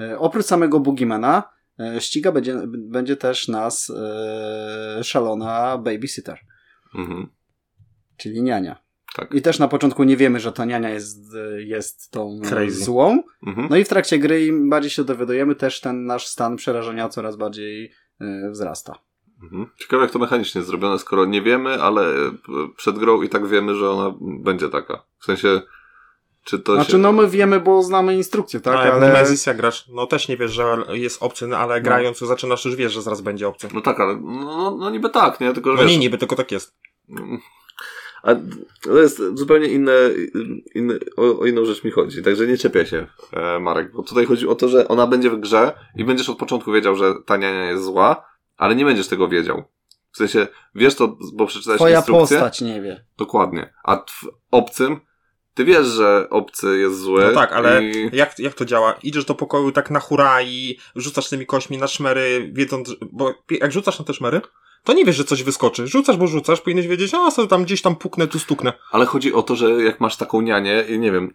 [SPEAKER 1] E, oprócz samego Boogiemana e, ściga będzie, b- będzie też nas e, szalona babysitter,
[SPEAKER 3] Mhm.
[SPEAKER 1] czyli niania.
[SPEAKER 3] Tak.
[SPEAKER 1] I też na początku nie wiemy, że ta niania jest, e, jest tą e,
[SPEAKER 2] Crazy.
[SPEAKER 1] złą,
[SPEAKER 3] Mhm.
[SPEAKER 1] no i w trakcie gry im bardziej się dowiadujemy, też ten nasz stan przerażenia coraz bardziej e, wzrasta.
[SPEAKER 3] Mhm. Ciekawe, jak to mechanicznie jest zrobione, skoro nie wiemy, ale e, przed grą i tak wiemy, że ona będzie taka. W sensie, czy to
[SPEAKER 1] Znaczy,
[SPEAKER 3] się...
[SPEAKER 1] no my wiemy, bo znamy instrukcję, tak?
[SPEAKER 2] ale,
[SPEAKER 1] Ale,
[SPEAKER 2] ale... Nemesis No, jak grasz, no też nie wiesz, że jest obcy, no, ale grając już zaczynasz, już wiesz, że zaraz będzie obcy.
[SPEAKER 3] No tak, ale no, no, no niby tak, nie? Tylko, że Mm.
[SPEAKER 2] No
[SPEAKER 3] wiesz,
[SPEAKER 2] nie, niby, tylko tak jest.
[SPEAKER 3] A to jest zupełnie inne, inne o, o inną rzecz mi chodzi, także nie czepiaj się, e, Marek, bo tutaj chodzi o to, że ona będzie w grze i będziesz od początku wiedział, że ta niania jest zła, ale nie będziesz tego wiedział. W sensie, wiesz to, bo przeczytałeś
[SPEAKER 1] Twoja
[SPEAKER 3] instrukcję.
[SPEAKER 1] postać nie wie.
[SPEAKER 3] Dokładnie. A w obcym, ty wiesz, że obcy jest zły.
[SPEAKER 2] No tak, ale
[SPEAKER 3] I...
[SPEAKER 2] jak, jak to działa? Idziesz do pokoju tak na hura i rzucasz tymi kośmi na szmery, wiedząc, że- bo jak rzucasz na te szmery, to nie wiesz, że coś wyskoczy. Rzucasz, bo rzucasz, powinieneś wiedzieć, a sobie tam gdzieś tam puknę, tu stuknę.
[SPEAKER 3] Ale chodzi o to, że jak masz taką nianię i nie wiem,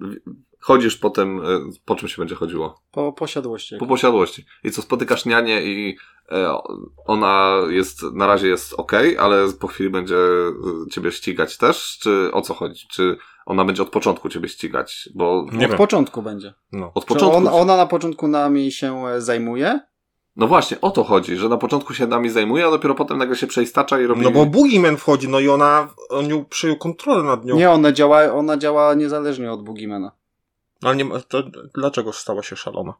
[SPEAKER 3] chodzisz potem, e, po czym się będzie chodziło?
[SPEAKER 1] Po posiadłości.
[SPEAKER 3] Po posiadłości. I co, spotykasz nianię i e, ona jest, na razie jest okej, ale po chwili będzie e, ciebie ścigać też? Czy o co chodzi? Czy ona będzie od początku ciebie ścigać? Bo
[SPEAKER 2] Nie
[SPEAKER 1] Od
[SPEAKER 2] wiem.
[SPEAKER 1] początku będzie.
[SPEAKER 2] No.
[SPEAKER 3] od
[SPEAKER 1] Czy
[SPEAKER 3] początku...
[SPEAKER 1] on, ona na początku nami się e, zajmuje?
[SPEAKER 3] No właśnie, o to chodzi, że na początku się nami zajmuje, a dopiero potem nagle się przeistacza i robi...
[SPEAKER 2] No bo Boogeyman wchodzi, no i ona, on ją przyjął kontrolę nad nią.
[SPEAKER 1] Nie, ona działa, ona działa niezależnie od Boogiemana.
[SPEAKER 2] Ale nie ma, to dlaczego stała się szalona?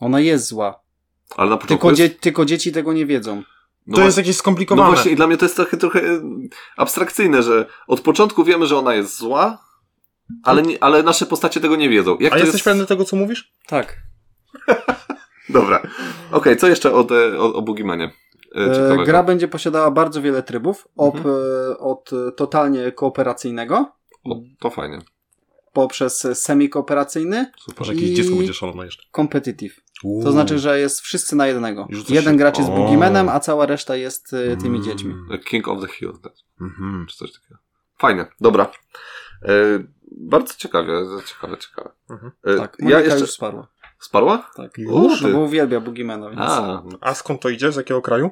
[SPEAKER 1] Ona jest zła.
[SPEAKER 3] Ale na początku
[SPEAKER 1] Tylko,
[SPEAKER 3] jest...
[SPEAKER 1] dzie- tylko dzieci tego nie wiedzą.
[SPEAKER 3] No
[SPEAKER 2] to
[SPEAKER 3] właśnie-
[SPEAKER 2] jest jakieś
[SPEAKER 3] No
[SPEAKER 2] skomplikowane.
[SPEAKER 3] właśnie, i dla mnie to jest trochę, trochę e, abstrakcyjne, że od początku wiemy, że ona jest zła, ale, nie, ale nasze postacie tego nie wiedzą. Jak
[SPEAKER 2] a
[SPEAKER 3] to
[SPEAKER 2] jesteś
[SPEAKER 3] jest...
[SPEAKER 2] pewny tego, co mówisz?
[SPEAKER 1] Tak.
[SPEAKER 3] Dobra. Okej, co jeszcze o, te, o, o Boogiemanie? e,
[SPEAKER 1] E,
[SPEAKER 3] ciekawego?
[SPEAKER 1] Gra będzie posiadała bardzo wiele trybów. Ob,
[SPEAKER 3] Mhm.
[SPEAKER 1] e, od e, totalnie kooperacyjnego,
[SPEAKER 3] O, to fajnie.
[SPEAKER 1] poprzez e, semikooperacyjny,
[SPEAKER 2] Super,
[SPEAKER 1] że jakieś I- dziecko będzie
[SPEAKER 2] szalone jeszcze.
[SPEAKER 1] competitive. To znaczy, że jest wszyscy na jednego.
[SPEAKER 2] Rzuca się-
[SPEAKER 1] Jeden gracz jest
[SPEAKER 2] O.
[SPEAKER 1] Boogiemanem, a cała reszta jest y,
[SPEAKER 3] Mm.
[SPEAKER 1] tymi dziećmi.
[SPEAKER 3] E, King of the Hill, tak,
[SPEAKER 2] Mhm.
[SPEAKER 3] czy coś takiego. Fajnie, dobra. E, bardzo ciekawie, ciekawe, ciekawe.
[SPEAKER 2] Mhm.
[SPEAKER 3] E,
[SPEAKER 1] Tak,
[SPEAKER 3] ja
[SPEAKER 1] Monika
[SPEAKER 3] jeszcze...
[SPEAKER 1] już sparła.
[SPEAKER 3] Sparła?
[SPEAKER 1] Tak.
[SPEAKER 3] Już?
[SPEAKER 1] No, bo uwielbia Boogiemana, więc...
[SPEAKER 3] A, no
[SPEAKER 2] A skąd to idzie? Z jakiego kraju?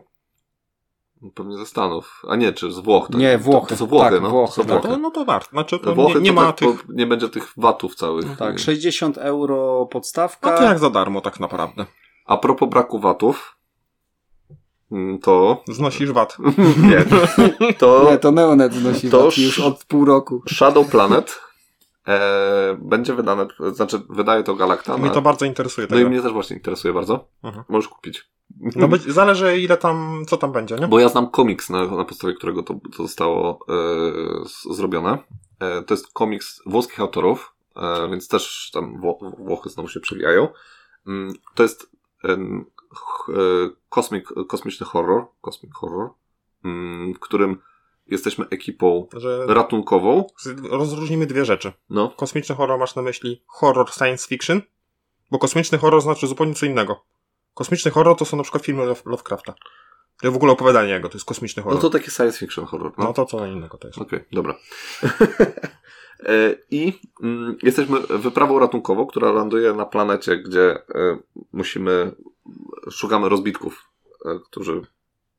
[SPEAKER 3] pewnie ze Stanów. A nie, czy z Włoch. To,
[SPEAKER 1] Nie, Włochy.
[SPEAKER 3] To, to są Włochy,
[SPEAKER 1] Tak,
[SPEAKER 3] no.
[SPEAKER 1] Włochy,
[SPEAKER 3] są
[SPEAKER 2] No
[SPEAKER 3] Włochy.
[SPEAKER 2] to, no to warto. Znaczy, to
[SPEAKER 3] Włochy
[SPEAKER 2] nie, nie
[SPEAKER 3] to
[SPEAKER 2] ma
[SPEAKER 3] tak,
[SPEAKER 2] tych...
[SPEAKER 3] bo nie będzie tych watów całych.
[SPEAKER 1] Tak, 60 euro
[SPEAKER 2] No
[SPEAKER 1] podstawka.
[SPEAKER 2] to jak za darmo tak naprawdę.
[SPEAKER 3] A propos braku watów, mm, to...
[SPEAKER 2] Znosisz VAT. [LAUGHS]
[SPEAKER 3] nie. To...
[SPEAKER 1] Nie, to Neonet nosi
[SPEAKER 3] To
[SPEAKER 1] wad już od pół
[SPEAKER 3] [LAUGHS]
[SPEAKER 1] roku.
[SPEAKER 3] Shadow Planet e, będzie wydane, znaczy wydaje to Galactana.
[SPEAKER 2] Mnie to bardzo interesuje.
[SPEAKER 3] no i
[SPEAKER 2] Tego.
[SPEAKER 3] mnie też właśnie interesuje bardzo.
[SPEAKER 2] Mhm.
[SPEAKER 3] Możesz kupić.
[SPEAKER 2] No być, zależy ile tam, co tam będzie, nie?
[SPEAKER 3] Bo ja znam komiks, na, na podstawie którego to, to zostało e, z, zrobione. E, to jest komiks włoskich autorów, e, więc też tam Wło- Włochy znowu się przewijają. Mm, to jest em, ch- e, kosmik, kosmiczny horror, kosmic horror, mm, w którym jesteśmy ekipą
[SPEAKER 2] Że
[SPEAKER 3] ratunkową.
[SPEAKER 2] z- rozróżnimy dwie rzeczy.
[SPEAKER 3] No,
[SPEAKER 2] Kosmiczny horror masz na myśli horror science fiction? Bo kosmiczny horror znaczy zupełnie co innego. Kosmiczny horror to są na przykład filmy Love- Lovecrafta. To w ogóle opowiadanie jego, to jest kosmiczny
[SPEAKER 3] No
[SPEAKER 2] horror.
[SPEAKER 3] to taki science fiction horror. No,
[SPEAKER 2] no to co innego to jest.
[SPEAKER 3] Okej, dobra. [LAUGHS] E, I mm, jesteśmy wyprawą ratunkową, która ląduje na planecie, gdzie e, musimy, szukamy rozbitków, e, którzy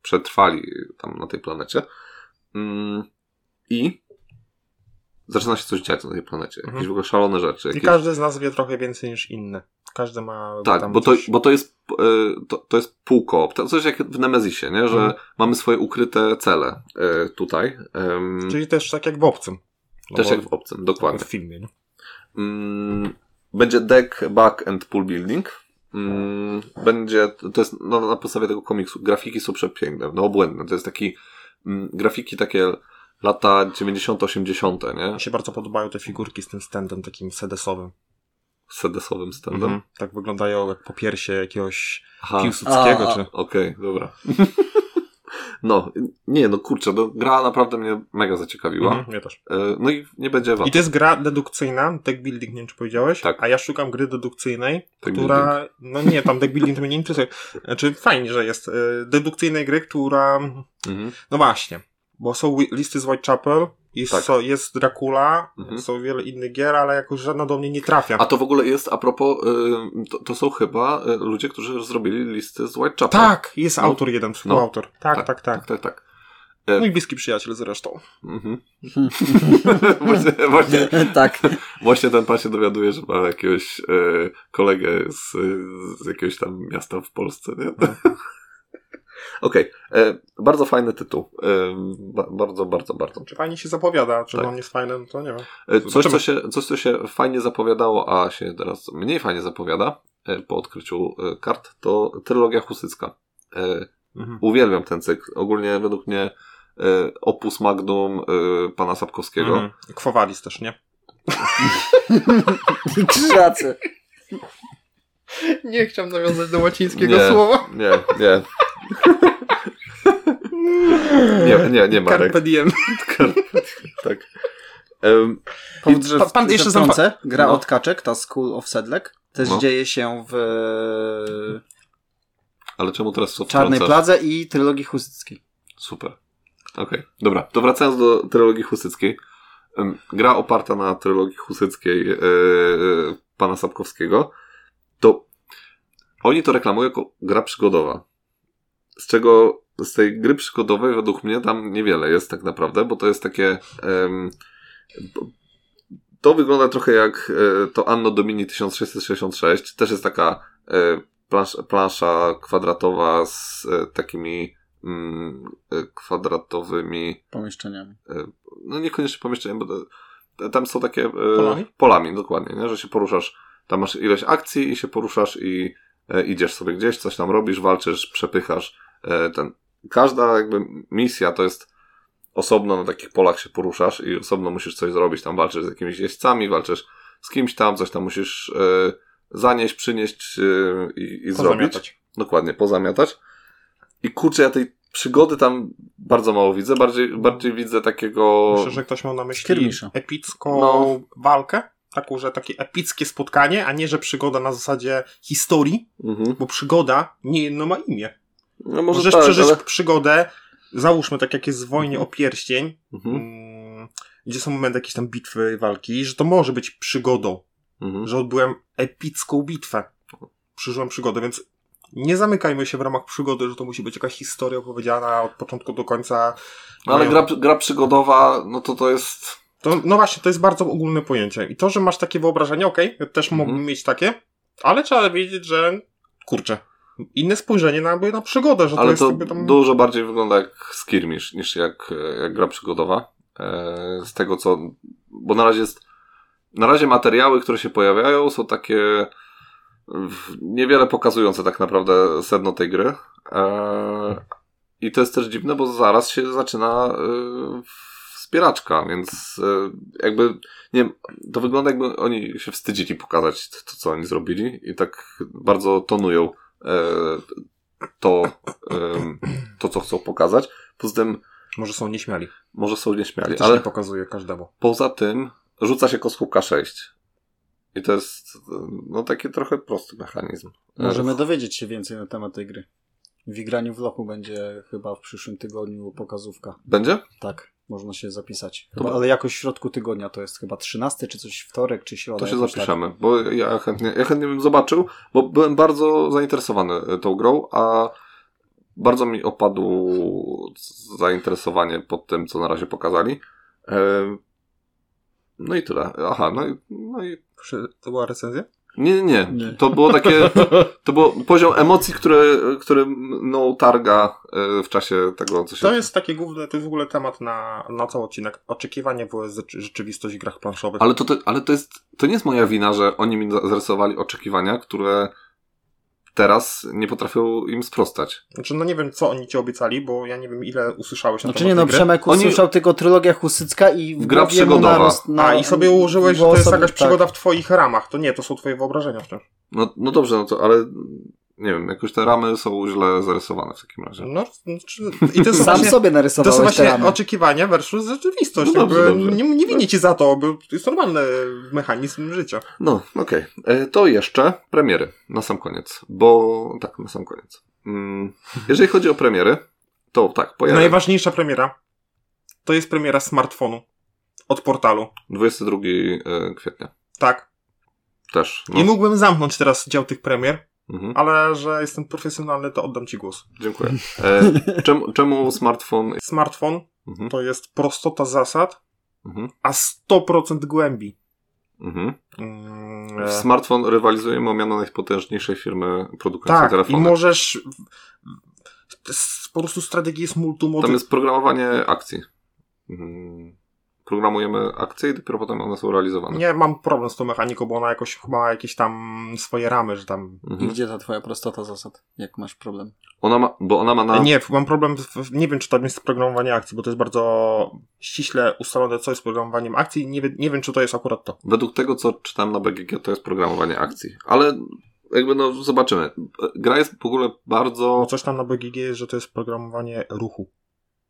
[SPEAKER 3] przetrwali tam na tej planecie. Mm, I zaczyna się coś dziać na tej planecie. Jakieś
[SPEAKER 2] Mhm.
[SPEAKER 3] w ogóle szalone rzeczy.
[SPEAKER 2] I
[SPEAKER 3] Jakieś...
[SPEAKER 2] każdy z nas wie trochę więcej niż inny. Każdy ma
[SPEAKER 3] Tak,
[SPEAKER 2] tam
[SPEAKER 3] bo to,
[SPEAKER 2] coś.
[SPEAKER 3] bo to jest e, to, to jest półkoop. To coś jak w Nemezisie, nie? że
[SPEAKER 2] Mhm.
[SPEAKER 3] mamy swoje ukryte cele e, tutaj. em,
[SPEAKER 2] Czyli też tak jak w obcym. No
[SPEAKER 3] Mhm. też
[SPEAKER 2] bo-
[SPEAKER 3] jak w obcym, tak. dokładnie.
[SPEAKER 2] w filmie. Nie?
[SPEAKER 3] Mm, Będzie deck, back and pool building. Mm, Będzie, to jest no, na podstawie tego komiksu. Grafiki są przepiękne, no obłędne. To jest taki, mm, grafiki takie lata 90-80, nie?
[SPEAKER 2] Mi się bardzo podobają te figurki z tym standem takim sedesowym.
[SPEAKER 3] Z sedesowym standem.
[SPEAKER 2] Mhm. Tak wyglądają jak po piersie jakiegoś
[SPEAKER 3] Aha,
[SPEAKER 2] Piłsudskiego.
[SPEAKER 1] A, a.
[SPEAKER 2] Czy...
[SPEAKER 3] okej, dobra. [LAUGHS] No, nie, no kurczę, no, gra naprawdę mnie mega zaciekawiła.
[SPEAKER 2] Mhm, ja też.
[SPEAKER 3] E, No i nie będzie wam.
[SPEAKER 2] I to jest gra dedukcyjna, deck building, nie wiem czy powiedziałeś,
[SPEAKER 3] Tak.
[SPEAKER 2] a ja szukam gry dedukcyjnej,
[SPEAKER 3] Deck
[SPEAKER 2] która, no nie, tam deck building to mnie nie interesuje. Znaczy fajnie, że jest y, dedukcyjnej gry, która,
[SPEAKER 3] Mhm.
[SPEAKER 2] no właśnie, bo są wi- listy z Whitechapel, jest,
[SPEAKER 3] Tak.
[SPEAKER 2] so, jest Dracula,
[SPEAKER 3] Mhm.
[SPEAKER 2] są wiele innych gier, ale jakoś żadna do mnie nie trafia.
[SPEAKER 3] A to w ogóle jest, a propos, y, to, to są chyba y, ludzie, którzy zrobili listy z Whitechapel.
[SPEAKER 2] tak, jest
[SPEAKER 3] No.
[SPEAKER 2] autor jeden, współautor. Tak, tak, tak.
[SPEAKER 3] Tak, tak, tak.
[SPEAKER 2] Mój bliski przyjaciel zresztą. [LAUGHS]
[SPEAKER 3] Mhm. właśnie, właśnie,
[SPEAKER 1] tak.
[SPEAKER 3] właśnie ten pan się dowiaduje, że ma jakiegoś e, kolegę z, z jakiegoś tam miasta w Polsce, nie?
[SPEAKER 2] No.
[SPEAKER 3] [LAUGHS] Okej, e, bardzo fajny tytuł. E, ba, bardzo, bardzo, bardzo.
[SPEAKER 2] Czy fajnie się zapowiada, czy
[SPEAKER 3] Tak.
[SPEAKER 2] on jest fajny, no to nie wiem.
[SPEAKER 3] E, Coś co,
[SPEAKER 2] Zobaczymy.
[SPEAKER 3] się, coś, co się fajnie zapowiadało, a się teraz mniej fajnie zapowiada e, po odkryciu e, kart, to trylogia Husycka. E,
[SPEAKER 2] Mhm.
[SPEAKER 3] Uwielbiam ten cykl. Ogólnie według mnie e, opus magnum e, pana Sapkowskiego.
[SPEAKER 2] Mhm. Kwowalis też, nie?
[SPEAKER 1] Krzyżacy.
[SPEAKER 2] Nie chciałem nawiązać do łacińskiego
[SPEAKER 3] Nie.
[SPEAKER 2] słowa.
[SPEAKER 3] Nie, nie, nie, nie, nie Marek.
[SPEAKER 2] Carpe diem.
[SPEAKER 3] Tak. Em,
[SPEAKER 1] Powód, że
[SPEAKER 2] pan-
[SPEAKER 1] pan,
[SPEAKER 2] pan jeszcze
[SPEAKER 1] jeszcze zamknę. Gra
[SPEAKER 3] no.
[SPEAKER 1] od kaczek, ta School of Sedlek, też
[SPEAKER 3] No.
[SPEAKER 1] dzieje się w e,
[SPEAKER 3] ale czemu teraz co
[SPEAKER 1] Czarnej
[SPEAKER 3] wtrącasz?
[SPEAKER 1] Pladze i trylogii Husyckiej.
[SPEAKER 3] Super. Okej, dobra. To wracając do trylogii husyckiej. Em, Gra oparta na trylogii husyckiej e, pana Sapkowskiego. To oni to reklamują jako gra przygodowa. Z czego z tej gry przygodowej według mnie tam niewiele jest tak naprawdę, bo to jest takie. em, bo- to wygląda trochę jak e, to Anno Domini 1666. Też jest taka e, plansza, plansza kwadratowa z e, takimi mm, e, kwadratowymi,
[SPEAKER 1] Pomieszczeniami.
[SPEAKER 3] no niekoniecznie pomieszczeniami, bo to- tam są takie e,
[SPEAKER 2] Polami?
[SPEAKER 3] polami dokładnie, nie? że się poruszasz, tam masz ileś akcji i się poruszasz i e, idziesz sobie gdzieś, coś tam robisz, walczysz, przepychasz. E, ten. Każda jakby misja to jest osobno na takich polach się poruszasz i osobno musisz coś zrobić, tam walczysz z jakimiś jeźdźcami, walczysz z kimś tam, coś tam musisz e, zanieść, przynieść e, i, i zrobić.
[SPEAKER 2] Pozamiatać.
[SPEAKER 3] Dokładnie, pozamiatać. I kurczę, ja tej przygody tam bardzo mało widzę. Bardziej, bardziej widzę takiego.
[SPEAKER 2] Myślę, że ktoś miał na myśli
[SPEAKER 1] Skirmisza.
[SPEAKER 2] epicką
[SPEAKER 3] No.
[SPEAKER 2] walkę. Taką, że takie epickie spotkanie, a nie, że przygoda na zasadzie historii,
[SPEAKER 3] Mhm.
[SPEAKER 2] bo przygoda nie jedno ma imię.
[SPEAKER 3] No może
[SPEAKER 2] Możesz
[SPEAKER 3] tak,
[SPEAKER 2] przeżyć
[SPEAKER 3] ale...
[SPEAKER 2] przygodę, załóżmy tak jak jest w wojnie o pierścień,
[SPEAKER 3] Mhm.
[SPEAKER 2] mm, gdzie są momenty jakieś tam bitwy i walki, że to może być przygodą,
[SPEAKER 3] Mhm.
[SPEAKER 2] że odbyłem epicką bitwę. Przeżyłem przygodę, więc nie zamykajmy się w ramach przygody, że to musi być jakaś historia opowiedziana od początku do końca.
[SPEAKER 3] No, ale
[SPEAKER 2] Mają-
[SPEAKER 3] gra, gra przygodowa, no to to jest.
[SPEAKER 2] To, no właśnie, to jest bardzo ogólne pojęcie. I to, że masz takie wyobrażenie, okej, ja też
[SPEAKER 3] Mhm.
[SPEAKER 2] mógłbym mieć takie, ale trzeba wiedzieć, że kurczę, inne spojrzenie na, na przygodę, że to
[SPEAKER 3] Ale
[SPEAKER 2] jest
[SPEAKER 3] to
[SPEAKER 2] jakby tam...
[SPEAKER 3] dużo bardziej wygląda jak skirmish niż jak, e, jak gra przygodowa. E, z tego co. Bo na razie jest. Na razie materiały, które się pojawiają, są takie. w- Niewiele pokazujące tak naprawdę sedno tej gry. E, I to jest też dziwne, bo zaraz się zaczyna e, wspieraczka, więc e, jakby. Nie wiem, to wygląda jakby oni się wstydzili pokazać to, co oni zrobili i tak bardzo tonują e, to, em, to, co chcą pokazać. Poza tym
[SPEAKER 2] Może są nieśmiali.
[SPEAKER 3] może są nieśmiali,
[SPEAKER 2] Ale... Też
[SPEAKER 3] ale
[SPEAKER 2] nie pokazuje każdemu.
[SPEAKER 3] poza tym rzuca się koskułka 6. I to jest no taki trochę prosty mechanizm.
[SPEAKER 1] Możemy dowiedzieć się więcej na temat tej gry. W igraniu w lochu będzie chyba w przyszłym tygodniu pokazówka.
[SPEAKER 3] Będzie?
[SPEAKER 1] Tak, można się zapisać.
[SPEAKER 3] Dobra.
[SPEAKER 1] Chyba, ale jakoś w środku tygodnia to jest chyba 13 czy coś wtorek czy środa.
[SPEAKER 3] To się
[SPEAKER 1] jakoś tak.
[SPEAKER 3] zapiszemy, bo ja chętnie, ja chętnie bym zobaczył, bo byłem bardzo zainteresowany e, tą grą, a bardzo mi opadło zainteresowanie pod tym, co na razie pokazali. E, No i tyle. Aha, no i, no i
[SPEAKER 2] Przy- To była recenzja?
[SPEAKER 3] nie, nie, nie.
[SPEAKER 1] Nie.
[SPEAKER 3] To było
[SPEAKER 2] [LAUGHS]
[SPEAKER 3] takie, to był poziom emocji, który, który no targa e, w czasie tego, co się...
[SPEAKER 2] To jest taki główny, to jest w ogóle temat na, na cały odcinek. Oczekiwanie w rzeczy- rzeczywistość w grach planszowych.
[SPEAKER 3] Ale to, te- ale to jest, to nie jest moja wina, że oni mi za- zarysowali oczekiwania, które teraz nie potrafią im sprostać.
[SPEAKER 2] Znaczy, no nie wiem, co oni ci obiecali, bo ja nie wiem, ile usłyszałeś na
[SPEAKER 1] Znaczy nie
[SPEAKER 2] temat
[SPEAKER 1] no,
[SPEAKER 2] tej gry.
[SPEAKER 1] Przemek
[SPEAKER 3] Oni-
[SPEAKER 1] usłyszał tylko trylogię Husycka i w
[SPEAKER 3] Gra
[SPEAKER 1] głowie mu
[SPEAKER 3] przygodowa.
[SPEAKER 1] narost- na-
[SPEAKER 2] A, i sobie ułożyłeś, że
[SPEAKER 1] no, było
[SPEAKER 2] to jest
[SPEAKER 1] sobie-
[SPEAKER 2] jakaś
[SPEAKER 1] tak.
[SPEAKER 2] przygoda w twoich ramach. To nie, to są twoje wyobrażenia w tym.
[SPEAKER 3] No, no dobrze, no to, ale nie wiem, jakoś te ramy są źle zarysowane w takim razie.
[SPEAKER 2] No, znaczy, i to
[SPEAKER 1] Sam
[SPEAKER 2] jest właśnie,
[SPEAKER 1] sobie
[SPEAKER 2] to są
[SPEAKER 1] narysowałeś te
[SPEAKER 2] właśnie
[SPEAKER 1] ramy.
[SPEAKER 2] oczekiwania versus rzeczywistość.
[SPEAKER 3] No dobrze,
[SPEAKER 2] Jakby
[SPEAKER 3] dobrze.
[SPEAKER 2] Nie, nie winię ci za to, bo to jest normalny mechanizm życia.
[SPEAKER 3] No, okej. E, To jeszcze premiery na sam koniec, bo tak, na sam koniec. Mm, jeżeli chodzi o premiery, to tak, pojawia się
[SPEAKER 2] Najważniejsza premiera to jest premiera smartfonu od portalu.
[SPEAKER 3] 22 e, kwietnia.
[SPEAKER 2] Tak.
[SPEAKER 3] Też.
[SPEAKER 2] Nie
[SPEAKER 3] No.
[SPEAKER 2] mógłbym zamknąć teraz dział tych premier,
[SPEAKER 3] Mhm,
[SPEAKER 2] ale że jestem profesjonalny, to oddam ci głos.
[SPEAKER 3] dziękuję. E, [LAUGHS] czemu, czemu smartfon.
[SPEAKER 2] Smartfon
[SPEAKER 3] Mhm,
[SPEAKER 2] to jest prostota zasad,
[SPEAKER 3] mhm,
[SPEAKER 2] a 100% głębi.
[SPEAKER 3] mhm.
[SPEAKER 2] Mm, e,
[SPEAKER 3] Smartfon rywalizuje o miano najpotężniejszej firmy produkującej
[SPEAKER 2] tak, i
[SPEAKER 3] telefony.
[SPEAKER 2] możesz... w- s- Po prostu strategii jest multumodalna.
[SPEAKER 3] Tam jest programowanie akcji. Mhm. Programujemy akcje i dopiero potem one są realizowane.
[SPEAKER 2] Nie, mam problem z tą mechaniką, bo ona jakoś chyba ma jakieś tam swoje ramy, że tam...
[SPEAKER 1] I
[SPEAKER 3] Mhm.
[SPEAKER 1] gdzie ta twoja prostota zasad? Jak masz problem?
[SPEAKER 3] Ona ma, bo ona ma na.
[SPEAKER 2] Nie, mam problem, w, nie wiem czy tam jest programowanie akcji, bo to jest bardzo ściśle ustalone, co jest programowaniem akcji i nie, wie, nie wiem, czy to jest akurat to.
[SPEAKER 3] Według tego, co czytałem na BGG, to jest programowanie akcji. Ale jakby no zobaczymy. Gra jest w ogóle
[SPEAKER 2] Bo
[SPEAKER 3] bardzo.
[SPEAKER 2] coś tam na BGG jest, że to jest programowanie ruchu.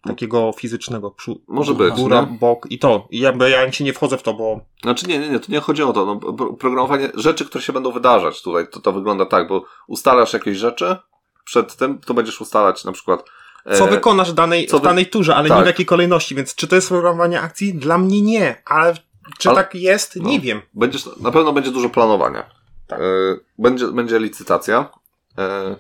[SPEAKER 2] Takiego fizycznego. Przy,
[SPEAKER 3] Może być,
[SPEAKER 2] Góra,
[SPEAKER 3] nie?
[SPEAKER 2] bok i to. I ja, ja się nie wchodzę w to, bo
[SPEAKER 3] Znaczy nie, nie, nie, tu nie chodzi o to. No, pro- programowanie rzeczy, które się będą wydarzać tutaj, to, to wygląda tak, bo ustalasz jakieś rzeczy przed tym, to będziesz ustalać na przykład. e,
[SPEAKER 2] co wykonasz danej,
[SPEAKER 3] co
[SPEAKER 2] w
[SPEAKER 3] wy-
[SPEAKER 2] danej turze, ale nie
[SPEAKER 3] tak.
[SPEAKER 2] w jakiej kolejności, więc czy to jest programowanie akcji? Dla mnie nie, ale czy
[SPEAKER 3] Ale-
[SPEAKER 2] tak jest? Nie
[SPEAKER 3] no.
[SPEAKER 2] wiem.
[SPEAKER 3] Będziesz, na pewno będzie dużo planowania.
[SPEAKER 2] Tak.
[SPEAKER 3] E, Będzie, będzie licytacja. E,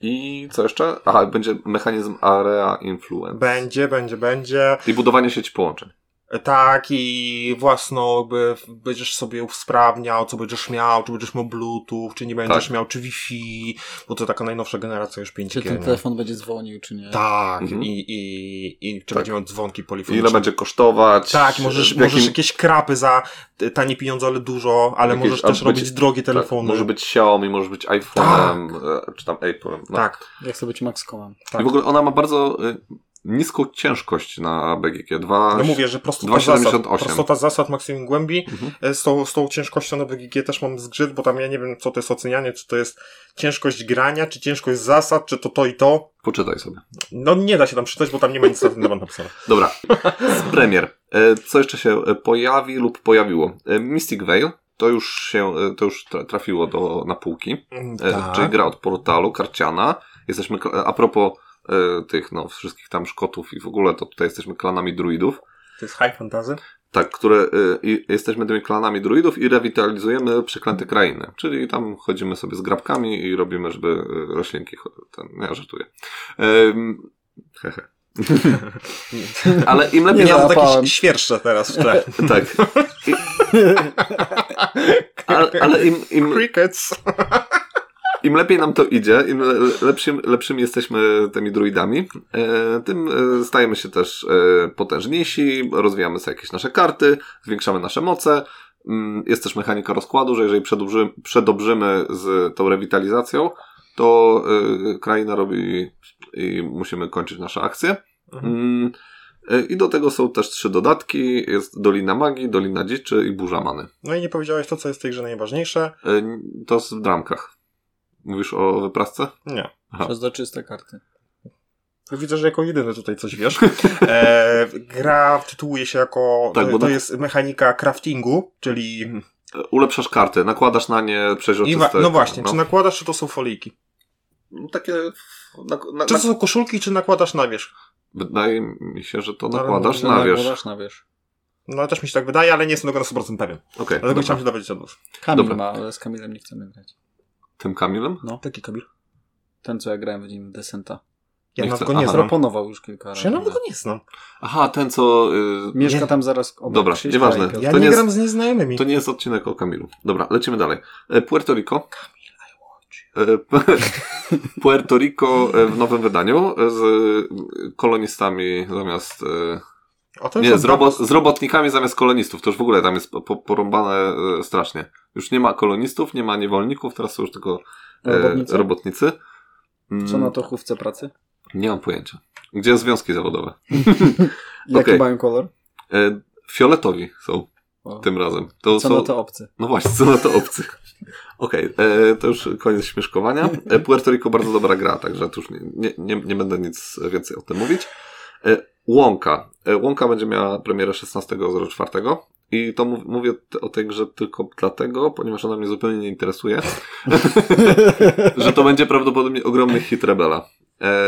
[SPEAKER 3] I co jeszcze? Aha, będzie mechanizm area influence.
[SPEAKER 2] Będzie, będzie, będzie.
[SPEAKER 3] I budowanie sieci połączeń.
[SPEAKER 2] Tak i własno jakby będziesz sobie usprawniał, co będziesz miał, czy będziesz miał Bluetooth, czy nie będziesz
[SPEAKER 3] Tak.
[SPEAKER 2] miał, czy Wi-Fi, bo to taka najnowsza generacja już 5G.
[SPEAKER 1] Czy ten
[SPEAKER 2] nie?
[SPEAKER 1] telefon będzie dzwonił, czy nie?
[SPEAKER 2] Tak,
[SPEAKER 3] Mhm.
[SPEAKER 2] i, i, i czy
[SPEAKER 3] Tak.
[SPEAKER 2] będzie miał dzwonki
[SPEAKER 3] Ile
[SPEAKER 2] polifoniczne.
[SPEAKER 3] Fundacja. będzie kosztować.
[SPEAKER 2] Tak, możesz,
[SPEAKER 3] w jakim-
[SPEAKER 2] możesz jakieś krapy za t- tanie pieniądze, ale dużo, ale
[SPEAKER 3] Jakieś-
[SPEAKER 2] możesz
[SPEAKER 3] a
[SPEAKER 2] też
[SPEAKER 3] być-
[SPEAKER 2] robić drogie
[SPEAKER 3] tak,
[SPEAKER 2] telefony.
[SPEAKER 3] Może być Xiaomi, może być iPhone'em, e, czy tam Apple'em. No.
[SPEAKER 2] Tak,
[SPEAKER 1] Jak sobie być Max Coman?
[SPEAKER 2] tak.
[SPEAKER 3] I w ogóle ona ma bardzo y, niską ciężkość na BGG. Dwa,
[SPEAKER 2] No mówię, że prostota
[SPEAKER 3] 2,78.
[SPEAKER 2] zasad, prostota zasad maksimum głębi.
[SPEAKER 3] Mhm.
[SPEAKER 2] E, Z tą, z tą ciężkością na BGG też mam zgrzyt, bo tam ja nie wiem, co to jest ocenianie, czy to jest ciężkość grania, czy ciężkość zasad, czy to to i to.
[SPEAKER 3] Poczytaj sobie.
[SPEAKER 2] No nie da się tam przeczytać, bo tam nie ma nic na ten temat napisane.
[SPEAKER 3] Dobra, z premier. E, Co jeszcze się e, pojawi lub pojawiło? E, Mystic Veil. To już się, e, to już tra- trafiło do, na półki.
[SPEAKER 2] Mm,
[SPEAKER 3] [LAUGHS] E,
[SPEAKER 2] tak.
[SPEAKER 3] Czyli gra od portalu Karciana. Jesteśmy, kla- a propos e, tych, no, wszystkich tam Szkotów i w ogóle, to tutaj jesteśmy klanami druidów.
[SPEAKER 2] To jest high fantasy?
[SPEAKER 3] Tak, które y, i- jesteśmy tymi klanami druidów i rewitalizujemy przeklęte krainy. Czyli tam chodzimy sobie z grabkami i robimy, żeby y, roślinki. cho- Ten, nie, ja żartuję. Ym, hehe. [LAUGHS] Ale im lepiej.
[SPEAKER 1] Nie
[SPEAKER 2] Miałem
[SPEAKER 1] załapałem.
[SPEAKER 2] takie świerszcze teraz w
[SPEAKER 1] [LAUGHS]
[SPEAKER 2] tle.
[SPEAKER 3] tak. I, ale ale im, im,
[SPEAKER 2] Crickets.
[SPEAKER 3] im lepiej nam to idzie, im le- lepszym, lepszymi jesteśmy tymi druidami, e, tym e, stajemy się też e, potężniejsi, rozwijamy sobie jakieś nasze karty, zwiększamy nasze moce. Mm, Jest też mechanika rozkładu, że jeżeli przedobrzy, przedobrzymy z tą rewitalizacją, to e, kraina robi i musimy kończyć nasze akcje.
[SPEAKER 2] Mhm.
[SPEAKER 3] Mm, e, I do tego są też trzy dodatki. Jest Dolina Magii, Dolina Dziczy i Burza Many.
[SPEAKER 2] No i nie powiedziałeś to, co jest w tej grze najważniejsze.
[SPEAKER 3] E, n- To jest w dramkach. Mówisz o wyprasce?
[SPEAKER 2] Nie.
[SPEAKER 3] Aha.
[SPEAKER 1] Przezroczyste karty.
[SPEAKER 2] Widzę, że jako jedyny tutaj
[SPEAKER 3] [LAUGHS]
[SPEAKER 2] coś wiesz. E, gra tytułuje się jako.
[SPEAKER 3] Tak,
[SPEAKER 2] to,
[SPEAKER 3] bo
[SPEAKER 2] to
[SPEAKER 3] tak- Mhm.
[SPEAKER 2] jest mechanika craftingu, czyli
[SPEAKER 3] E, ulepszasz karty, nakładasz na nie
[SPEAKER 2] I
[SPEAKER 3] przeźroczyste...
[SPEAKER 2] wa- no właśnie,
[SPEAKER 3] no.
[SPEAKER 2] czy nakładasz, czy to są foliki?
[SPEAKER 3] No Takie... Na, na,
[SPEAKER 2] Czy to
[SPEAKER 3] na,
[SPEAKER 2] są koszulki, czy nakładasz na wierzch?
[SPEAKER 3] wydaje mi się, że to
[SPEAKER 2] No,
[SPEAKER 3] nakładasz
[SPEAKER 1] Że
[SPEAKER 3] na wierzch.
[SPEAKER 1] Nakładasz na wierzch.
[SPEAKER 2] No też mi się tak wydaje, ale nie jestem tego na 100% pewien.
[SPEAKER 3] Okej,
[SPEAKER 2] Dlatego
[SPEAKER 3] dobra.
[SPEAKER 2] chciałem się dowiedzieć od was.
[SPEAKER 1] Kamil
[SPEAKER 3] Dobra.
[SPEAKER 1] ma, ale z Kamilem nie chcemy grać.
[SPEAKER 3] Tym Kamilem?
[SPEAKER 1] No,
[SPEAKER 2] Taki Kamil.
[SPEAKER 1] ten co ja grałem w nim, Descenta.
[SPEAKER 2] Ja
[SPEAKER 3] Nie
[SPEAKER 2] nie
[SPEAKER 3] chcę-
[SPEAKER 2] go nie
[SPEAKER 3] aha. no.
[SPEAKER 2] znam.
[SPEAKER 1] Proponował już kilka razy.
[SPEAKER 2] Ja nawet go nie znam.
[SPEAKER 3] Aha, ten co... y,
[SPEAKER 1] Mieszka
[SPEAKER 2] Nie.
[SPEAKER 1] tam zaraz obok
[SPEAKER 3] Dobra,
[SPEAKER 1] Krzyśka
[SPEAKER 3] nieważne.
[SPEAKER 1] i Piotra.
[SPEAKER 2] Ja
[SPEAKER 3] To
[SPEAKER 2] nie
[SPEAKER 3] nie
[SPEAKER 2] gram z nieznajomymi.
[SPEAKER 3] To nie jest odcinek o Kamilu. Dobra, lecimy dalej. E, Puerto Rico. E, p- [LAUGHS] Puerto Rico e, w nowym wydaniu e, z e, kolonistami zamiast. e,
[SPEAKER 2] O, to już
[SPEAKER 3] Nie,
[SPEAKER 2] od
[SPEAKER 3] z,
[SPEAKER 2] dawna-
[SPEAKER 3] robo, z robotnikami zamiast kolonistów. To już w ogóle tam jest po- po, porąbane e, strasznie. Już nie ma kolonistów, nie ma niewolników, teraz są już tylko e,
[SPEAKER 1] Robotnicy?
[SPEAKER 3] robotnicy. Mm,
[SPEAKER 1] Co na to chówce pracy?
[SPEAKER 3] Nie mam pojęcia. Gdzie związki zawodowe?
[SPEAKER 1] Jaki
[SPEAKER 3] Okej.
[SPEAKER 1] mają kolor?
[SPEAKER 3] E, Fioletowi są
[SPEAKER 1] O.
[SPEAKER 3] tym razem. To
[SPEAKER 1] Co
[SPEAKER 3] są...
[SPEAKER 1] na to
[SPEAKER 3] [LAUGHS]
[SPEAKER 1] obcy?
[SPEAKER 3] No właśnie, co na to obcy. [LAUGHS] Okej, e, to już koniec śmieszkowania. E, Puerto Rico bardzo dobra gra, także tu już nie, nie, nie, nie będę nic więcej o tym mówić. E, Łąka. E, Łąka będzie miała premierę 16.04. I to mów, mówię t- o tej grze tylko dlatego, ponieważ ona mnie zupełnie nie interesuje, że to będzie prawdopodobnie ogromny hit Rebela. E,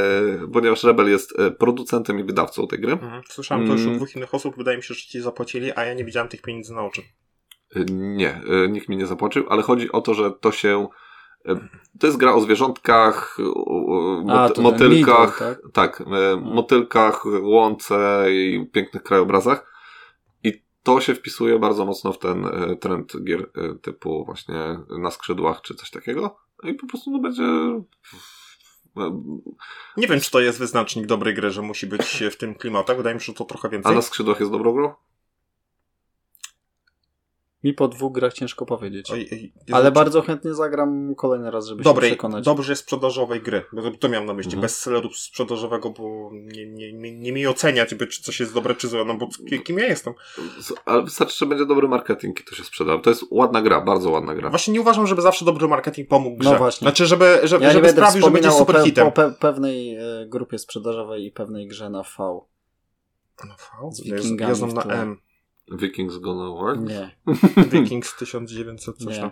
[SPEAKER 3] ponieważ Rebel jest e, producentem i wydawcą tej gry.
[SPEAKER 2] Mhm. Słyszałem to już od
[SPEAKER 3] Mm.
[SPEAKER 2] dwóch innych osób, wydaje mi się, że ci zapłacili, a ja nie widziałem tych pieniędzy na oczy.
[SPEAKER 3] Y, Nie, y, nikt mi nie zapłacił, ale chodzi o to, że to się. y, To jest gra o zwierzątkach, o- o mot-
[SPEAKER 1] A, to ten
[SPEAKER 3] motylkach,
[SPEAKER 1] Lidl, Mm.
[SPEAKER 3] tak, y, motylkach, łące i pięknych krajobrazach. I to się wpisuje bardzo mocno w ten y, trend gier y, typu właśnie na skrzydłach czy coś takiego. I po prostu no będzie.
[SPEAKER 2] Nie wiem, czy to jest wyznacznik dobrej gry, że musi być w tym klimatach. Wydaje mi się, że to trochę
[SPEAKER 3] A
[SPEAKER 2] więcej.
[SPEAKER 3] na skrzydłach jest dobrą grą?
[SPEAKER 1] Mi po dwóch grach ciężko powiedzieć.
[SPEAKER 2] Oj, ej, jest-
[SPEAKER 1] Ale bardzo chętnie zagram kolejny raz, żeby się
[SPEAKER 2] dobrej,
[SPEAKER 1] przekonać.
[SPEAKER 2] dobrze sprzedażowej gry. Bo to, to miałem na myśli.
[SPEAKER 3] Mhm.
[SPEAKER 2] Bez celeru sprzedażowego, bo nie, nie, nie, nie mi oceniać, by czy coś jest dobre, czy złe, no bo ki- kim ja jestem.
[SPEAKER 3] S- Ale wystarczy, że będzie dobry marketing i to się sprzeda. To jest ładna gra, bardzo ładna gra.
[SPEAKER 2] Właśnie nie uważam, żeby zawsze dobry marketing pomógł grze.
[SPEAKER 1] No właśnie.
[SPEAKER 2] Znaczy, żeby, żeby,
[SPEAKER 1] ja nie
[SPEAKER 2] żeby
[SPEAKER 1] będę
[SPEAKER 2] sprawił, że będzie
[SPEAKER 1] wspominał o,
[SPEAKER 2] super
[SPEAKER 1] pe-
[SPEAKER 2] hitem.
[SPEAKER 1] o pe- pewnej e, grupie sprzedażowej i pewnej grze na V.
[SPEAKER 2] No, fał,
[SPEAKER 1] Z
[SPEAKER 2] ja-
[SPEAKER 1] Wikingami
[SPEAKER 2] ja znam
[SPEAKER 1] w
[SPEAKER 2] na
[SPEAKER 1] tle. [LAUGHS]
[SPEAKER 2] M.
[SPEAKER 3] Vikings Gonna Work.
[SPEAKER 1] Nie,
[SPEAKER 2] Vikings 1900 coś
[SPEAKER 1] Nie.
[SPEAKER 2] tam.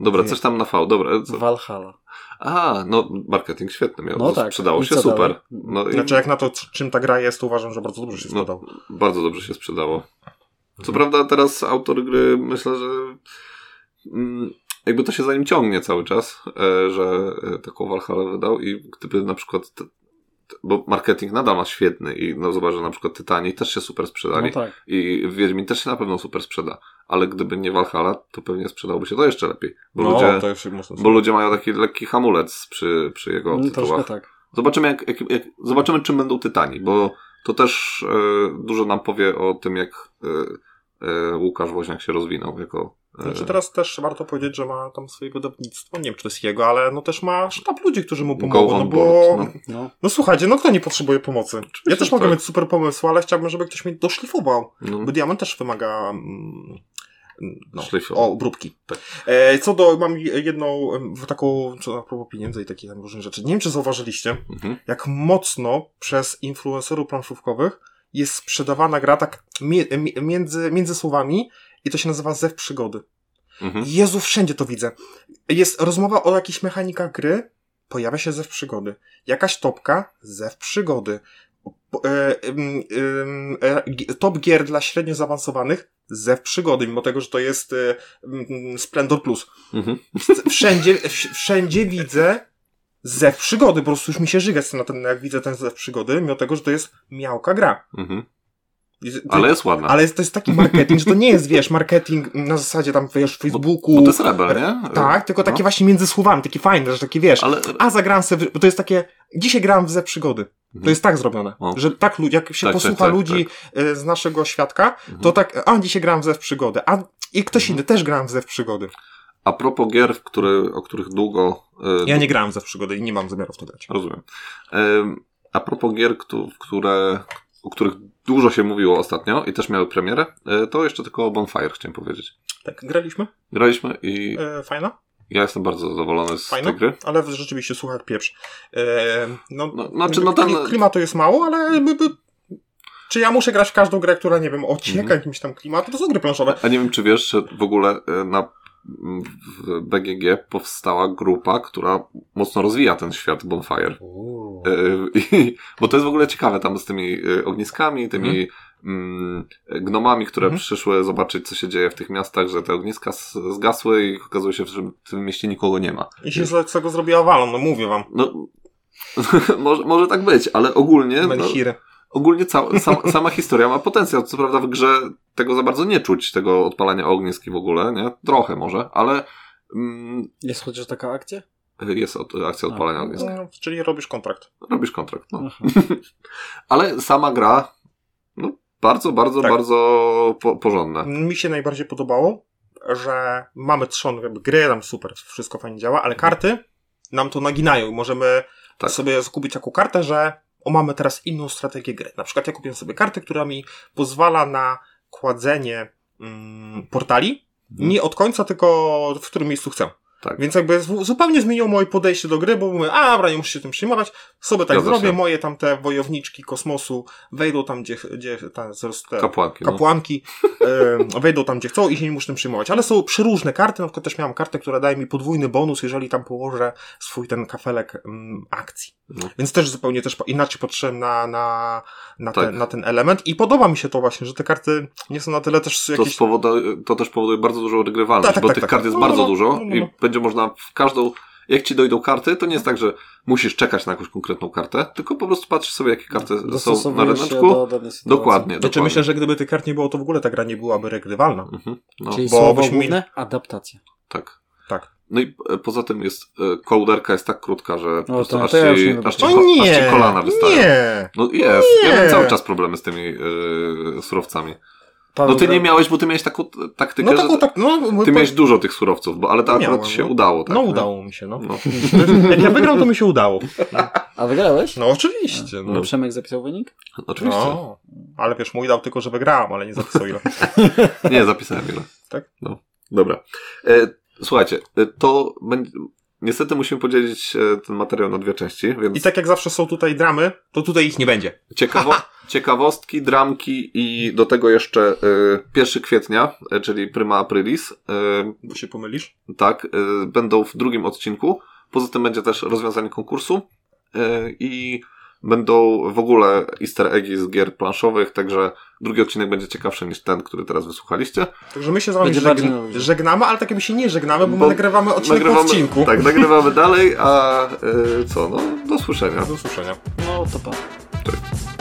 [SPEAKER 3] Dobra,
[SPEAKER 2] Nie.
[SPEAKER 3] coś tam na V, dobra. Co?
[SPEAKER 1] Valhalla.
[SPEAKER 3] A, no marketing świetny miał.
[SPEAKER 1] No
[SPEAKER 3] No
[SPEAKER 1] tak.
[SPEAKER 3] Sprzedało
[SPEAKER 1] I
[SPEAKER 3] się
[SPEAKER 1] co
[SPEAKER 3] super.
[SPEAKER 1] dalej?
[SPEAKER 3] No i
[SPEAKER 2] Znaczy, jak na to, c- czym ta gra jest, to uważam, że bardzo dobrze się
[SPEAKER 3] No.
[SPEAKER 2] sprzedał.
[SPEAKER 3] bardzo dobrze się sprzedało. Co prawda teraz autor gry myślę, że mm, jakby to się za nim ciągnie cały czas, e, że e, taką Valhalla wydał i gdyby na przykład te- te- bo marketing nadal ma świetny i no zobacz, że na przykład Tytani też się super
[SPEAKER 1] No
[SPEAKER 3] sprzedali
[SPEAKER 1] tak.
[SPEAKER 3] i Wiedźmin też się na pewno super sprzeda, ale gdyby nie Valhalla, to pewnie sprzedałoby się to jeszcze lepiej, bo,
[SPEAKER 2] No,
[SPEAKER 3] ludzie,
[SPEAKER 2] już można
[SPEAKER 3] bo ludzie mają taki lekki hamulec przy, przy jego
[SPEAKER 1] No, troszkę
[SPEAKER 3] tytułach.
[SPEAKER 1] tak.
[SPEAKER 3] Zobaczymy, jak, jak, jak, zobaczymy, czym będą Tytani, bo to też e, dużo nam powie o tym, jak e, e, Łukasz Woźniak się rozwinął jako. E,
[SPEAKER 2] Znaczy teraz też warto powiedzieć, że ma tam swoje wydawnictwo, nie wiem czy to jest jego, ale no też ma sztab ludzi, którzy mu
[SPEAKER 3] go
[SPEAKER 2] pomogą, no
[SPEAKER 3] on
[SPEAKER 2] bo...
[SPEAKER 3] board,
[SPEAKER 2] no.
[SPEAKER 1] No.
[SPEAKER 2] słuchajcie, no kto nie potrzebuje pomocy? Ja też
[SPEAKER 3] że
[SPEAKER 2] mogę
[SPEAKER 3] tak.
[SPEAKER 2] mieć super pomysł, ale chciałbym, żeby ktoś mnie doszlifował,
[SPEAKER 3] no,
[SPEAKER 2] bo diament też wymaga... Mm, no,
[SPEAKER 3] Szlifu.
[SPEAKER 2] o, obróbki.
[SPEAKER 3] Tak.
[SPEAKER 2] E, co do, mam jedną em, taką, co na propos pieniędzy i takich tam różnych rzeczy. Nie wiem, czy zauważyliście,
[SPEAKER 3] mhm.
[SPEAKER 2] jak mocno przez influencerów planszówkowych jest sprzedawana gra tak mi- mi- między, między słowami i to się nazywa zew przygody.
[SPEAKER 3] Mhm.
[SPEAKER 2] Jezu, wszędzie to widzę. Jest rozmowa o jakichś mechanikach gry, pojawia się zew przygody. Jakaś topka, zew przygody. Po- e, em, em, e, gi- Top gier dla średnio zaawansowanych, zew przygody, mimo tego, że to jest e, m, m, Splendor Plus.
[SPEAKER 3] Mhm.
[SPEAKER 2] Wszędzie, wsz- wszędzie widzę zew przygody, po prostu już mi się żygać na ten, jak widzę ten zew przygody, mimo tego, że to jest miałka gra.
[SPEAKER 3] Mhm.
[SPEAKER 2] I z-
[SPEAKER 3] Ale jest ładna.
[SPEAKER 2] ale jest, to jest taki marketing, że to nie jest, wiesz, marketing na zasadzie tam, wiesz, Facebooku.
[SPEAKER 3] Bo to jest rebel, nie?
[SPEAKER 2] Tak, tylko takie
[SPEAKER 3] No.
[SPEAKER 2] właśnie między słowami, takie fajne, że takie wiesz.
[SPEAKER 3] Ale
[SPEAKER 2] A zagram sobie, w- bo to jest takie, dzisiaj grałem w ze przygody. To
[SPEAKER 3] Mhm.
[SPEAKER 2] jest tak zrobione,
[SPEAKER 3] O.
[SPEAKER 2] że tak ludzi, jak się
[SPEAKER 3] Tak, tak,
[SPEAKER 2] posłucha
[SPEAKER 3] tak,
[SPEAKER 2] ludzi e, z naszego świadka, to
[SPEAKER 3] Mhm.
[SPEAKER 2] tak, a dzisiaj grałem w ze przygody, a i ktoś
[SPEAKER 3] Mhm.
[SPEAKER 2] inny też grałem w ze przygody.
[SPEAKER 3] a propos gier, w które, o których długo. e,
[SPEAKER 2] Ja nie grałem w ze przygody i nie mam zamiaru w to grać.
[SPEAKER 3] Rozumiem. Em, A propos gier, któ- w które, o których dużo się mówiło ostatnio i też miały premierę, e, to jeszcze tylko o Bonfire chciałem powiedzieć.
[SPEAKER 2] Tak, graliśmy,
[SPEAKER 3] Graliśmy i
[SPEAKER 2] e, fajna,
[SPEAKER 3] ja jestem bardzo zadowolony z
[SPEAKER 2] Fajno?
[SPEAKER 3] tej gry.
[SPEAKER 2] ale rzeczywiście słucha jak pieprz. E, no,
[SPEAKER 3] No, znaczy, no ten-
[SPEAKER 2] klimatu jest mało, ale by, by, Czy ja muszę grać w każdą grę, która, nie wiem, odcieka
[SPEAKER 3] Mhm.
[SPEAKER 2] jakimś tam klimatu? To są gry planszowe.
[SPEAKER 3] A nie wiem, czy wiesz, że w ogóle e, na w BGG powstała grupa, która mocno rozwija ten świat Bonfire. E, [LAUGHS] i- Bo to jest w ogóle ciekawe tam z tymi e, ogniskami, tymi mm, gnomami, które
[SPEAKER 2] Mhm.
[SPEAKER 3] przyszły zobaczyć, co się dzieje w tych miastach, że te ogniska s- zgasły i okazuje się, że w tym mieście nikogo nie ma.
[SPEAKER 2] I się z tego zrobiła Valon, no mówię wam.
[SPEAKER 3] No, [LAUGHS] może, może tak być, ale ogólnie... No,
[SPEAKER 2] Melchiry.
[SPEAKER 3] ogólnie ca- sam, sama historia ma potencjał. Co prawda w grze tego za bardzo nie czuć, tego odpalania ognisk i w ogóle, nie? Trochę może, ale mm,
[SPEAKER 1] Jest chociaż taka akcja?
[SPEAKER 3] jest od, akcja odpalania
[SPEAKER 1] A.
[SPEAKER 3] ognisk.
[SPEAKER 2] No, czyli robisz kontrakt.
[SPEAKER 3] Robisz kontrakt, no.
[SPEAKER 1] Aha.
[SPEAKER 3] Ale sama gra, no, bardzo, bardzo,
[SPEAKER 2] Tak. No,
[SPEAKER 3] bardzo po, porządna.
[SPEAKER 2] Mi się najbardziej podobało, że mamy trzon gry, tam super, wszystko fajnie działa, ale karty nam to naginają. Możemy
[SPEAKER 3] Tak.
[SPEAKER 2] sobie zakupić taką kartę, że o, mamy teraz inną strategię gry. Na przykład ja kupiłem sobie kartę, która mi pozwala na kładzenie mm, portali, nie od końca, tylko w którym miejscu chcę.
[SPEAKER 3] Mhm. Tak.
[SPEAKER 2] Więc jakby zu- zupełnie zmieniło moje podejście do gry, bo mówię, a dobra, nie muszę się tym przejmować, sobie tak
[SPEAKER 3] Zgadza
[SPEAKER 2] zrobię,
[SPEAKER 3] się.
[SPEAKER 2] moje tamte wojowniczki kosmosu wejdą tam, gdzie, gdzie tam, zaraz te
[SPEAKER 3] Kapłanki. No.
[SPEAKER 2] kapłanki e, wejdą tam, gdzie chcą i się nie muszę tym przejmować. Ale są przeróżne karty, na przykład też miałam kartę, która daje mi podwójny bonus, jeżeli tam położę swój ten kafelek mm, akcji.
[SPEAKER 3] No.
[SPEAKER 2] Więc też zupełnie też po- inaczej patrzyłem na, na, na,
[SPEAKER 3] Tak.
[SPEAKER 2] ten, na ten element i podoba mi się to właśnie, że te karty nie są na tyle też
[SPEAKER 3] To,
[SPEAKER 2] jakieś...
[SPEAKER 3] spowodu- to też powoduje bardzo dużą regrywalność,
[SPEAKER 2] Tak, tak,
[SPEAKER 3] bo
[SPEAKER 2] tak,
[SPEAKER 3] tych
[SPEAKER 2] tak.
[SPEAKER 3] kart jest
[SPEAKER 2] No,
[SPEAKER 3] bardzo
[SPEAKER 2] no, no,
[SPEAKER 3] dużo
[SPEAKER 2] no, no, no.
[SPEAKER 3] i będzie można w każdą. Jak ci dojdą karty, to nie jest tak, że musisz czekać na jakąś konkretną kartę, tylko po prostu patrzysz sobie, jakie karty są na
[SPEAKER 1] Dostosowujesz no. się
[SPEAKER 3] ryneczku.
[SPEAKER 1] do danej sytuacji.
[SPEAKER 3] Dokładnie.
[SPEAKER 2] Znaczy
[SPEAKER 3] dokładnie.
[SPEAKER 2] myślę, że gdyby tych kart nie było, to w ogóle ta gra nie byłaby regrywalna.
[SPEAKER 3] Mhm, no,
[SPEAKER 1] Czyli
[SPEAKER 2] bo
[SPEAKER 1] słowo
[SPEAKER 2] byśmy mieli-
[SPEAKER 1] główne? Adaptacja.
[SPEAKER 3] tak.
[SPEAKER 2] Tak.
[SPEAKER 3] No i e, poza tym jest e, kołderka jest tak krótka, że po
[SPEAKER 1] No
[SPEAKER 3] prostu
[SPEAKER 1] to-
[SPEAKER 3] aż,
[SPEAKER 1] to ja już
[SPEAKER 3] ci,
[SPEAKER 1] nie
[SPEAKER 3] aż, ci,
[SPEAKER 1] No
[SPEAKER 2] No
[SPEAKER 3] ko- aż
[SPEAKER 2] nie!
[SPEAKER 3] ci kolana wystają.
[SPEAKER 2] Nie!
[SPEAKER 3] No jest. Ja
[SPEAKER 2] Nie.
[SPEAKER 3] miałem cały czas problemy z tymi e, surowcami. No
[SPEAKER 1] Paweł
[SPEAKER 3] ty nie
[SPEAKER 1] Gra-
[SPEAKER 3] miałeś, bo ty miałeś taką t- taktykę,
[SPEAKER 2] No taką,
[SPEAKER 3] że
[SPEAKER 2] tak, no...
[SPEAKER 3] ty miałeś dużo tych surowców, bo, ale to akurat
[SPEAKER 2] Miałem,
[SPEAKER 3] ci się
[SPEAKER 2] no.
[SPEAKER 3] udało. Tak,
[SPEAKER 2] no
[SPEAKER 3] nie?
[SPEAKER 2] udało mi się, no.
[SPEAKER 3] No. [LAUGHS]
[SPEAKER 2] Jak ja wygram, to mi się udało.
[SPEAKER 1] A wygrałeś?
[SPEAKER 2] No oczywiście, no.
[SPEAKER 1] No. Przemek zapisał wynik?
[SPEAKER 3] Oczywiście.
[SPEAKER 2] No, ale wiesz, mój dał tylko, że wygrałem, ale nie zapisał ile.
[SPEAKER 3] Nie, zapisałem ile.
[SPEAKER 2] Tak?
[SPEAKER 3] No. Dobra. E, słuchajcie, e, to będzie... Niestety musimy podzielić e, ten materiał na dwie części, więc
[SPEAKER 2] I tak jak zawsze są tutaj dramy, to tutaj ich nie będzie.
[SPEAKER 3] ciekawo...
[SPEAKER 2] [LAUGHS]
[SPEAKER 3] ciekawostki, dramki i do tego jeszcze e, 1 kwietnia, e, czyli Prima Aprilis, e,
[SPEAKER 2] Bo się pomylisz?
[SPEAKER 3] tak, y, będą w drugim odcinku. Poza tym będzie też rozwiązanie konkursu y, i będą w ogóle easter eggi z gier planszowych, także drugi odcinek będzie ciekawszy niż ten, który teraz wysłuchaliście.
[SPEAKER 2] Także my się z wami
[SPEAKER 1] Będzie
[SPEAKER 2] żegn-
[SPEAKER 1] bardziej na luzie.
[SPEAKER 2] żegnamy, ale tak jakby się nie żegnamy, bo,
[SPEAKER 3] Bo
[SPEAKER 2] my nagrywamy odcinek po odcinku.
[SPEAKER 3] Tak, nagrywamy dalej, a y, co, no do słyszenia.
[SPEAKER 2] Do usłyszenia.
[SPEAKER 1] No to pa.
[SPEAKER 3] Cześć.